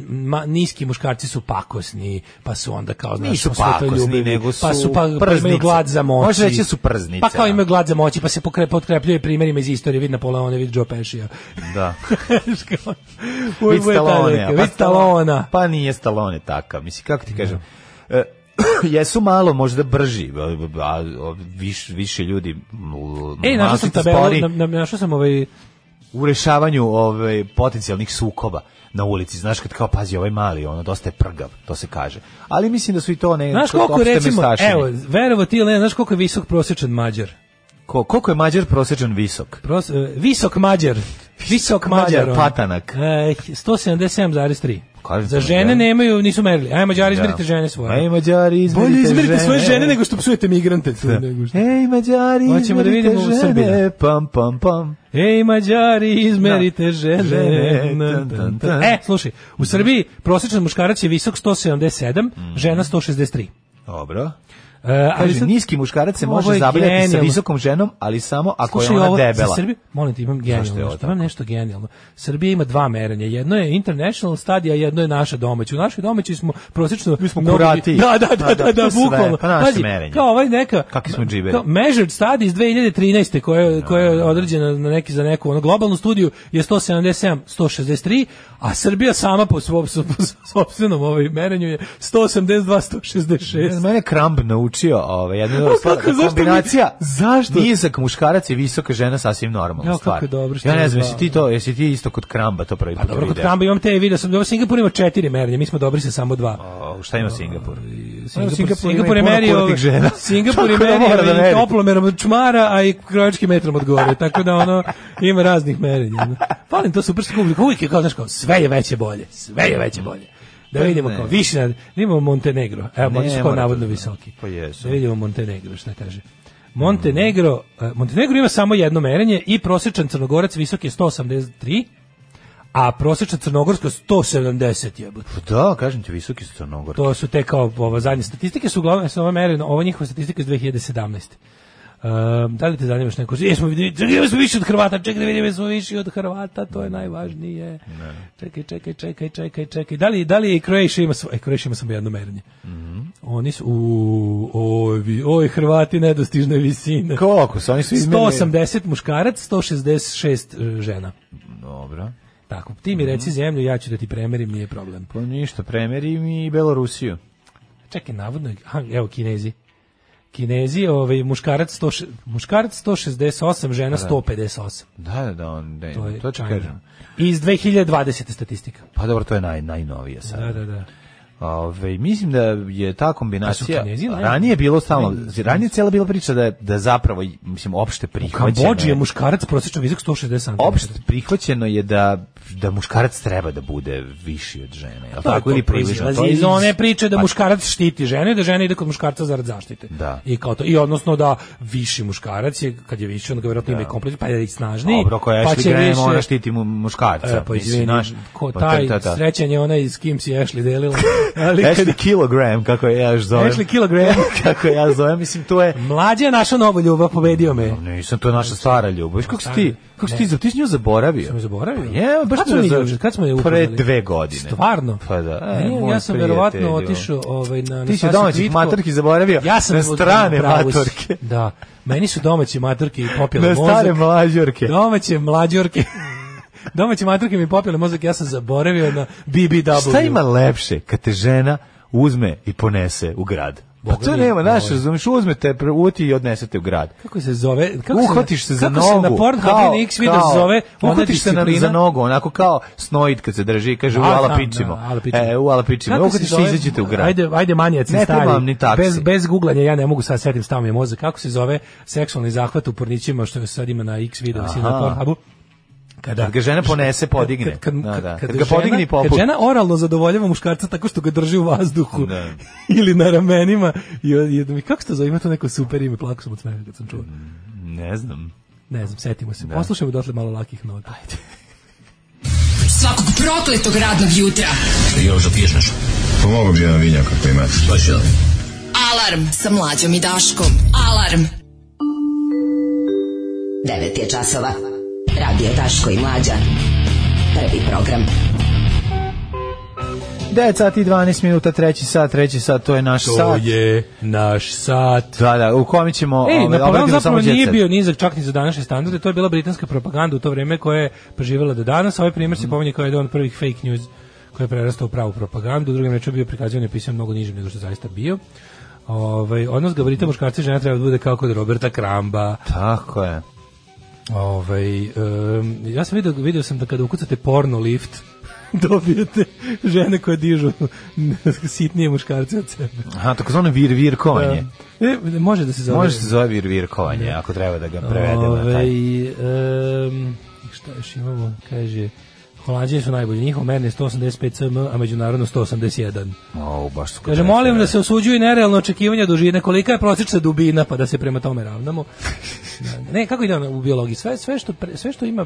ma, niski muškarci su pakosni, pa su onda kao, znaš, Nisu po svetoj pakosni, ljubavi, nego pa su su pa, pa imaju prznice. glad za moći. Možeš reći da su prznice, Pa kao da. imaju glad za moći, pa se pokre, potkrepljuje primjerima iz istorije, vid Napoleone, vid Joe Pescija. Da. Uvijek Vid bude ta Stallone. neka, Vid Stallone. Pa nije Stallone takav, mislim, kako ti kažem. E, [clears throat] jesu malo možda brži, a, a, viš, više ljudi m, Ej, E, našao malo sam se tabelu, spori na- na- našao sam ovaj u rešavanju ove, potencijalnih sukoba na ulici. Znaš kad kao, pazi, ovaj mali, ono, dosta je prgav, to se kaže. Ali mislim da su i to ne... Znaš to- koliko opšte recimo, mestašine. evo, verovo ti ili ne, znaš koliko je visok prosječan mađar? Ko- koliko je Mađar prosječan visok? Pros, e, visok mađar. Visok Mađar, mađar. ono. patanak. E, 177,3. Kažem Za ti, žene da. nemaju, nisu merili. Aj, mađari, Da. izmerite žene svoje. Ej, Mađari, izmerite Bolje izmerite žene. E, svoje žene nego što psujete migrante. tu, nego što- Ej, Mađari, Hoćemo da izmerite vidimo žene, Srbina. Pam, pam, pam. Ej, mađari, izmerite žene. Žene, Na, tan, tan, tan, tan. tan. E, slušaj, u Srbiji prosječan muškarac je visok 177, žena 163. Dobro. E, ali Mhm. Kaže, sad- niski muškarac se Ovo može je zabavljati sa genijalno. visokom ženom, ali samo ako Slušaj, je ona ovo, debela. Za Srbiju, molim te, imam Zašto genijalno, je ovo nešto, tako? imam nešto genijalno. Srbija ima dva merenja. Jedno je international stadija, jedno je naša domaća. U našoj domaći smo prosječno... Mi smo kurati. Da, da, da, Pa da, da, da, to su bukvalno. mere, pa naše Pazi, merenje. Kao ovaj neka... Kakvi smo džiberi. Kao measured study iz 2013. koja, je- koja je određena na neki, za neku ono, globalnu studiju je 177, 163, a Srbija sama po, svop, po svopstvenom ovaj merenju je 182, 166. Mene kramb na naučio ovaj, jednu drugu stvar, kako, da zašto mi- kombinacija zašto? nizak muškarac i visoka žena sasvim normalna Jao, kako stvar. je dobro što ja je ne znam, jesi zvao. ti to, jesi ti isto kod kramba to pravi Pa dobro, kod Trumpa imam te video, sam dobro, Singapur ima četiri merenja, mi smo dobri sa samo dva. Šta ima Singapur? Ono, Singapur, Singapur, je merio, [laughs] [laughs] Singapur je Tako da mora da merio i meri. toplomerom od čmara, a i krojačkim metrom od gore, tako da ono, ima raznih merenja. no. Palim to super skupljik, uvijek je kao, znaš, kao, sve je veće bolje, sve je veće bolje. Da vidimo kao, više, na- da imamo Montenegro, evo, Ne, oni su kao mora to navodno da- visoki. Pa jesu. Da vidimo Montenegro, šta kaže. Montenegro, eh, Montenegro ima samo jedno merenje i prosječan crnogorac visok je 183, a prosječan crnogorsko 170 jebote. Pa Da, kažem ti, visoki su crnogorki. To su te kao ovo, zadnje statistike su uglavnom su ove mere, ovo je njihova statistika iz 2017. Um, da li te zanimaš neko? Jesmo vidjeli, čekaj, jesmo više od Hrvata, čekaj, da vidimo, jesmo više od Hrvata, to je najvažnije. Čekaj, čekaj, čekaj, čekaj, čekaj. Da li, da li i Croatia ima svoje, e, Croatia ima samo jedno merenje. Oni su, u, oj, vi- oj, Hrvati nedostižne visine. Koliko su? Oni su izmeni... 180 muškarac, 166 e, žena. Dobro. Tako, ti mi reci zemlju, ja ću da ti premerim, nije problem. Pa ništa, premeri mi Belorusiju. Čekaj, navodno, je- a, evo Kinezi. Kinezi, ovaj muškarac 100, še- muškarac 168, žena 158. Da, da, da, on, ne, To je to ću China. kažem. Iz 2020 statistika. Pa dobro, to je naj, najnovije sad. Da, da, da. Ove, mislim da je ta Da kombinacija su Kinezi naj- ranije je bilo stalno Kinezi. ranije je cijela bila priča da je, da zapravo mislim opšte prihvaćeno Kambodži je je- muškarac prosječno visok 160 cm. opšte prihvaćeno je da da muškarac treba da bude viši od žene jel tako ili približno to je iz one priče da pa- muškarac štiti žene, da žena ide kod muškarca zarad zaštite. Da. I kao to i odnosno da viši muškarac je kad je viši on ga verovatno ima i kompleks, pa je i snažniji. Dobro, ako je pa Ashley će Graham, više- ona štiti mu muškarca. E, pa mislim, izvini, znaš, ko pa taj ta- ta- ta. srećan je onaj s kim si Ashley [laughs] delila. Ali kad- Ashley Kilogram, kako je ja još zovem. Ashley [laughs] Kilogram. kako je ja zovem, mislim, to je... Mlađe je našao novu ljubav, pobedio me. Nisam, to je Znači, naša stara ljubav. Viš Kako si ti, kako si ti, za- ti si nju zaboravio? Pa Sam Pa je zaboravio. Je, baš kad ti smo mi razumem. juče, kad smo je upoznali? Pre dve godine. Stvarno? Pa da. E, Nije, moj ja sam prijatelju. verovatno otišao ovaj na na Ti si sasvim domaćih vitko. matorki zaboravio Ja sam na strane pravo si. matorke. Da. Meni su domaće matorke i popile Na mozak. stare mlađorke. [laughs] Domaće mlađorke. domaće matorke mi popile mozak, ja sam zaboravio na BBW. Šta ima lepše kad te žena uzme i ponese u grad? Pa Boga to mi, nema, znaš, ovo je. razumiješ, uzme te, uti i odnesete u grad. Kako se zove? Kako uhvatiš se za kako nogu. se na Pornhubu kao- ili X video kao- zove? ona Uhvatiš se na, za disciplina? nogu, onako kao snoid kad se drži i kaže Da, u ala znam, pićimo. da, ala pićimo. E, u ala pićimo. Kako se Uhvatiš se i zove? izađete u grad. Ajde, ajde manijaci Ne stari. treba vam ni taksi. Bez, bez googlanja ja ne mogu sad setim stavom je mozak. Kako se zove seksualni zahvat u pornićima što sad ima na X video mislim, na Aha. Pornhubu? Kada, Kad ga žena ponese, podigne. Kad, kad, Da, da. kad- Kad kad ga žena- podigne i poput. Kad žena oralno zadovoljava muškarca tako što ga drži u vazduhu Da. [laughs] ili na ramenima. I, i, i kako se to zove? Ima to neko super ime. Plako sam od smeha kad sam čuo. Ne znam. Ne znam, setimo se. Poslušajmo dotle malo lakih nota. Svakog prokletog radnog jutra. Pomogu Pa bi jedan vinjak ako imate. Alarm sa mlađom i Daškom. Alarm. 9 je časova. Radio Daško i Mlađa. Prvi program. 9 sati i 12 minuta, treći sat, treći sat, to je naš sat. je naš sat. Da, da, u kome ćemo... Ej, ovaj, Napoleon obratimo zapravo samo nije djecet. bio nizak čak ni za današnje standarde, to je bila britanska propaganda u to vrijeme koja je preživjela do danas. Ovaj primjer Mhm. se pominje kao jedan od prvih fake news koji je prerastao u pravu propagandu, u drugim rečima bio prikazivan i pisan mnogo nižim nego što je zaista bio. Ovaj odnos gabarita muškarca i žena treba da bude kao kod Roberta Kramba. Tako je. Ovaj em, ja sam video video sam da kada ukucate porno lift [laughs] dobijete žene koje dižu [laughs] sitnije muškarce od sebe. Aha, takozvano vir virkovanje. E, može da se zove. Može se zove vir virkovanje, ako treba da ga prevedemo na taj. Ovaj, em, šta još imamo? Kaže, Holandije su najbolji. Njihov merne je 185 cm, a međunarodno 181. O, baš su Kaže, molim da se osuđuju nerealno očekivanja dužine. Kolika je prosječna dubina, pa da se prema tome ravnamo. Da, Ne, kako ide ono u biologiji? Sve, sve, što, pre- sve što ima e,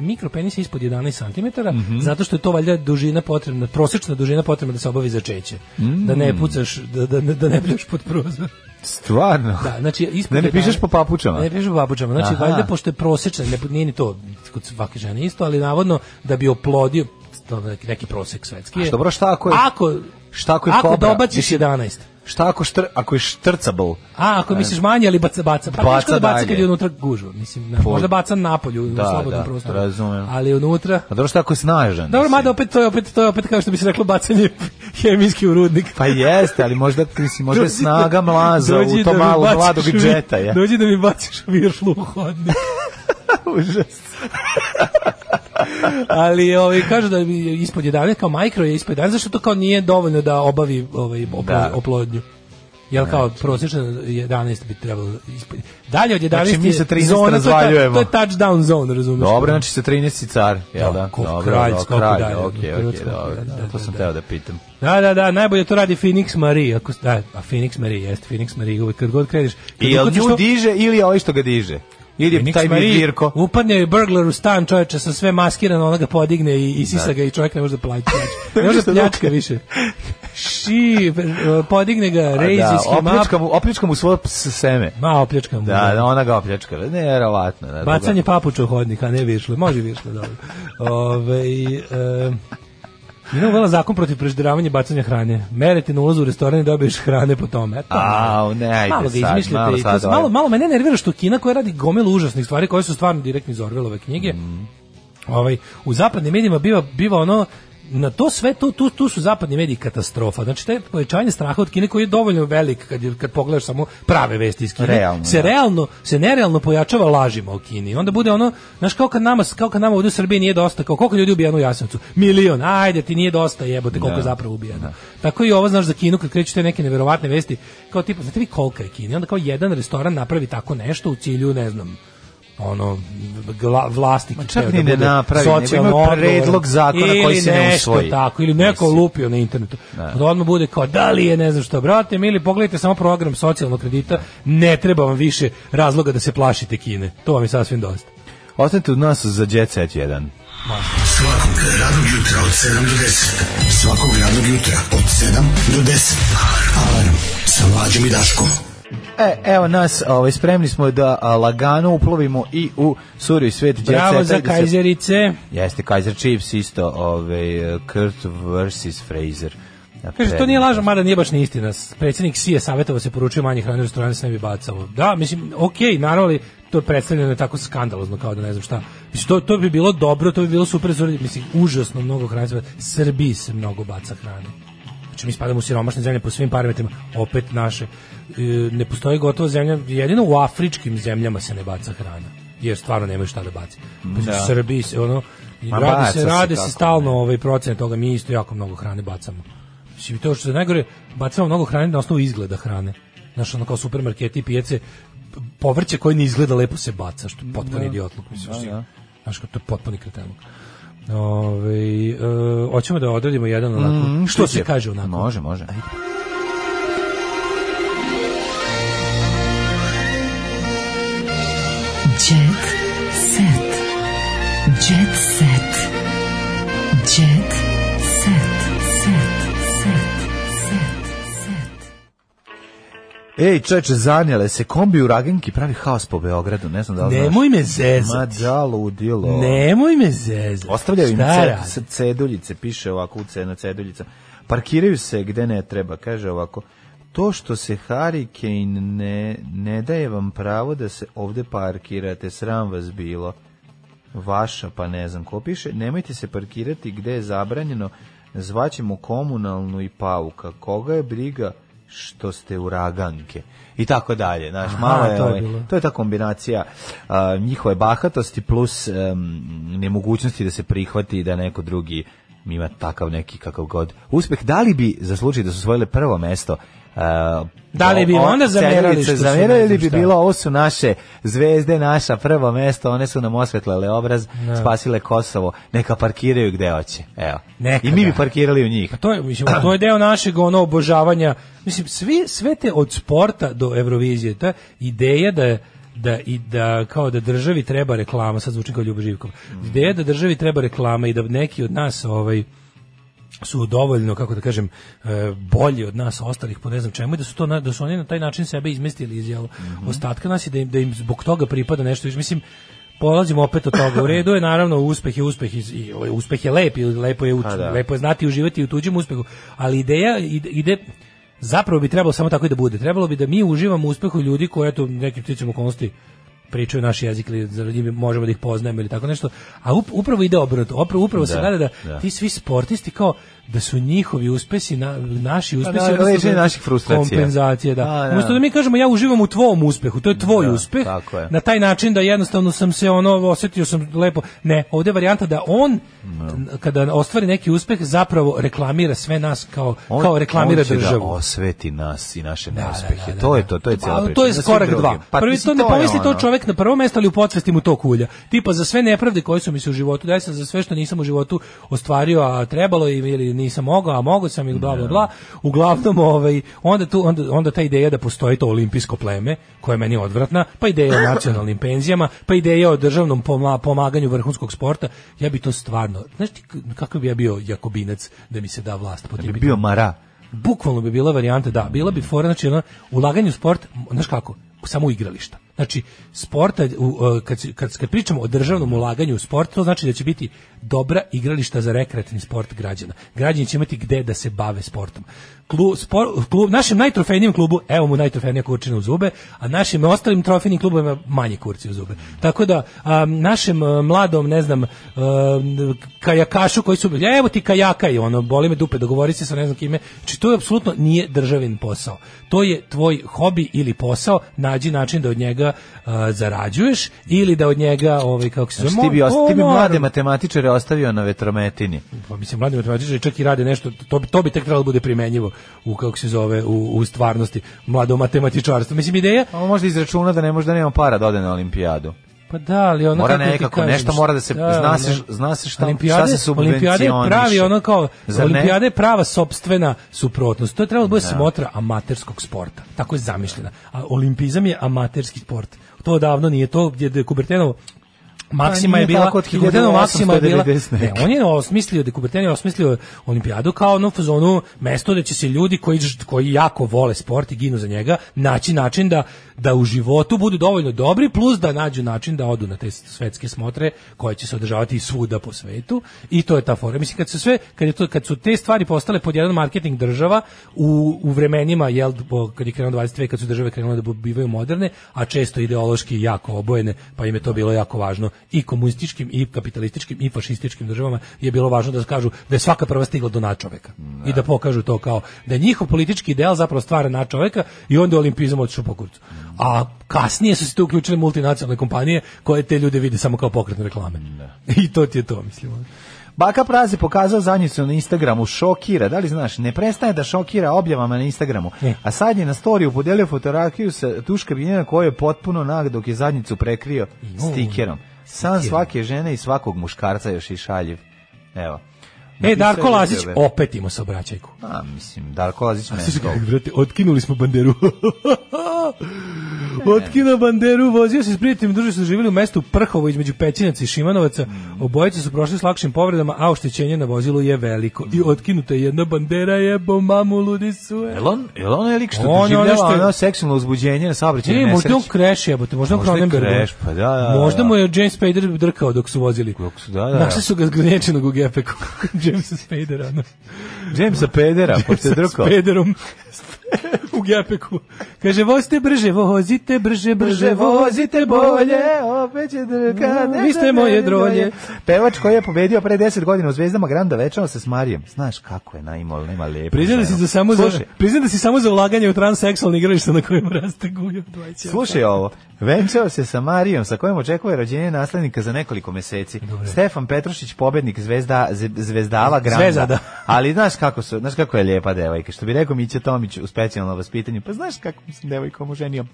mikropenis je ispod 11 cm, zato što je to valjda dužina potrebna, prosječna dužina potrebna da se obavi začeće. Da ne pucaš, da, da, da ne pljuš pod prozor. Stvarno? Da, znači ispod Da ne 11 pišeš po papučama? Ne pišeš po papučama. Znači Aha. valjda pošto je prosečna, ne nije ni to kod svake žene isto, ali navodno da bi oplodio to je neki prosek svetski. A je- što, bro, šta ako je- Ako Šta ako je Ako kobra? dobaciš 11. Šta ako, štr, ako je štrcable? A, ako misliš manje, ali baca, baca. Pa Baca baca da baca dalje. kad je unutra gužva. Mislim, na, Po- možda baca napolju, Da, u slobodnom da, prostoru. razumem. Ali unutra... A dobro šta ako je snažan? Dobro, mislim? mada opet to je opet to je opet kao što bi se reklo bacanje [laughs] hemijski u rudnik. Pa jeste, ali možda, mislim, možda je Dođi snaga da- mlaza dođi u to da mi malo baciš mladog u vi- džeta. [laughs] Ja. Dođi da mi baciš viršlu u hodnik. Užas. Ali ovaj kaže da bi ispod 11 kao mikro je ispod 11 zašto to kao nije dovoljno da obavi ovaj oplo- Da. oplodnju. Jel kao prosečno 11 bi trebalo ispod. Dalje od 11 Znači, mi je sa 13 zona, to je ta- razvaljujemo. To je, touchdown zone, razumeš? Dobro, znači sa 13 car, jel Da, da? ko- Dobro, kralj, dobro, skoko kralj, dalje, okej, kralj, okej, skoko, dobro. da, da, To sam da. teo da pitam. Da, da, da, najbolje to radi Phoenix Marie, ako da, a Phoenix Marie jeste Phoenix Marie, uvek kad god kreneš. kad I jel uhvatiš nju to- diže ili ovaj što ga diže? Ili je Phoenix taj Marie Mirko? Upadne je burglar u stan, čoveče, sa sve maskirano, ona ga podigne i, i sisa ga i čovjek ne može da [laughs] plaća. ne može da pljačka više. Ši, podigne ga, A raise Da, his him opljačka up. mu, opljačka mu svoje ps- seme. Ma, opljačka mu. Da, da, ona ga opljačka. Nevjerovatno. Da, Bacanje papuča u hodnik, a ne viršle. Može viršle, dobro. Ove, e, Mina uvela zakon protiv prežderavanja i bacanja hrane. Merete na ulazu u restoran i dobiješ hrane po tome. E, to Au, ne, ajde malo ga sad, izmišljate malo i to sad se- ovaj. malo, malo mene nervira što Kina koja radi gomilu užasnih stvari koje su stvarno direktni iz Orwellove knjige. Ovaj, u zapadnim medijima biva, biva ono na to sve tu, tu, tu su zapadni mediji katastrofa. Znači taj povećanje straha od Kine koji je dovoljno velik kad je, kad pogledaš samo prave vesti iz Kine, Realno, se da. realno se nerealno pojačava lažima o Kini. I Onda bude ono, znaš kao kad nama kao kad nama ovdje u Srbiji nije dosta, kao koliko ljudi ubijeno u Jasenovcu? Milion. Ajde, ti nije dosta, jebote, koliko Da. je zapravo ubijeno. Tako i ovo znaš za Kinu kad kreću te neke neverovatne vesti, kao tipa, znate vi kolika je Kina? I Onda kao jedan restoran napravi tako nešto u cilju, ne znam, ono gla, vlasti Ma čak ni ne napravi, nego ima predlog zakona koji se ne usvoji. tako ili neko Mislim. lupio na internetu. Pa Da. Odmah bude kao da li je ne znam šta, brate, ili pogledajte samo program socijalnog kredita, ne treba vam više razloga da se plašite Kine. To vam je sasvim dosta. Ostanite u nas za Jet Set 1. Svakog radnog jutra od 7 do 10. Svakog radnog jutra od 7 do 10. Alarm sa mlađom i Daškom. E, evo nas, ovaj, spremni smo da a, lagano uplovimo i u surju svet Jet Bravo Seta za i da se- Kajzerice. Jeste, Kaiser Chiefs isto, ovaj, Kurt vs. Fraser. Na Kaže, to prednji. nije lažno, mada nije baš ni istina. Predsjednik Sije savjetovao se poručio manje hrane u restorane se ne bi bacalo. Da, mislim, okej, naravno, ali to je predstavljeno je tako skandalozno kao da ne znam šta. Mislim, to, to bi bilo dobro, to bi bilo super, za- mislim, užasno mnogo hrane. se baca. Srbiji se mnogo baca hrane. Znači, mi spadamo u siromašne zemlje po svim parametrima, opet naše. E, ne postoji gotovo zemlja, jedino u afričkim zemljama se ne baca hrana jer stvarno nemaju šta da baci. Mislim, Da. U Srbiji se ono, Ma radi baca se, se rade se kako stalno ovaj procenat toga, mi isto jako mnogo hrane bacamo. Mislim, i to što je najgore, bacamo mnogo hrane na osnovu izgleda hrane. Znaš, ono kao supermarketi i pijace, p- povrće koje ne izgleda lepo se baca, što je potpuni idiotluk, mislim. što je- Znaš, kao to je potpuni kretenluk. Ovaj, e, hoćemo da odradimo jedan onako, što se Sviđa. kaže onako. Mm, Može, može. Jet set. Jet set. Jet set. Set. Set. Ej, čoveče, zanjele se, kombi u Ragenki pravi haos po Beogradu, ne znam da li Nemoj me znaš. Ma zezati. da, ludilo. Nemoj me zezati. Ostavljaju im Šta ce, radi? s- ceduljice, piše ovako u ce- na ceduljica. Parkiraju se gde ne treba, kaže ovako. To što se Hurricane ne, ne daje vam pravo da se ovde parkirate, sram vas bilo. Vaša, pa ne znam ko piše. Nemojte se parkirati gde je zabranjeno, zvaćemo komunalnu i pauka. Koga je briga što ste uraganke i tako dalje znaš malo je, to je ovaj, bilo. to je ta kombinacija a, njihove bahatosti plus em, nemogućnosti da se prihvati da neko drugi ima takav neki kakav god uspeh. Da li bi, za slučaj da su osvojile prvo mesto, a, Da li bi o- o- onda zamerali Ceduljice, što su ne zamerali znam bi šta? bilo, Pa ovo su naše zvezde, naša prvo mesto, one su nam osvetlale obraz, spasile Kosovo, neka parkiraju gde hoće. Evo. Neka, I mi bi da. parkirali u njih. Pa to je, mislim, to je deo našeg ono obožavanja. Mislim, svi, sve te od sporta do Eurovizije, ta ideja da je da i da kao da državi treba reklama sad zvuči kao Ljubo Živkov. Ideja da državi treba reklama i da neki od nas ovaj su dovoljno kako da kažem e, bolji od nas ostalih po ne znam čemu i da su to na- da su oni na taj način sebe izmestili iz jel, ostatka nas i da im da im zbog toga pripada nešto više mislim polazimo opet od toga. U redu je naravno uspeh je uspeh iz- i ovaj, uspeh je lep i lepo je u- A, da. lepo je znati i uživati u tuđem uspehu, ali ideja ide, ide zapravo bi trebalo samo tako i da bude. Trebalo bi da mi uživamo u uspehu ljudi koji eto nekim ticom okolnosti pričaju naš jezik ili za njih možemo da ih poznajemo ili tako nešto. A up- upravo ide obrnuto. Upravo, upravo se Da, gleda da, da. ti svi sportisti kao da su njihovi uspesi na, naši uspesi Pa da, odnosno lečenje da- naših frustracija. kompenzacije da. A, da. Umesto da mi kažemo ja uživam u tvom uspehu, to je tvoj Da, uspeh. tako je. Na taj način da jednostavno sam se ono osjetio sam lepo. Ne, ovdje je varijanta da on n- kada ostvari neki uspeh zapravo reklamira sve nas kao On- kao reklamira Ovaj on će državu. Da osveti nas i naše Da, da, neuspehe. da, da, To je da. to, to je cijela A, priča. To je Za svim korak drugim. dva. Pa, Prvi to mislim, ne je pomisli to ono. čovjek na prvom mestu, ali u podsvesti mu to kulja. Tipa za sve nepravde koje su mi se u životu desile, za sve što nisam u životu ostvario, a trebalo je ili nisam mogao, a mogao sam ili bla bla bla. Uglavnom, ovaj onda tu onda, onda ta ideja da postoji to olimpijsko pleme, koja je meni odvratna, pa ideja o nacionalnim penzijama, pa ideja o državnom pomla- pomaganju vrhunskog sporta, ja bi to stvarno, znaš ti k- kakav bi ja bio jakobinac da mi se da vlast po tim Bi pitanjima? bio Mara. bukvalno bi bila varijanta da, bila bi fora, znači ono, ulaganje u sport, m, znaš kako, samo u igrališta. Znači, sporta, u, e, kad, se- kad, kad pričamo o državnom ulaganju u sport, to znači da će biti dobra igrališta za rekreativni sport građana. Građani će imati gde da se bave sportom. Klub, spor- klub, našem najtrofejnijem klubu, evo mu najtrofejnija kurčina u zube, a našim ostalim trofejnim klubovima manje kurci u zube. Tako da, a, našem e, mladom, ne znam, e, kajakašu koji su bili, evo ti kajaka i ono, boli me dupe, dogovori se sa ne znam kime. Znači, to je apsolutno nije državin posao. To je tvoj hobi ili posao, nađi način da od njega e, zarađuješ ili da od njega, ovaj, kako se zove, Znači, ti bi, ost- ti bi Komar- mlade matematičare ostavio na vetrometini. pa mislim mladi matematičari čak i rade nešto to bi to bi tek trebalo da bude primenjivo u kako se zove u, u stvarnosti mlado matematičarstvo mislim ideja A On možda izračuna da ne možda nema para da ode na olimpijadu. pa da ali ono Mora kako ti nekako, kažem, nešto mora da se- zna se- zna se šta- Olimpijade- šta se subvencioniše. olimpijade je pravi ono kao Zar ne? olimpijade je prava sopstvena suprotnost to je trebalo da bude smotra amaterskog sporta tako je zamišljena a olimpizam je amaterski sport to davno nije to gdje je Kubertenovo Maksima Pa nije je bila tako od Kubertenova Maksima je bila 1890 ne, on je osmislio Dekuberten je osmislio olimpijadu kao ono fazonu mesto da će se ljudi koji ž- koji jako vole sport i ginu za njega naći način da da u životu budu dovoljno dobri plus da nađu način da odu na te svetske smotre koje će se održavati svuda po svetu i to je ta fora mislim kad su sve kad je to kad su te stvari postale pod jedan marketing država u, u vremenima jel bo- kad je krenuo 20 vek kad su države krenule da bu- bivaju moderne a često ideološki jako obojene pa im je to bilo jako važno i komunističkim i kapitalističkim i fašističkim državama je bilo važno da kažu da je svaka prva stigla do načoveka i da pokažu to kao da je njihov politički ideal zapravo stvara načoveka i onda je olimpizam otišao po kurcu a kasnije su se tu uključile multinacionalne kompanije koje te ljude vide samo kao pokretne reklame [laughs] i to ti je to mislim Baka Prazi pokazao zadnjicu na Instagramu, šokira, da li znaš, ne prestaje da šokira objavama na Instagramu, Ne. a sad je na storiju podelio fotografiju sa tuška biljena koju je potpuno nag dok je zadnjicu prekrio stikerom. San svake žene i svakog muškarca još i šaljiv. Evo. E, Napisao Darko je Lazić, tebe. opet ima saobraćajku. A, mislim, Darko Lazić ne znam. Brate, otkinuli smo [laughs] banderu. Otkinuo banderu, vozio se s prijateljima, duže su živjeli u mestu Prhovo između Pećinaca i Šimanovaca. Obojice su prošli s lakšim povredama, a oštećenje na vozilu je veliko. I otkinuta je jedna bandera, jebo mamu, ludi su. je. Jel on, jel on je lik što On je doživljava ono što je- ono seksualno uzbuđenje na saobraćaju E, nesreći? možda je on kreš, jebote, možda je on Možda je Cronenberg. crash, pa da, da, da. Možda mu je James Spader drkao dok su vozili. Dok su- da, da. Našli su ga zgrnječenog u gepeku. [laughs] Jamesa Spadera, ono. Jamesa [laughs] Pedera, pošto je Sa drkao. pederom u gepeku. Kaže, vozite brže, vozite brže, brže, vozite bolje. opet će drka, Mm, vi ste moje drolje. Pevač koji je pobedio pre 10 godina u Zvezdama Granda večao se s Marijem. Znaš kako je naimol, nema lepo. Priznam da si za samo za, Slušaj, priznam da si samo za ulaganje u transseksualni igrališta na kojem raste gujo. dvajće. Slušaj ovo, venčao se sa Marijom sa kojom očekuje rođenje naslednika za nekoliko meseci. Stefan Petrošić, pobednik zvezda, Z- zvezdava Granda. Zvezada. Ali znaš kako, su, znaš kako je lijepa devojka, što bi rekao Mića Tomić u specijalnom vaspitanju, pa znaš kako sam devojkom oženio?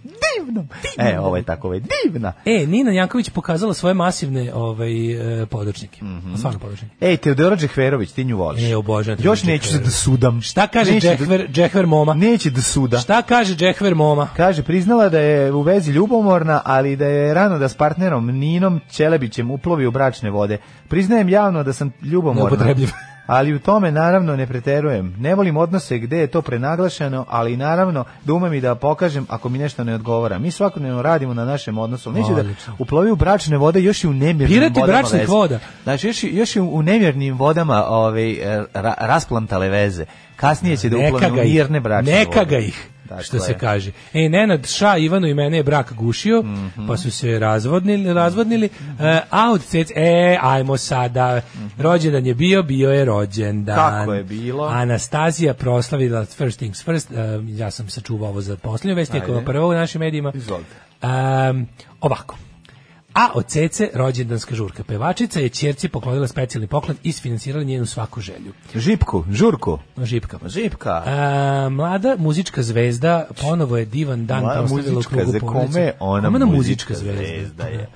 Divnom! E, ovo je tako, ovo je divna! E, Nina Janković je pokazala svoje masivne ovaj, e, podočnike. Mhm. Stvarno podočnike. Ej, Teodora Džehverović, ti nju voliš. E, obožavam Još Teodoru neću se Džehverović. da sudam. Šta kaže Neću Džehver, Džehver Moma? Da, neće da suda. Šta kaže Džehver Moma? Kaže, priznala da je u vezi ljubomorna, ali da je rano da s partnerom Ninom Ćelebićem uplovi u bračne vode. Priznajem javno da sam ljubomorna. Neupotrebljiv. [laughs] ali u tome naravno ne preterujem. Ne volim odnose gde je to prenaglašeno, ali naravno da umem i da pokažem ako mi nešto ne odgovara. Mi svakodnevno radimo na našem odnosu. Neće da Odlično. uplovi u bračne vode još i u nemirnim Pirati vodama. bračnih veze. voda. Znači, još, i- još i u nemirnim vodama ovaj, e, ra, rasplantale veze. Kasnije će da neka uplovi ga u ih, mirne bračne neka vode. ga ih, Dakle, što se kaže. E, Nenad Ša, Ivanu i mene je brak gušio, Mhm. pa su se razvodnili, razvodnili E, a od cec, e, ajmo sada, rođendan je bio, bio je rođendan. Mhm. Tako je bilo. Anastasija proslavila first things first, e, ja sam sačuvao ovo za posljednju vest, iako je prvo u našim medijima. Izvolite. Em, ovako. A od Cece, rođendanska žurka pevačica, je ćerci poklonila specijalni poklon i sfinansirala njenu svaku želju. pa Žipku, žurku. Žipkama. Žipka. A, mlada muzička zvezda ponovo je divan dan Moja proslavila u muzička, krugu za porodice. kome je ona Kome muzička, zvezda, je.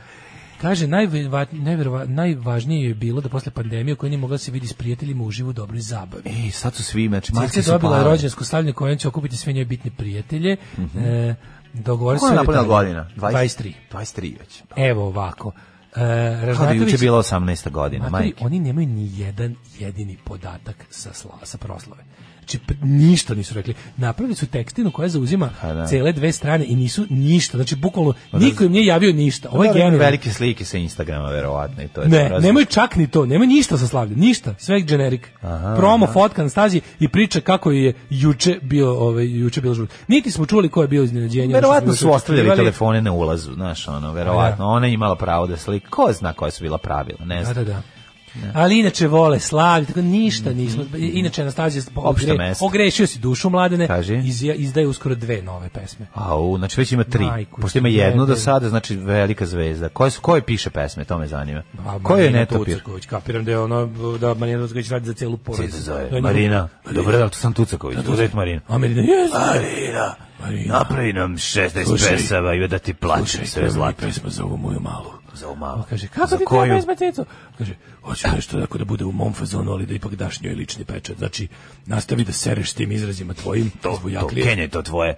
Kaže, najverova- najverova- najvažnije je bilo da posle pandemije u kojoj nije mogla da se vidi s prijateljima uživo u dobroj zabavi. Ej, sad su svi, znači, Cica maske je E, su dobila pale. rođensku slavlju kojom će okupiti sve njoj bitne prijatelje. E, dogovorili Mhm. Koja je su o napunila detaljima. godina? 20? 23. 23 već. Evo ovako. E, Kao da je Ražnatović- juče bila 18. godina, Matori, majke. Pa oni nemaju ni jedan jedini podatak sa, sla, sa proslave. Znači, p- ništa nisu rekli. Napravili su tekstinu koja zauzima Pa da. Pa cele dve strane i nisu ništa. Znači, bukvalno, niko im nije javio ništa. Ovo je generalno. velike slike sa Instagrama, verovatno, i to je Ne, razlog. nemaju čak ni to, nemaju ništa sa slavlja, ništa, sve je generik. Promo, fotka na stazi i priča kako je juče bio, ovaj, juče bilo žurka. Niti smo čuli ko je bio iznenađenje. Verovatno ono što su juče ostavljali očekivali. telefone na ulazu, znaš, ono, verovatno. Ona je imala pravo da slika. Ko zna koja su bila pravila, ne Da, znam. da, da. Ali inače vole slavlje, tako ništa nismo. Inače Anastazija Opšte ogre, Mhm. mesto. ogrešio si dušu mladene, Kaži. iz, izdaje uskoro dve nove pesme. Au, znači već ima tri. Majku Pošto ima ti, jednu ne, do ne. sada, znači velika zvezda. Koje su, koje piše pesme, to me zanima. Ko je Marina netopir? Tucaković, kapiram da je ono, da Marina Tucaković radi za celu Kako porodicu. se zove? Da je njihov- Marina. Dobro, da, to sam Tucaković. Uzeti Marina. A Marina, jes! Marina, Marina. napravi nam 16 Slušaj. pesava i da ti plaćem sve zlato. pesma za ovu moju malu. Za ovu malu. A Kaže, kako Za ti treba koju? pesma, Cico? Kaže, hoću nešto tako da bude u mom fazonu, ali da ipak daš njoj lični pečat. Znači, nastavi da sereš s tim izrazima tvojim, to, To, Kenje, to tvoje.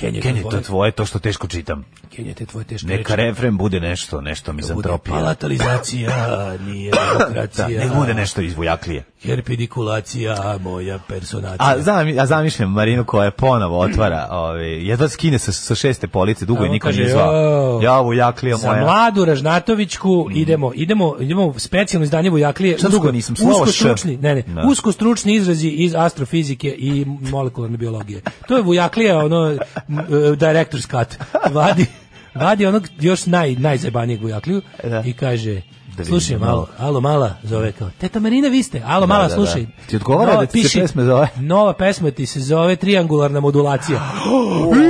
Kenje, Kenje, to tvoje, to što teško čitam. Kenje, te tvoje teške Neka reči. refren bude nešto, nešto bude mizantropija. palatalizacija, [laughs] nije Da, demokracija. nek bude nešto iz Vujaklije. Herpidikulacija, moja personacija. A, zami, a zamišljam Marinu koja je ponovo [clears throat] otvara, ovaj, jedva skine sa, sa šeste police, dugo A je on niko kaže, nije zvao. "Jao." Ja, Vujaklija Za moja. mladu Ražnatovićku idemo, idemo, idemo u specijalno izdanje Vujaklije. Šta dugo nisam, slovo usko Š. stručni, ne, ne, Da. usko stručni izrazi iz astrofizike i molekularne biologije. To je Vujaklija, ono, m, e, director's cut. Vadi, vadi onog još naj, najzebanijeg Vujakliju E, Da. i kaže, Da slušaj vidim, malo, alo mala, zove kao, teta Marina, vi ste, alo da, mala, da. slušaj. Ti odgovara Nova da ti se piši- pesma zove? Nova pesma ti se zove triangularna modulacija. [gasps]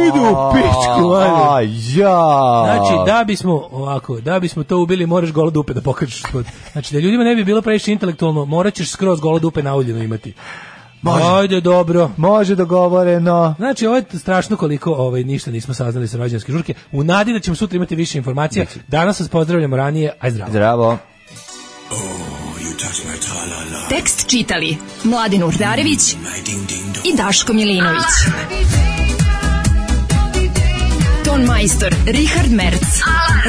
Idu u pičku, ajde. A, ja. Znači, da bismo ovako, da bismo to ubili, moraš golo dupe da pokažeš. pod- Znači, da ljudima ne bi bilo previše intelektualno, morat ćeš skroz golo dupe nauljeno imati. Može. Ajde, dobro. Može dogovoreno. Znači, ovo je strašno koliko ovaj, ništa nismo saznali sa rođendanske žurke. U nadi da ćemo sutra imati više informacija. Danas vas pozdravljamo ranije. Aj zdravo. Zdravo. Tekst čitali Mladin Urdarević i Daško Milinović. Ton majstor Richard Merc.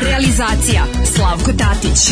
Realizacija Slavko Tatić.